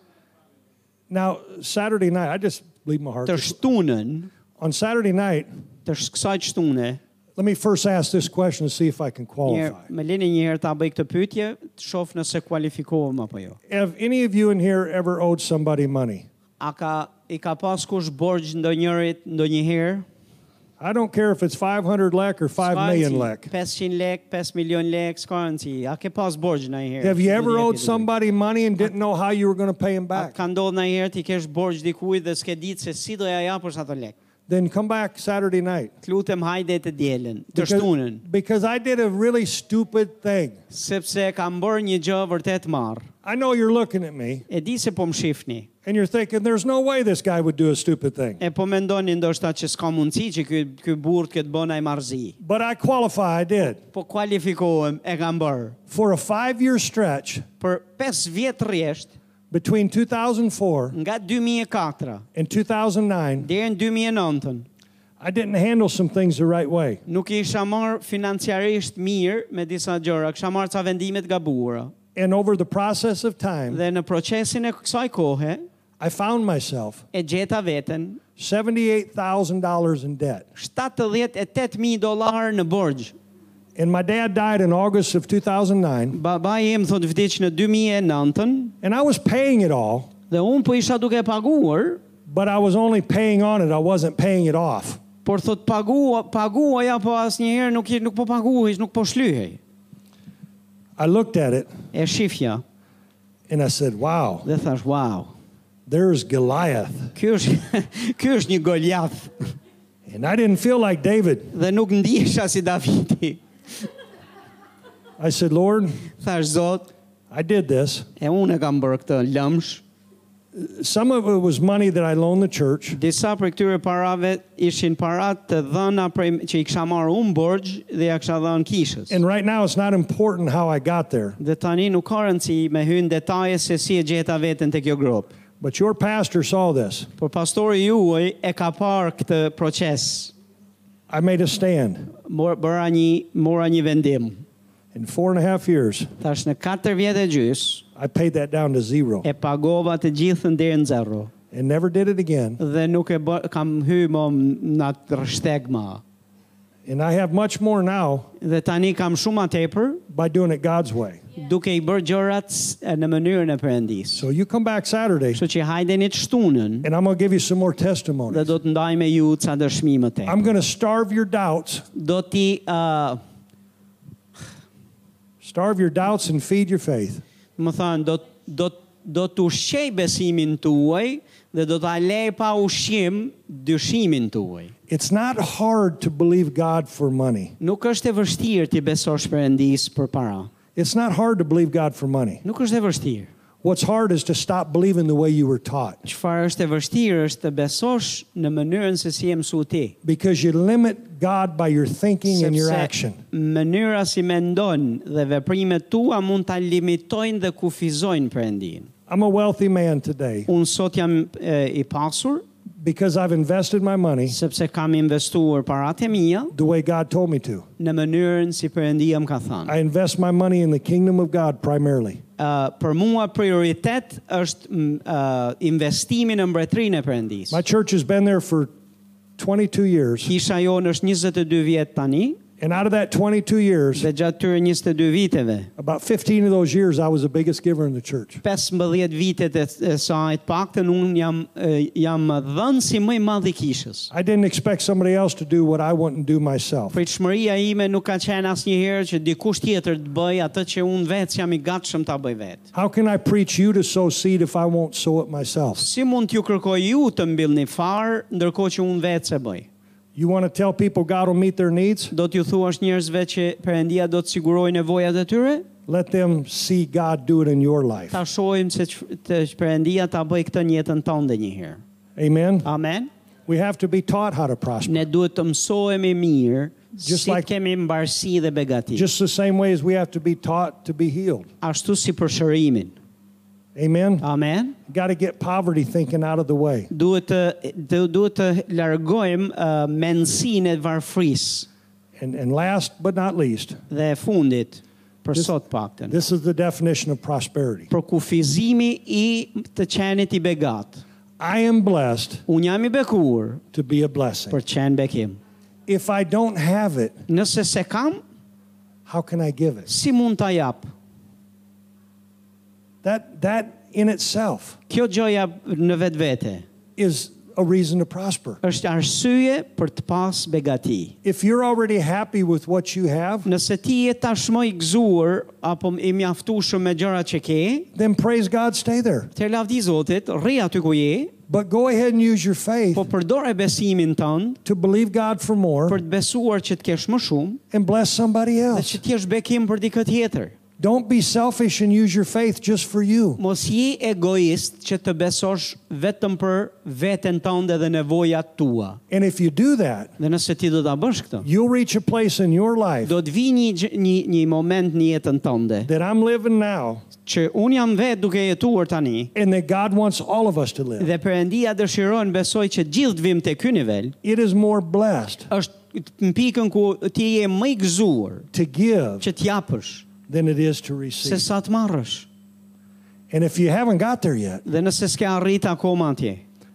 Speaker 2: Now, Saturday night, I just leave my heart.
Speaker 1: Të shtunën,
Speaker 2: On Saturday night,
Speaker 1: të sh- kësaj shtune,
Speaker 2: let me first ask this question to see if I can
Speaker 1: një,
Speaker 2: qualify.
Speaker 1: me lini një herë ta bëj këtë pyetje, të shoh nëse kualifikohem apo jo.
Speaker 2: Have any of you in here ever owed somebody money?
Speaker 1: A ka i ka pas kush borxh ndonjërit ndonjëherë?
Speaker 2: I don't care if it's 500 lek or 5
Speaker 1: S'ka
Speaker 2: million
Speaker 1: rëndësi.
Speaker 2: lek.
Speaker 1: 500 lek, 5 milion lek, s'ka rëndësi. A ke pas borxh ndonjëherë?
Speaker 2: Have you ever
Speaker 1: Duhet
Speaker 2: owed
Speaker 1: jetë i
Speaker 2: somebody money and didn't know how you were going to pay them
Speaker 1: A
Speaker 2: back?
Speaker 1: ka ndodhur ndonjëherë ti kesh borxh dikujt dhe s'ke ditë se si do ja japësh ato lek?
Speaker 2: Then come back Saturday night.
Speaker 1: Të lutem hajde të dielën, të
Speaker 2: Because,
Speaker 1: shtunën,
Speaker 2: because I did a really stupid thing.
Speaker 1: sepse kam bërë një gjë vërtet marr.
Speaker 2: I know you're looking at me
Speaker 1: E di se po më shihni.
Speaker 2: and you're thinking, there's no way this guy would do a stupid thing.
Speaker 1: E po mendoni ndoshta që s'ka mundësi që ky ky burr të ketë bënë ai marrëzi.
Speaker 2: But I qualify, I did.
Speaker 1: Po kualifikohem, e kam bërë.
Speaker 2: For a five year stretch,
Speaker 1: Për 5 vjet rresht,
Speaker 2: between 2004
Speaker 1: nga 2004
Speaker 2: and 2009,
Speaker 1: deri në 2009
Speaker 2: I didn't handle some things the right way.
Speaker 1: nuk isha marr financiarisht mirë me disa gjëra, kisha marr ca vendime të gabuara.
Speaker 2: And over the process of time,
Speaker 1: Dhe në procesin e kësaj kohe,
Speaker 2: I found myself
Speaker 1: e gjeta veten
Speaker 2: $78,000 in debt.
Speaker 1: 78.000 dollar në borxh.
Speaker 2: And my dad died in August of 2009.
Speaker 1: Baba im thot vdiq në 2009-ën
Speaker 2: And I was paying it all,
Speaker 1: dhe unë po isha duke paguar,
Speaker 2: but I was only paying on it. I wasn't paying it off.
Speaker 1: por thot pagua, paguaja po asnjëherë nuk i- nuk po paguhesh, nuk po shlyhej.
Speaker 2: I looked at it
Speaker 1: E shifja
Speaker 2: and I said, wow,
Speaker 1: dhe thash, "Wow,
Speaker 2: there's Goliath.
Speaker 1: ky është ky është *laughs* një Goliath."
Speaker 2: And I didn't feel like David.
Speaker 1: Dhe nuk ndihesha si Davidi.
Speaker 2: I said, Lord,
Speaker 1: Thash, "Zot,
Speaker 2: I did this.
Speaker 1: e unë e kam bërë këtë lëmsh."
Speaker 2: Some of it was money that I loaned the church,
Speaker 1: Disa për këtyre parave ishin parat të dhëna prej që i kisha marrë unë borxh dhe ja kisha dhënë kishës.
Speaker 2: and right now it's not important how I got there.
Speaker 1: Dhe tani nuk ka rëndësi me hyn detaje se si e gjeta veten te kjo grop.
Speaker 2: But your pastor saw this.
Speaker 1: Por pastori juaj e ka parë këtë proces.
Speaker 2: I made a stand.
Speaker 1: Mor, bëra një mora një vendim.
Speaker 2: In four and a half years,
Speaker 1: Tash në 4 vjetë e gjys
Speaker 2: I paid that down to zero
Speaker 1: e pagova të gjithën deri në zero
Speaker 2: and never did it again.
Speaker 1: dhe nuk e bë, kam hy më në atë rështeg ma.
Speaker 2: And I have much more now
Speaker 1: Dhe tani kam shumë atë tepër
Speaker 2: by doing it God's way.
Speaker 1: duke i bërë gjërat s- në mënyrën e Perëndisë.
Speaker 2: So you come back Saturday,
Speaker 1: Kështu që hajdeni të shtunën
Speaker 2: and I'm going to give you some more
Speaker 1: dhe
Speaker 2: testimony.
Speaker 1: do të ndaj me ju ca dëshmime te.
Speaker 2: I'm going to starve your doubts,
Speaker 1: Do ti uh,
Speaker 2: starve your doubts, and feed your faith.
Speaker 1: më thënë, do, do, do të ushqej besimin tuaj dhe do të lej pa ushqim dyshimin tuaj.
Speaker 2: It's not hard to believe God for money.
Speaker 1: Nuk është e vështirë ti besosh Perëndis për para.
Speaker 2: It's not hard to believe God for money.
Speaker 1: Nuk është e vështirë.
Speaker 2: What's hard is to stop believing the way you were taught
Speaker 1: Çfarë është e vështirë është të besosh në mënyrën se si e mësu ti.
Speaker 2: because you limit God by your thinking and your
Speaker 1: Sepse
Speaker 2: action.
Speaker 1: Mënyra si mendon dhe veprimet tua mund ta limitojnë dhe kufizojnë Perëndin.
Speaker 2: I'm a wealthy man today
Speaker 1: Unë sot jam e, i pasur
Speaker 2: because I've invested my money
Speaker 1: sepse kam investuar paratë e mia
Speaker 2: the way God told me to.
Speaker 1: në mënyrën si Perëndia më ka thënë.
Speaker 2: I invest my money in the kingdom of God primarily.
Speaker 1: Uh, për mua prioritet është mm, uh, investimi në mbretërinë e Perëndis.
Speaker 2: My church has been there for 22 years,
Speaker 1: Kisha jonë është 22 vjet tani
Speaker 2: and out of that 22 years,
Speaker 1: dhe gjatë tyre 22 viteve,
Speaker 2: about 15 of those years I was the biggest giver in the church.
Speaker 1: 15 vitet e, e saj të paktën unë jam e, jam dhënësi më i madh i kishës.
Speaker 2: I didn't expect somebody else to do what I wouldn't do myself.
Speaker 1: Pritshmëria ime nuk ka qenë asnjëherë që dikush tjetër të bëj atë që unë vetë jam i gatshëm ta bëj vetë.
Speaker 2: How can I preach you to sow seed if I won't sow it myself?
Speaker 1: Si mund t'ju kërkoj ju të mbyllni farë ndërkohë që unë vetë se bëj?
Speaker 2: You want to tell people God will meet their needs?
Speaker 1: Do t'ju thuash njerëzve që Perëndia do të sigurojë nevojat e tyre?
Speaker 2: Let them see God do it in your life.
Speaker 1: ta shohim se që- të Perëndia ta bëj këtë në jetën tonë një herë.
Speaker 2: Amen.
Speaker 1: Amen.
Speaker 2: We have to be taught how to prosper,
Speaker 1: Ne duhet të mësohemi mirë
Speaker 2: Just
Speaker 1: si
Speaker 2: like-
Speaker 1: të kemi mbarësi dhe begati,
Speaker 2: just the same way as we have to be taught to be healed.
Speaker 1: ashtu si për shërimin.
Speaker 2: Amen.
Speaker 1: Amen.
Speaker 2: Got to get poverty thinking out of the way.
Speaker 1: Duhet të du- duhet të largojmë uh, mendsinë e varfërisë
Speaker 2: And, and last but not least,
Speaker 1: dhe e fundit për
Speaker 2: This-
Speaker 1: sot paktën.
Speaker 2: this is the definition of prosperity.
Speaker 1: Për kufizimi i të qenit i begat.
Speaker 2: I am blessed
Speaker 1: Unë jam i bekuar
Speaker 2: to be a blessing.
Speaker 1: për qenë bekim.
Speaker 2: If I don't have it,
Speaker 1: Nëse se kam,
Speaker 2: how can I give it?
Speaker 1: si mund ta jap?
Speaker 2: That, that in itself
Speaker 1: Kjo gjoja në vetvete
Speaker 2: is a reason to prosper.
Speaker 1: është arsye për të pas begati.
Speaker 2: If you're already happy with what you have,
Speaker 1: Nëse ti je tashmë i gëzuar apo i mjaftueshëm me gjërat që ke,
Speaker 2: then praise God, stay there.
Speaker 1: të lavdi Zotit, rri aty ku je,
Speaker 2: But go ahead and use your faith
Speaker 1: po përdore besimin tënd
Speaker 2: to believe God for more
Speaker 1: për të besuar që të kesh më shumë
Speaker 2: and bless somebody
Speaker 1: dhe
Speaker 2: else.
Speaker 1: që të kesh bekim për dikë tjetër.
Speaker 2: Don't be selfish and use your faith just for you.
Speaker 1: Mos je egoist që të besosh vetëm për veten tënde dhe nevojat tua.
Speaker 2: And if you do that,
Speaker 1: Dhe nëse ti do ta bësh këtë,
Speaker 2: you'll reach a place in your life
Speaker 1: do të vi një, gjë- një, një moment në jetën tënde
Speaker 2: that I'm living now
Speaker 1: që unë jam vetë duke jetuar tani,
Speaker 2: and that God wants all of us to live.
Speaker 1: Dhe Perëndia dëshiron besoj që gjithë të vim te ky nivel,
Speaker 2: It is more blessed
Speaker 1: është në pikën ku ti je më i gëzuar
Speaker 2: to give
Speaker 1: që të japësh
Speaker 2: than it is
Speaker 1: se
Speaker 2: to receive.
Speaker 1: sa të marrësh.
Speaker 2: And if you haven't got there yet,
Speaker 1: Dhe nëse s'ke arrit akoma atje,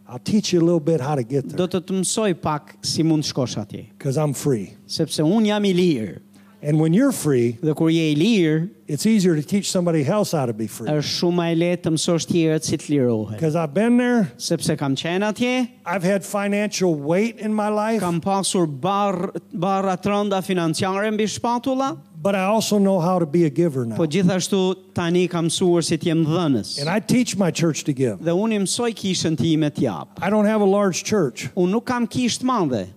Speaker 2: I'll teach you a little bit how to get
Speaker 1: do
Speaker 2: there
Speaker 1: të të mësoj pak si mund shkosh atje,
Speaker 2: because I'm free.
Speaker 1: sepse un jam i lirë.
Speaker 2: And when you're free,
Speaker 1: Dhe kur je i lirë,
Speaker 2: it's easier to teach somebody else how to be free.
Speaker 1: është shumë më e lehtë të mësosh tjerët si të lirohen.
Speaker 2: Because I've been there,
Speaker 1: Sepse kam qenë atje,
Speaker 2: I've had financial weight in my life,
Speaker 1: kam pasur barr barra të rënda financiare mbi shpatulla,
Speaker 2: but I also know how to be a giver
Speaker 1: po
Speaker 2: now.
Speaker 1: gjithashtu tani kam mësuar si të jem dhënës.
Speaker 2: And I teach my church to give.
Speaker 1: Dhe unë i mësoj kishën time të jap.
Speaker 2: I don't have a large church.
Speaker 1: Unë nuk kam kishë të madhe.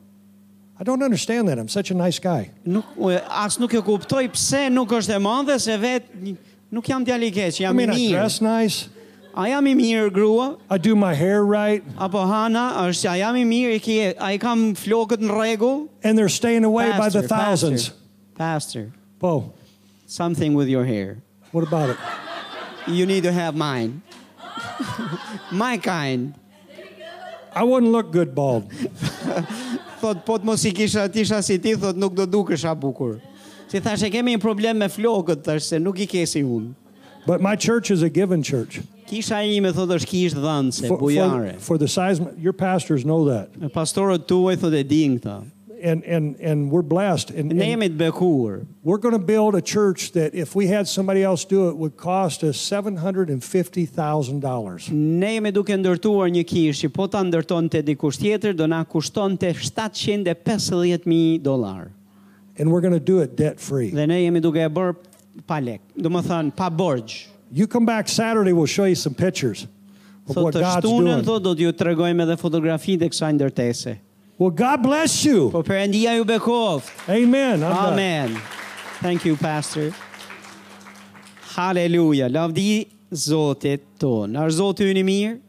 Speaker 2: I don't understand that. I'm such a nice guy.
Speaker 1: Nuk u- as nuk e kuptoj pse nuk është e madhe se vetë nuk jam djalë i keq,
Speaker 2: I
Speaker 1: jam i
Speaker 2: mean, I
Speaker 1: mirë.
Speaker 2: dress nice.
Speaker 1: A jam i mirë grua?
Speaker 2: I do my hair right.
Speaker 1: Apo Hana, është a jam i mirë, i ke, a i kam flokët në rregull?
Speaker 2: And they're staying away by
Speaker 1: Pastor,
Speaker 2: the thousands.
Speaker 1: Pastor, pastor,
Speaker 2: Bo,
Speaker 1: something with your hair.
Speaker 2: what about it?
Speaker 1: You need to have mine. *laughs* My kind.
Speaker 2: I wouldn't look good bald.
Speaker 1: Thot, po të mos i kisha tisha si ti, thot, nuk do dukesha bukur. Si thash, e kemi një problem me flokët, thash, se nuk i kesi unë.
Speaker 2: But my church is a given church.
Speaker 1: Kisha ime, thot, është kishë dhënëse,
Speaker 2: For, for,
Speaker 1: bujare.
Speaker 2: for the size, your pastors know that.
Speaker 1: E Pastorët tuaj, thot, e din këta.
Speaker 2: And, and, and we're blessed. And,
Speaker 1: Ne
Speaker 2: and
Speaker 1: jemi të bekuar.
Speaker 2: we're going to build a church that if we had somebody else do it would cost us $750,000.
Speaker 1: Ne jemi duke ndërtuar një kishë që po ta ndërton të dikush tjetër, do na kushton të 750.000 dolar.
Speaker 2: And we're going to do it debt free.
Speaker 1: Dhe ne jemi duke e bërë pa lek, do më thënë, pa borgjë.
Speaker 2: You come back Saturday, we'll show you some pictures of
Speaker 1: Thot
Speaker 2: what
Speaker 1: të
Speaker 2: God's
Speaker 1: shtunën,
Speaker 2: doing.
Speaker 1: thot do t'ju tregojmë edhe fotografi të kësaj ndërtese.
Speaker 2: Well, God bless you.
Speaker 1: Po Perëndia ju bekoft.
Speaker 2: Amen. I'm done.
Speaker 1: Amen. Thank you, Pastor. Haleluja. Lavdi Zotit ton. Ar Zoti ynë i mirë?